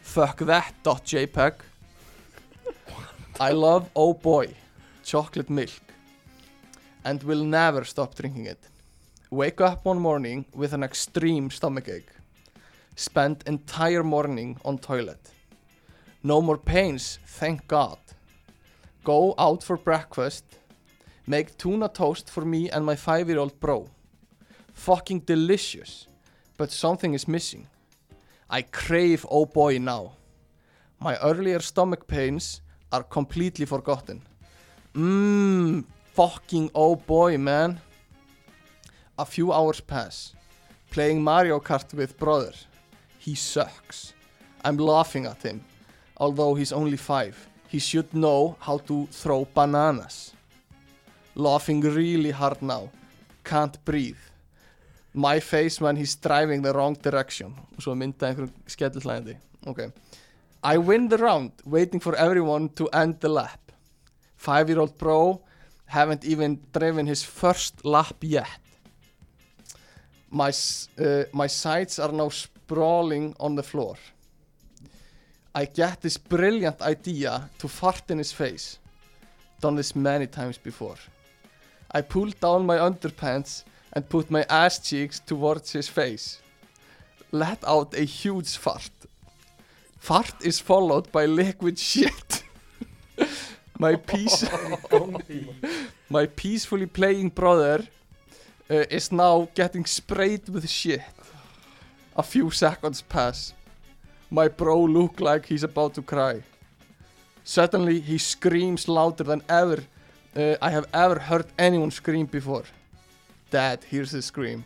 S2: Fuck that .jpg I love, oh boy, chocolate milk And will never stop drinking it Wake up one morning with an extreme stomach ache Spend entire morning on toilet No more pains, thank god Go out for breakfast. Make tuna toast for me and my five year old bro. Fucking delicious. But something is missing. I crave oh boy now. My earlier stomach pains are completely forgotten Mmm, fucking oh boy man A few hours pass Playing Mario Kart with brother He sucks I'm laughing at him Although he's only five He should know how to throw bananas Laughing really hard now Can't breathe My face when he's driving the wrong direction og svo mynda einhverjum skellihlæðandi ok I win the round waiting for everyone to end the lap five year old bro haven't even driven his first lap yet my, s- uh, my sides are now sprawling on the floor I get this brilliant idea to fart in his face done this many times before I pulled down my underpants and put my ass cheeks towards his face. Let out a huge fart. Fart is followed by liquid shit. my peace, my peacefully playing brother uh, is now getting sprayed with shit. A few seconds pass. My bro look like he's about to cry. Suddenly he screams louder than ever uh, I have ever heard anyone scream before. Dad hears the scream.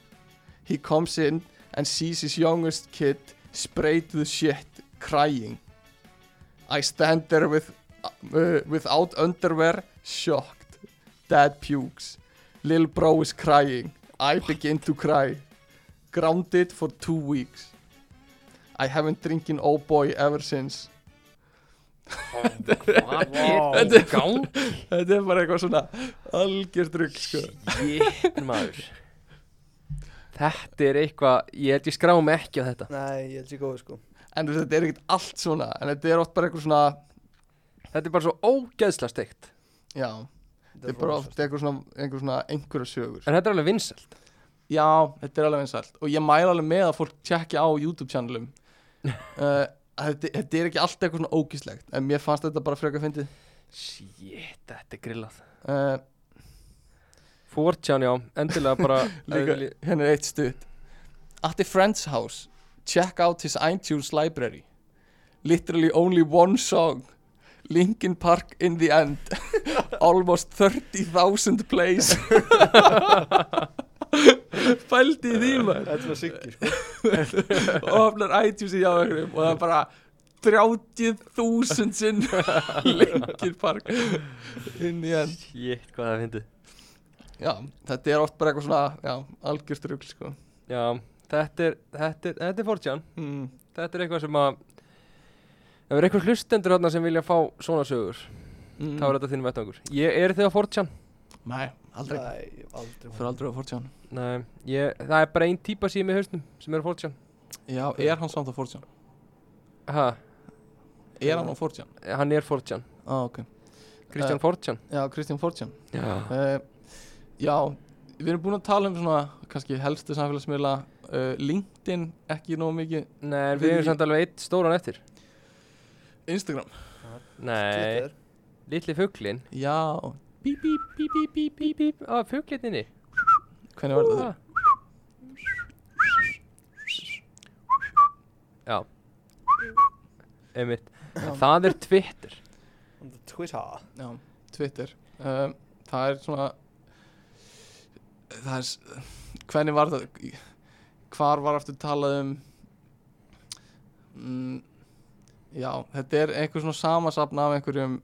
S2: He comes in and sees his youngest kid sprayed with shit, crying. I stand there with, uh, without underwear, shocked. Dad pukes. Lil bro is crying. I begin to cry. Grounded for two weeks. I haven't drinking old boy ever since.
S3: Hvað
S4: Vá.
S3: er í gang?
S2: Þetta er bara eitthvað svona algjör drugg, sko.
S3: Jétt maður Þetta er eitthvað, ég held ég skrá mig ekki á þetta
S1: Nei, ég held sér góðu sko
S2: En þú veist, þetta er ekkert allt svona, en þetta er oft bara eitthvað svona,
S3: Þetta er bara svo ógeðsla steikt
S2: já,
S1: Þetta
S2: þetta er bara
S1: rosa,
S2: oft eitthvað svona, einhver svona einhverja sögur.
S3: En þetta er alveg vinsælt
S2: Já, þetta er alveg vinsælt og ég mæla alveg með að fólk tjekki á YouTube-channelum uh, að þetta, þetta er ekki alltaf eitthvað svona ógíslegt en mér fannst þetta bara frekar fyndið
S3: Jétt, þetta er grillað
S2: uh,
S3: Fórtján, já, endilega bara
S2: Líka,
S3: eðli-
S2: hérna er eitt stutt At the friend's house Check out his iTunes library Literally only one song Linkin Park in the end Almost 30,000 plays Fældi í því maður
S4: Þetta er svona siggi sko.
S2: og opnar iTunes í jáðakrum og það er bara 30.000 sinn Linkin Park in the end
S3: Jétt, hvað það fyndi
S2: Já, þetta er oft bara eitthvað svona já, algjörst rugl sko
S3: Já, þetta er, þetta er, þetta er fórtján
S2: mm.
S3: Þetta er eitthvað sem að Ef það er eitthvað hlustendur hérna sem vilja fá svona sögur
S2: Mm.
S3: Þá er þetta þín vettvangur Ég er þið á fórtján
S2: Nei, aldrei
S1: Nei, ég hef aldrei
S2: Fyrir aldrei á Fortján
S3: Nei, ég, það er bara ein típa síðan með hausnum sem er á fórtján
S2: Já, er hann samt á Fortján?
S3: Ha,
S2: Er hann á Fortján?
S3: hann er fórtján
S2: Á, ah, ok
S3: Kristján
S2: Eh.
S3: Fórtján
S2: Já, Kristján Fortján
S3: Já
S2: uh, Já, við erum búin að tala um svona kannski helstu samfélagsmiðla uh, LinkedIn, ekki nóg mikið
S3: Nei, en
S2: Við-
S3: við erum samt alveg eitt stóran eftir
S2: Instagram
S3: Nei,
S1: Twitter.
S3: litli fugglin
S2: Já,
S3: Bíp, bíp, bíp, bíp, bíp, bíp, bíp Á, fugglinninni
S2: hvernig var þetta?
S3: Já Einmitt Það er Twitter
S1: On the Twitter
S2: Já, Twitter um, Það er svona Það er s- Hvernig var það Hvar var aftur talað um mm, Já, þetta er einhver svona samasafn af einhverjum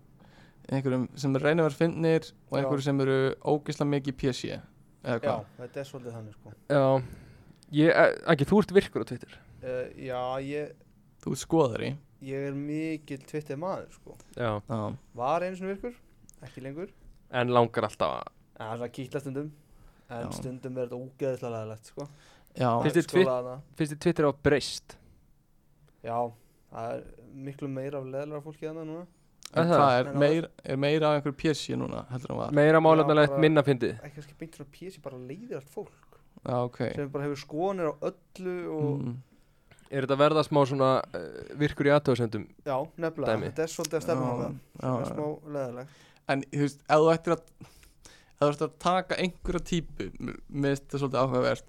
S2: einhverjum sem reynir að vera fyndnir og
S1: Já.
S2: einhverjum sem eru ógisla mikið PC eða
S1: Já,
S2: hvað
S1: þetta er svolítið þannig sko
S3: Já Ég, eh, ekki, þú ert virkur á Twitter
S1: uh, Já, ég,
S2: Þú skoðar í
S1: ég er mikill Twitter maður sko
S3: Já
S2: Já,
S1: Var einu svona virkur, ekki lengur
S3: En langar alltaf að
S1: En það er svona kýtla stundum En
S2: Já.
S1: stundum er þetta ógeðislega leðilegt sko
S2: já,
S1: Maður
S3: Finnst þér
S1: skrollaði
S3: Twitter-
S1: þarna.
S3: Finnst þið Twitter á breyst?
S1: Já, það er miklu meira af leðilega fólki þannig núna
S2: en
S3: Er það?
S2: hvað er,
S1: En á-
S2: meir, er meira af einhverju PC núna heldur en var
S3: Meira
S1: Já,
S3: málefnilegt
S1: bara-
S3: minna fyndið
S1: Ekki kannski beint svona pési, bara leiðir allt fólk
S2: Já, ok
S1: Sem bara hefur skonir á öllu og
S2: mm.
S3: Er þetta að verða smá svona uh, virkur í aðtöðsendum?
S1: Já, nefnilega,
S3: Dæmi.
S1: þetta er svolítið að stefna á það
S2: Já,
S1: Það er
S2: já.
S1: smá leðilegt
S2: En þú veist, ef þú ættir að ef þú ættir að taka einhverja típu m- mér finnst þetta svolítið áhugavert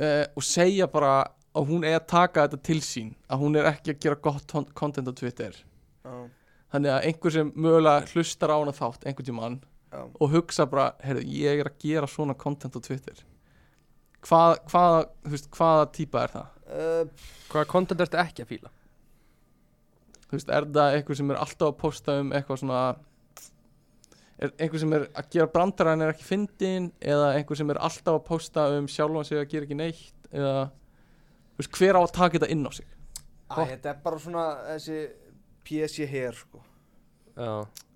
S2: uh, og segja bara að hún er að taka þetta til sín að hún er ekki að gera gott hon- content á Twitter
S1: Já,
S2: þannig að einhver sem mögulega hlustar á hana þátt einhvern tímann
S1: Já.
S2: og hugsa bara, heyrðu, ég er að gera svona content á Twitter hvað, hvað, þú veist, hvaða típa er það?
S1: Uh,
S3: Hvaða content ertu ekki að fíla?
S2: þú veist, er það einhver sem er alltaf að posta um eitthvað svona er einhver sem er að gera brandara en er ekki fyndin eða einhver sem er alltaf að posta um sjálfan sig að gera ekki neitt eða, þú veist, hver á að taka þetta inn á sig
S1: Æ, þetta er bara svona þessi PSG her sko.
S3: Já,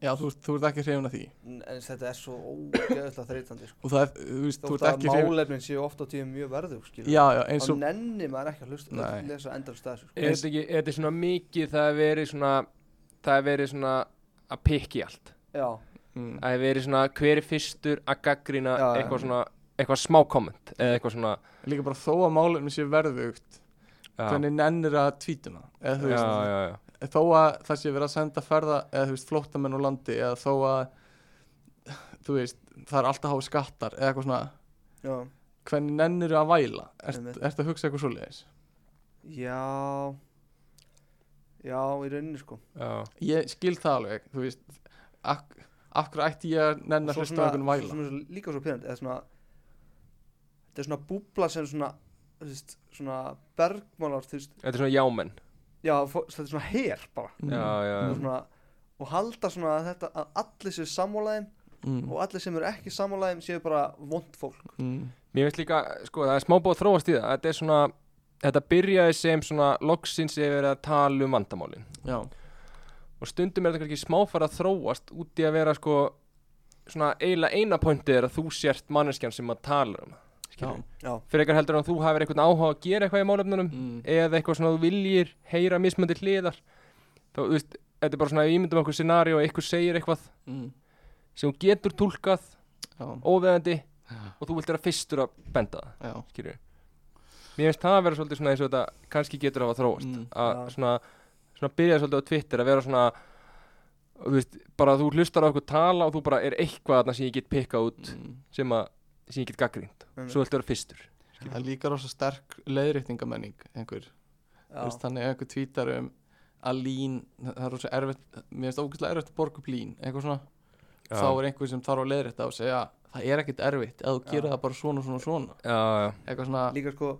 S2: já, þú, veist, þú ert ekki hrifin af því
S1: en en þetta er svo ógeðslega þreytandi sko.
S2: og það er, þú veist, þú
S1: þótt
S2: ert
S1: að
S2: ekki hrifin
S1: málefnin séu oft á tíðum mjög verðug skilur.
S2: já, já, eins
S1: þá
S2: og
S1: nenni maður ekki að hlusta
S2: Nei.
S1: að lesa endal stað sko.
S3: er þetta ekki, er þetta svona mikið það er verið svona það er verið svona að pikki allt
S1: já,
S2: mm,
S3: það er verið svona hver er fyrstur að gaggrina
S1: Já, já.
S3: eitthvað svona eitthvað smá komment eða eitthvað svona
S2: líka bara þó að málefni sé verðugt
S3: já,
S2: hvernig nennir að tvítum það eða, þú
S3: já,
S2: veist,
S3: já, já.
S2: þó að það sé verið að senda ferða eða þú veist flóttamenn úr landi eða þó að þú veist það er alltaf háið skattar eða eitthvað svona
S1: já,
S2: hvernig nennir að væla ert,
S1: Einmitt.
S2: ert að hugsa eitthvað svoleiðis
S1: já já, í rauninni sko
S3: já.
S2: ég skil það alveg þú veist ak af hverju ætti ég að
S1: Og
S2: nenn að
S1: svo
S2: hlusta á einhvern
S1: svo
S2: væla
S1: svona, líka svo pyrrandi svona, þetta er svona búbla sem svona þú veist, svona bergmálar þú veist,
S3: þetta er svona jámenn
S1: já, fó- þetta er svona her bara
S2: Mm,
S3: já, já,
S1: Og
S3: já.
S1: svona, og halda svona að þetta að allir séu sammálaðin
S2: mm,
S1: og allir sem eru ekki sammálaðin séu bara vond fólk
S2: mm,
S3: mér finnst líka, sko, það er smá búið að þróast í það þetta er svona, þetta byrjaði sem svona loksins er verið að tala um vandamálin
S2: já,
S3: og stundum er þetta kannski smáfara að þróast út í að vera sko svona eiginlega eina pointið er að þú sért manneskjan sem að tala um
S2: já,
S3: það
S1: já,
S3: fyrir eitthvað heldur en þú hafir eitthvað áhuga á að gera eitthvað í málefnunum
S2: mm,
S3: eða eitthvað svona þú viljir heyra mismöndi hliðar þá, þú veist, þetta er bara svona ef við ímyndum okkur scenaríu og eitthvað segir eitthvað
S2: mm,
S3: sem þú getur túlkað
S2: já,
S3: óveðandi
S2: Já.
S3: og þú vilt vera fyrstur að benda það
S2: já,
S3: skilur mér finnst það að vera svolítið svona eins og þetta kannski getur að hafa þróast
S2: Mm.
S3: að
S1: Já.
S3: svona, svona byrja svolítið á Twitter að vera svona þú veist, bara þú hlustar á okkur tala og þú bara er eitthvað þarna sem ég get pikkað út
S2: mm.
S3: sem, að, sem ég get gaggrind
S1: Einmitt.
S3: svo viltu vera fyrstur
S2: það er líka rosa sterk leiðréttingamenning einhver Þú veist,
S1: já,
S2: þannig ef einhver tvítar um að lín, það er rosa erfitt mér finnst ógæslega erfitt að borga upp lín eitthvað svona, þá er einhver sem þarf að leiðrétta og segja, það er ekkert erfitt eða þú
S1: Já.
S2: gerir það bara svona, svona, svona
S3: já, já,
S2: eitthvað svona,
S1: líka sko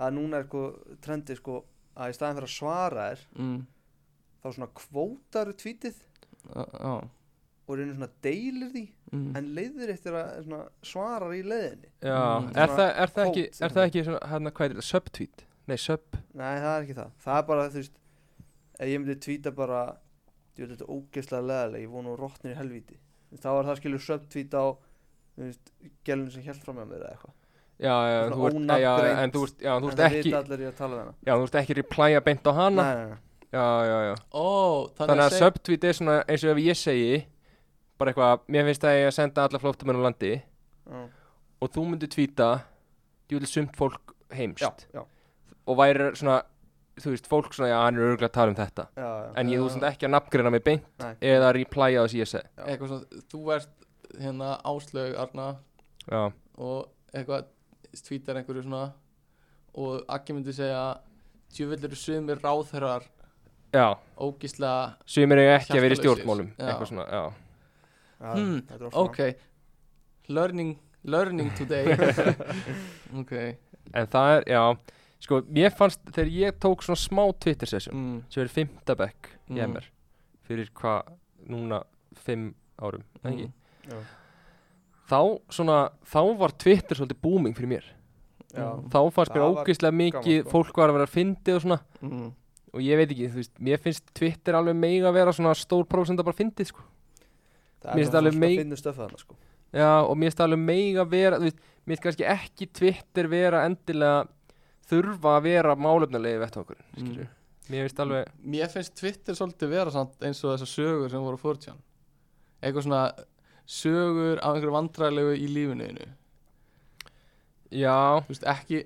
S1: það er núna er sko trendi sko að í staðan fyrir að svara þér
S2: mm,
S1: þá svona kvótaru tvítið
S2: já, já
S1: og reynir svona deilir því
S2: mm,
S1: en leiðir eftir að svona, svarar í leiðinni
S3: já.
S2: Mm.
S3: er, það, er það ekki,
S1: Quote,
S3: er það ekki svona, hérna, hvað er þetta, subtweet nei, sub,
S1: nei það er ekki það, það er bara þú veist ef ég myndi tvíta bara þú veit þetta er ógeðslega leðileg, ég vonu rótnir í helvíti þá er það skilur söptvíta á þú veist, gælun sem held fram með mér eða eitthvað
S3: já, já,
S1: Svona
S3: þú ert, já, já, en þú ert, já, þú
S1: en
S3: ert
S1: það
S3: ekki
S1: vita allir ég að tala við hana
S3: já, þú ert ekki replya beint á hana
S1: nei, nei, nei.
S3: já, já, já
S2: ó, þannig,
S3: Þannig að subtweet er svona eins og ef ég segi bara eitthvað, mér finnst að ég að senda alla flóttamenn á landi
S1: Já,
S3: og þú myndir tweeta djúvel sumt fólk heimst
S1: já, já,
S3: og væri svona, þú veist, fólk svona já, hann er örgulega að tala um þetta
S1: já, já.
S3: en ég þú
S2: Já.
S3: veist ekki að nafngreina mig beint
S1: Nei.
S3: eða replya á E. þessi ég segi
S1: Já.
S2: eitthvað svona, þú ert hérna áslög Arna
S3: já,
S2: og eitthvað tvítar einhverju svona og Akki myndi segja djöfull eru sumir ráðherrar
S3: já,
S2: ógíslega,
S3: sumir eru ekki að vera í
S2: Hjartalausir.
S3: stjórnmálum
S2: Já.
S3: eitthvað svona, já,
S1: Já,
S2: Hmm,
S1: þetta er oft svona.
S2: ok learning, learning today ok
S3: en það er, já sko, mér fannst, þegar ég tók svona smá Twitter session
S2: mm,
S3: sem er fimmta bekk í
S2: Mm.
S3: MR fyrir hvað, núna fimm árum, mm. ekki
S2: Mm.
S1: Já.
S3: þá svona, þá var Twitter svolítið booming fyrir mér
S1: Já.
S2: Mm.
S3: þá fannst mér
S1: Það var
S3: ógeðslega mikið
S1: gaman, sko.
S3: fólk var að vera að fyndi og svona
S2: mm.
S3: og ég veit ekki, þú veist, mér finnst Twitter alveg mega að vera svona stór prósenda bara fyndið sko.
S1: Það
S3: Mér
S1: er
S3: finnst
S1: svona
S3: alveg
S1: fólk
S3: mei-
S1: að finna stöfða hana sko.
S3: já, og mér finnst alveg mega að vera þú veist, mér finnst kannski ekki Twitter vera endilega þurfa að vera málefnulegi vett okkur
S2: Mm.
S3: mér finnst alveg,
S2: Mér finnst Twitter svolítið vera samt eins og þessar sögur sem voru á 4chan Eitthvað svona sögur af einhverju vandræðilegu í lífinu þínu.
S3: já
S2: Þú veist, ekki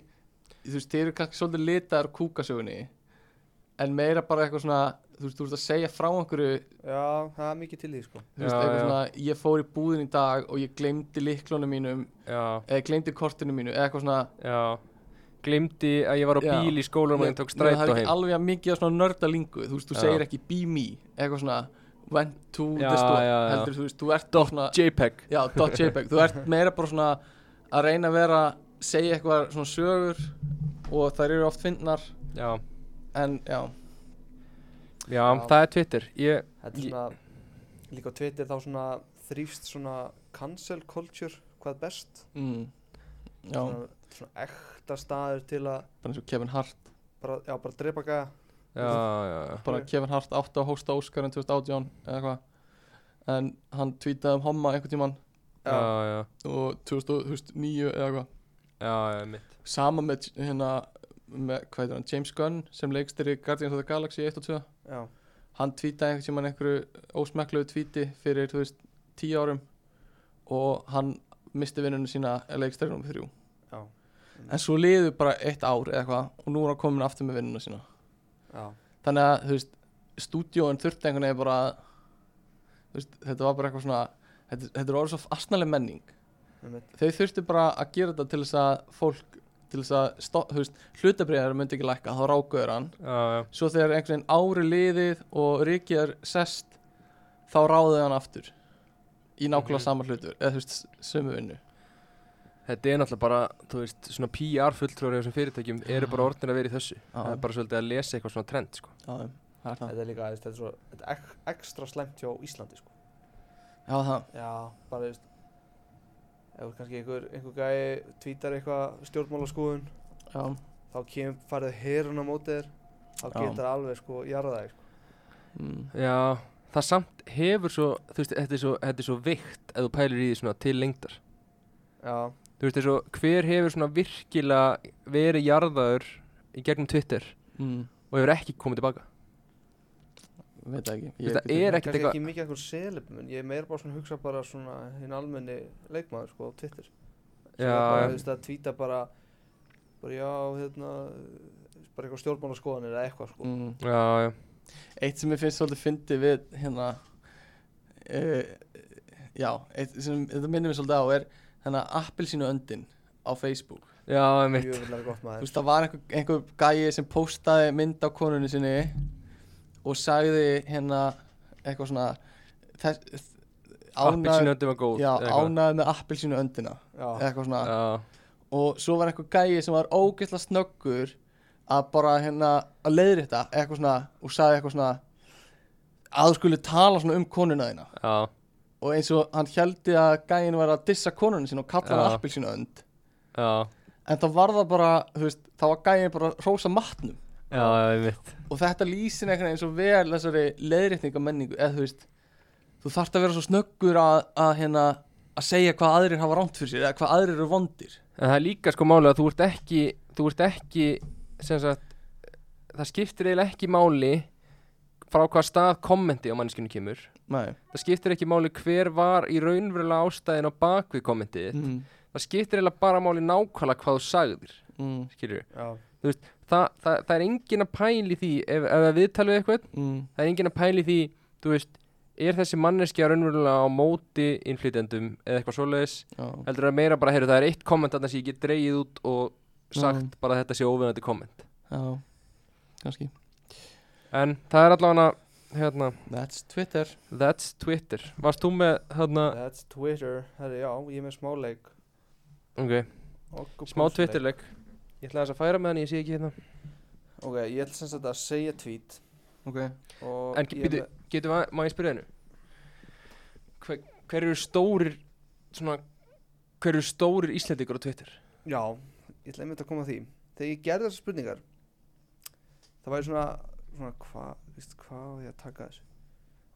S2: Þú veist, þeir eru kannski svolítið litar kúkasögunni En meira bara eitthvað svona Þú veist, þú veist að segja frá einhverju
S1: Já, það er mikið til því sko.
S2: Þú veist,
S3: Já,
S2: eitthvað
S3: já.
S2: svona Ég fór í búðin í dag og ég glemdi liklunum mínum
S3: já,
S2: Eða glemdi kortinu mínu Eða eitthvað svona
S3: já glimti að ég var á
S2: Já.
S3: bíl í skólanum og ég tók
S2: Nei, Það
S3: strætó
S2: er ekki
S3: heim
S2: alveg að mikið af svona nördalingu Þú veist, þú
S3: Já.
S2: segir ekki be me Eitthvað svona Þú went to
S3: Já,
S2: the store
S3: já, já.
S2: heldur þú veist, þú ert
S3: Dot
S2: svona
S3: JPEG
S2: já, dot jpeg, þú ert meira bara svona að reyna að vera, segja eitthvað svona sögur og þær eru oft fyndnar
S3: Já,
S2: en já,
S3: já, það er Twitter Ég,
S1: Þetta er
S3: Ég-
S1: svona, líka á Twitter þá svona þrýfst svona cancel culture, hvað er best.
S2: mm, já
S1: Svona, svona ekta staður til að
S2: bara eins og Kevin Hart,
S1: bara, já, bara drepa gæja.
S3: já, já, já
S2: bara
S1: Ok.
S2: Kevin Hart átti að hósta Óskarinn 2018 eða eitthvað en hann tweetaði um homma einhvern tíman
S3: Já, já,
S2: og 2009 eða eitthvað
S3: já, já, mitt
S2: sama með hérna með, hvað heitir hann, James Gunn sem leikstýri Guardians of the Galaxy 1 og 2
S1: Já,
S2: hann tweetaði einhvern tímann einhverju ósmekkluðu tweeti fyrir, þú veist, 10 árum og hann misti vinnunum sína leikstýri nummer 3
S1: já,
S2: en svo liðu bara eitt ár eða eitthvað og nú er hann komin aftur með vinnunum sína
S1: já.
S2: þannig að, þú veist, stúdíóin þurfti einhvern veginn bara að- þú veist, þetta var bara eitthvað svona þetta, þetta er orðið svo astnaleg menning
S1: einmitt.
S2: þau þurftu bara að gera þetta til þess að fólk til þess að, sto- þú veist, hlutabriðar myndi ekki lækka, þá rákuður hann
S3: Já, já,
S2: svo þegar einhvern veginn ári liðið og ríkið er sest þá ráðið hann aftur í
S1: Mhm.
S2: nákvæmlega sama hlutur, eða þú veist, sömu vinnu
S3: þetta er náttúrulega bara, þú veist, svona PR fulltrúar í þessum fyrirtækjum eru bara orðnir að vera í þessu
S2: Já.
S3: Það er bara svolítið að lesa eitthvað svona trend, sko
S2: já, já, það er það
S1: Þetta er líka, þú veist, þetta er svo, þetta er ek- ekstra slæmt hjá Íslandi, sko.
S2: já, það,
S1: Já, bara, þú veist, ef þú kannski einhver, einhver gæi tvítar eitthvað stjórnmálaskoðun,
S2: já,
S1: þá kem, farið herun á móti þér, þá
S2: Já.
S1: getur alveg, sko, jarðaði, sko.
S2: mm,
S3: Já, það samt hefur svo, þú veist, þetta er svo, þetta er svo vikt ef þú pælir í því svona til lengdar.
S1: Já,
S3: Þú veist, þessu, hver hefur svona virkilega verið jarðaður í gegnum Twitter
S2: mm,
S3: og hefur ekki komið tilbaka?
S2: veit það ekki
S3: Þú
S2: Ég
S3: veist, það er
S1: kannski
S3: ekkert eitthvað,
S1: ekki mikið eitthvað selefnum, ég er meira bara svona að hugsa bara svona hinn almenni leikmaður, sko, á Twitter. Sem er bara, þú
S3: já,
S1: veist, að tvíta bara, bara, já, hérna, bara eitthvað stjórnmálaskoðanir eða eitthvað, sko.
S2: mm,
S3: já, já,
S2: eitt sem ég finnst svolítið fyndi við hérna uh, já, eitt sem þetta minnir mér svolítið á er hérna appelsínu öndin á Facebook
S3: já, einmitt.
S1: Jöfnlega gott
S2: þú
S1: maður.
S2: veist, það var einhver, einhver gæi sem postaði mynd á konunni sinni og sagði hérna eitthvað svona þess,
S3: Appelsinu öndum var góð.
S2: já,
S3: eða eitthvað. Ah,
S2: ánaði með appelsínu öndina
S1: Já,
S2: eitthvað svona,
S3: Já,
S2: og svo var einhver gæi sem var ógeðslega snöggur að bara hérna að leiðrétta eitthvað svona og sagði eitthvað svona að þú skulle tala svona um konuna þína
S3: já,
S2: og eins og hann hældi að gæin var að dissa konunni sinna og kalla hann
S3: Já.
S2: appelsínu önd
S3: já,
S2: en þá var það bara, þú veist, þá var gæin bara að hrósa matnum
S3: já, einmitt.
S2: og þetta lýsir einhvern veginn svo vel þessari leiðréttingamenningu eða þú veist þú þarft að vera svo snöggur að, að hérna að segja hvað aðrir hafa rámt fyrir sér eða hvað aðrir eru vondir
S3: En það er líka sko málið að þú ert ekki, þú ert ekki, sem sagt, það skiptir eiginlega ekki máli frá hvað stað kommenti á manneskinu kemur.
S2: Nei.
S3: það skiptir ekki máli hver var í raunverulega ástæðin á bakvið kommentið þitt.
S2: Mm.
S3: það skiptir eiginlega bara máli nákvæmlega hvað þú sagðir
S2: Mm.
S3: skilur.
S1: já,
S3: Þa, það, það er engin að pæli því ef, ef við talum eitthvað,
S2: Mm.
S3: það er engin að pæli því þú veist, er þessi manneskja raunverulega á móti innflytjandum eða eitthvað svoleiðis,
S2: Já.
S3: heldur það meira bara heyru, það er eitt komment að það sé ekki dreigið út og sagt
S2: Mhm.
S3: bara að þetta sé óvinnandi komment
S2: Já. kannski
S3: en það er allavega hérna,
S2: that's Twitter
S3: that's Twitter varst þú með hérna,
S1: that's Twitter, herri, já, ég er með smá leik.
S3: ok,
S1: Okkur
S3: smá
S1: púlsleik.
S3: Twitterleik ég ætla þess að færa með hann, ég sé ekki hérna
S1: Ok, ég ætla sem sagt að segja tweet
S2: ok
S1: og
S3: En
S1: ég
S3: býtu,
S1: er
S3: getur maður, maður spyrja hennu? Hver, hver eru stórir, svona, hver eru stórir Íslandingur á Twitter?
S1: með- Já, ég ætla einmitt að koma að því Þegar ég gerði þessar spurningar Það væri svona, svona hvað, veist, hvað á ég að taka þessu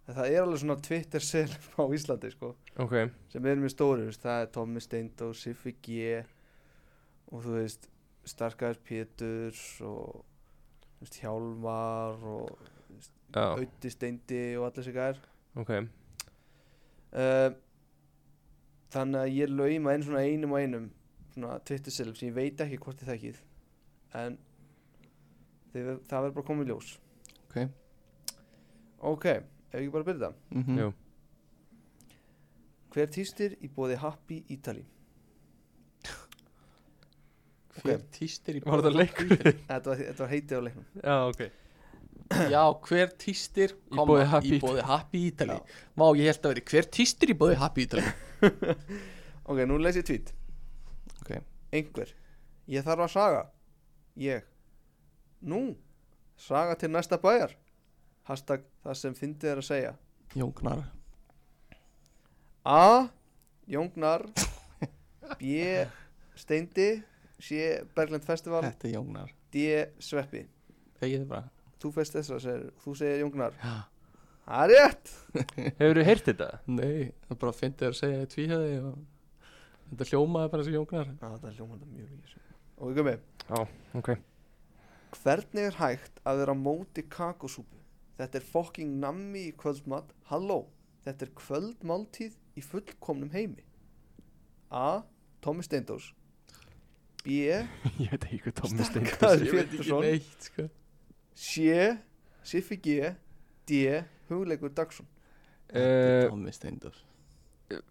S1: En það er alveg svona Twitter selum á Íslandi, sko
S3: Ok,
S1: sem er mjög stóri, veist, það er Tommi Steind og Siffi G og þú veist, Starkaður Péturs og þú veist, Hjálmar og
S3: já,
S1: Auði Steindi og allir sig gær
S3: ok,
S1: Eh, þannig að ég lauma einn svona einum og einum svona Twitter self sem ég veit ekki hvort þið þekkið en þið, það verður bara komið ljós
S2: Ok.
S1: ok, ef ekki bara að byrja það
S2: mm
S3: jú
S1: hver týstir í bóði Happy Italy
S2: hver týstir í
S3: Var þetta leikur?
S1: þetta var, þetta var heitið á leiknum
S3: Já, ok
S2: já, hver týstir
S3: Í
S2: koma,
S3: boði Happy
S2: í bóði Happy Italy Má, ég held að veri hver týstir í bóði Happy Italy
S1: Ok, nú les ég tweet
S2: Ok.
S1: Einhver Ég þarf að saga Ég Nú Saga til næsta bæjar Hashtag það sem fyndið er að segja
S2: Jóngnar
S1: A. Jóngnar B. Steindi C. Berglind Festival
S2: Þetta er Jóngnar
S1: D. Sveppi
S2: Þegar þið bara
S1: Þú fæst þessar segir Þú segir Jóngnar
S2: Já,
S1: Það er rétt
S3: Hefur þú heyrt þetta?
S2: nei, það er bara að fyndi þér að segja tvíhæði og þetta hljómaði bara þessi Jóngnar
S1: Á, Það er hljómanlega mjög líka Og ekki með
S3: Ok
S1: Hvernig er hægt að vera á móti kakosúpu? Þetta er fucking nammi í kvöldmat Halló Þetta er kvöldmáltíð í fullkomnum heimi A. Tommi Steindós B.
S3: Ég veit ekki hvað Tommi
S1: Stakkaður
S3: Steindórs
S2: Ég veit ekki
S1: Pétursson.
S2: neitt, sko
S1: C. Siffi G. D. Hugleikur Dagsson
S2: Þetta er
S3: uh,
S2: Tommi Steindor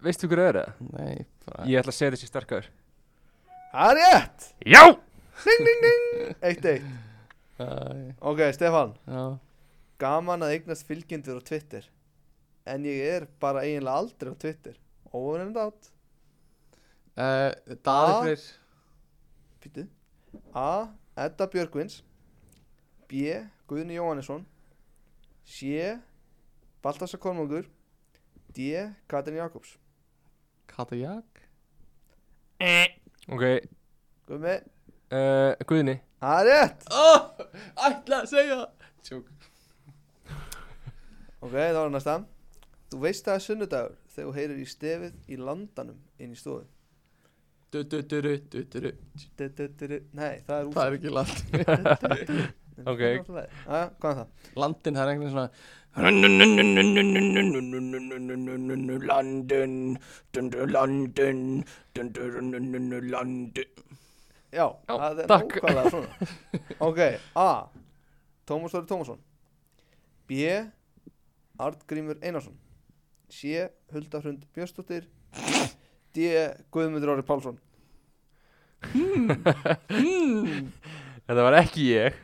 S3: Veistu hver er það?
S2: Nei, bara
S3: Ég ætla að segja þessi sterkar
S1: Það er rétt!
S3: Já!
S1: Ding, ding, ding! Eitt, eitt.
S2: Æ,
S1: Ok, Stefan.
S2: Já,
S1: Gaman að eignast fylgjendur á Twitter. En ég er bara eiginlega aldrei á Twitter. Over and out.
S2: uh, Daði
S1: A.
S2: Freyr
S1: Pítu. A. Edda Björgvins. B. Guðni Jóhannesson. C. Baltasar Kormungur. D. Katrin Jakobs.
S2: Kata Jak
S3: Ok,
S1: Guðmi.
S3: uh, Guðni
S1: Það er rétt!
S2: oh, Ætla að segja Tjók
S1: Ok, þá er næsta Þú veist það er sunnudagur þegar þú heyrir í stefið í landanum inn í stofu
S2: du, du, du, du, du, du, du.
S1: Du-du-du-du. Nei, það er
S2: Það er ekki land
S1: út
S3: ok.
S1: Aja, hvað er það?
S2: Landin, það er einhvern svona Landin dundu, Landin dundu, dundu, Landin
S1: Já,
S3: Já,
S1: það er
S3: takk.
S1: nákvæmlega svona Ok, A Tómas Þóri Tómasson B Artgrímur Einarsson C Hulda Hrund Björnsdóttir D Guðmundur Ári Pálsson
S3: Þetta var ekki ég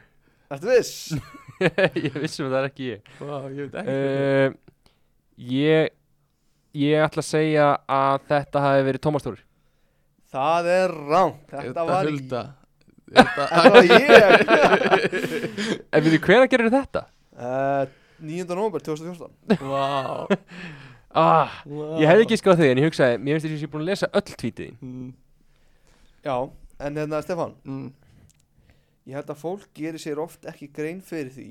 S1: Ertu viss?
S3: Ég vissum að það er ekki ég
S2: Vá, ég veit ekki
S3: uh, Ég Ég ætla að segja að þetta hafi verið Tómas Þór
S1: Það er rám
S2: Er
S1: Þetta var
S2: Hulda
S1: Þetta var ég
S3: En við þú, Eh, hvenær gerir þetta?
S1: uh, 9. november 2014
S2: Vá
S3: Ah,
S2: vá.
S3: ég hefði ekki skoð þig en ég hugsaði Mér finnst þess að ég sé búin að lesa öll tvítið þín
S2: Mm,
S1: Já, en hérna Stefan,
S2: mm.
S1: ég held að fólk gerir sér oft ekki grein fyrir því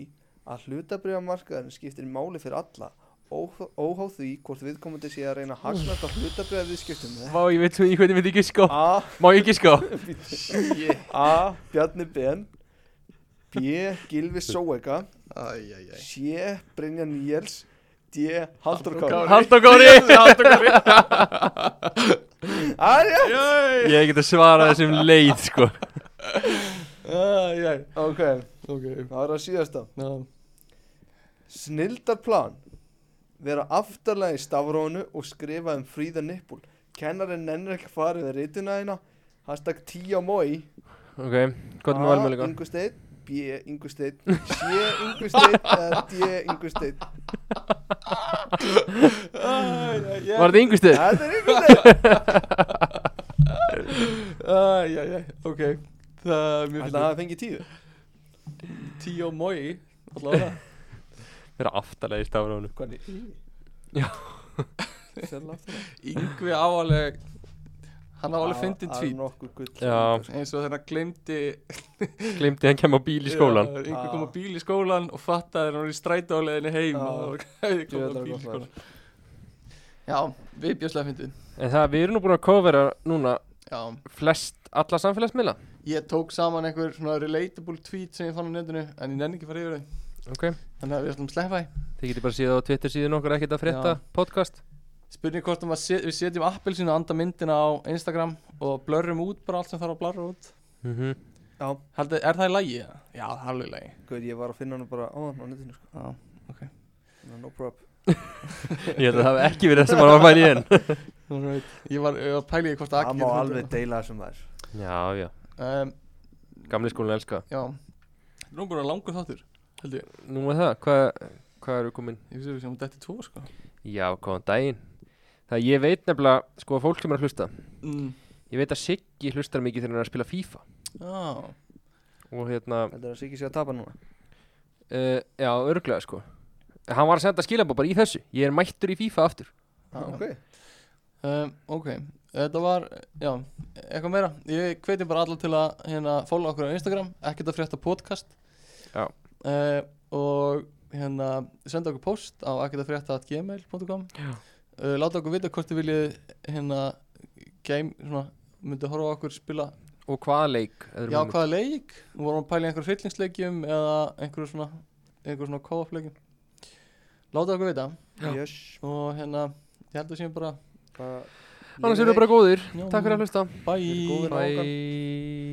S1: að hlutabriða markaðurinn skiptir máli fyrir alla óh- óháð því hvort viðkomandi sé að reyna að hagnast á hlutabriða viðskiptum
S3: Vá, ég veit svo í hvernig myndi ekki sko
S1: A.
S3: Má ég ekki sko?
S2: Shit.
S1: A. Bjarni Ben B. Gilvi Sóega
S2: Æ, æ, æ.
S1: C. Brynja Níels D. Haldur Kári
S3: Hald og góri
S1: Arja!
S2: Jæ.
S3: Ég get að svara þessum leið sko
S2: Æ, æ.
S1: Ok,
S2: Ok
S1: það var að síðasta
S2: Ná,
S1: Snildarplan Vera aftarlega í stafrónu og skrifa um fríða nippul Kennarinn nennir ekki að fara við reytuna þína Hashtag tíja mói
S3: Ok, hvað er
S1: Ah,
S3: með valmöðlega?
S1: Ingu steinn B. Ingu steinn C. Ingu steinn eða D. Ingu steinn
S3: Var þetta yngustið?
S1: Þetta er Ingu steinn
S2: Æ, æ, æ, ok Það er mjög
S1: Þannig að það fengi tíu
S2: fyrir Tíó Mói Allavega
S3: Þeir eru aftalega í stafrónu
S1: Hvernig?
S3: Já.
S1: Sérlega aftarlega
S2: Yngvi áaleg Hann áaleg fyndin
S1: Það er
S2: tvít
S1: nokkuð gull
S3: Já.
S2: eins og þegar hann glemdi
S3: Glimti hann kem á bíl í skólan
S2: Yngvi kom á
S1: Ah.
S2: bíl í skólan og fattaði hann var í strætóleginni heim
S1: Ah.
S2: og hann kom á
S1: Djöfull er
S2: bíl í
S1: gott maður.
S2: skólan Já, við bjóðslega fyndin
S3: En það, við erum nú búin að covera núna
S2: Já,
S3: flest, alla samfélagsmiðla
S2: ég tók saman einhver svona relatable tweet sem ég fann á netinu en ég nenni ekki að fara yfir þau
S3: Ok,
S2: þannig að við ætlum að sleppa því
S3: þið getur bara síða á Twitter síðan okkur ekkert að frétta
S2: Já.
S3: podcast
S2: Spurning hvort um að set, við setjum appelsinu að anda myndina á Instagram og blörrum út bara allt sem þarf að blörra út
S3: mm -hmm.
S1: Já,
S2: Haldi, Er það í lagi? eða? Já, það er alveg í lagi
S1: guð, ég var að finna hann bara á hann á netinu sko
S2: Já.
S1: Þannig að No prop
S3: Ég held að það hafi ekki verið það sem hann var að fæla í enn
S2: Alright. Ég var, ég var pælið í hvort að
S1: Það má alveg deila þessum þær
S3: Já, já,
S2: um,
S3: gamli skólinn elska
S2: Já Nú er bara langur þáttur held ég
S3: Nú með það, hvað, hvað eru komin?
S2: Ég vissi ekki sem hún detti tvo sko
S3: Já, góðan daginn Það ég veit nefnilega, sko, fólk sem er að hlusta
S2: mm.
S3: Ég veit að Siggi hlustar mikið þegar hann er að spila FIFA
S2: Já,
S3: Og hérna,
S1: Þetta er að Siggi sé að tapa núna
S3: uh, já, örglega, sko Hann var að senda skilabó bara í þessu Ég er mættur í FIFA aftur
S2: já.
S1: Ok
S2: Um, ok, þetta var, já, eitthvað meira Ég hveti bara alla til að hérna fóla okkur á Instagram Ekkert að frétta podcast
S3: Já.
S2: Eh, Og hérna, senda okkur post á ekkert að frétta at gmail.com
S3: Já.
S2: uh, Láta okkur vita hvort þið viljið hérna game, svona, myndi horfa á okkur spila
S3: Og hvaða leik? eða erum
S2: Já,
S3: við-
S2: hvaða leik? Við vorum að pæla í einhverjum hryllingsleikjum eða einhverjum svona, einhverjum svona co-op leikjum Láta okkur vita
S1: Jöss
S2: og hérna, ég held að séum bara,
S1: bara
S3: Annars erum við bara góðir
S2: Já.
S3: Takk fyrir að hlusta
S2: bye
S1: Verið góðir. Bye.
S3: Bye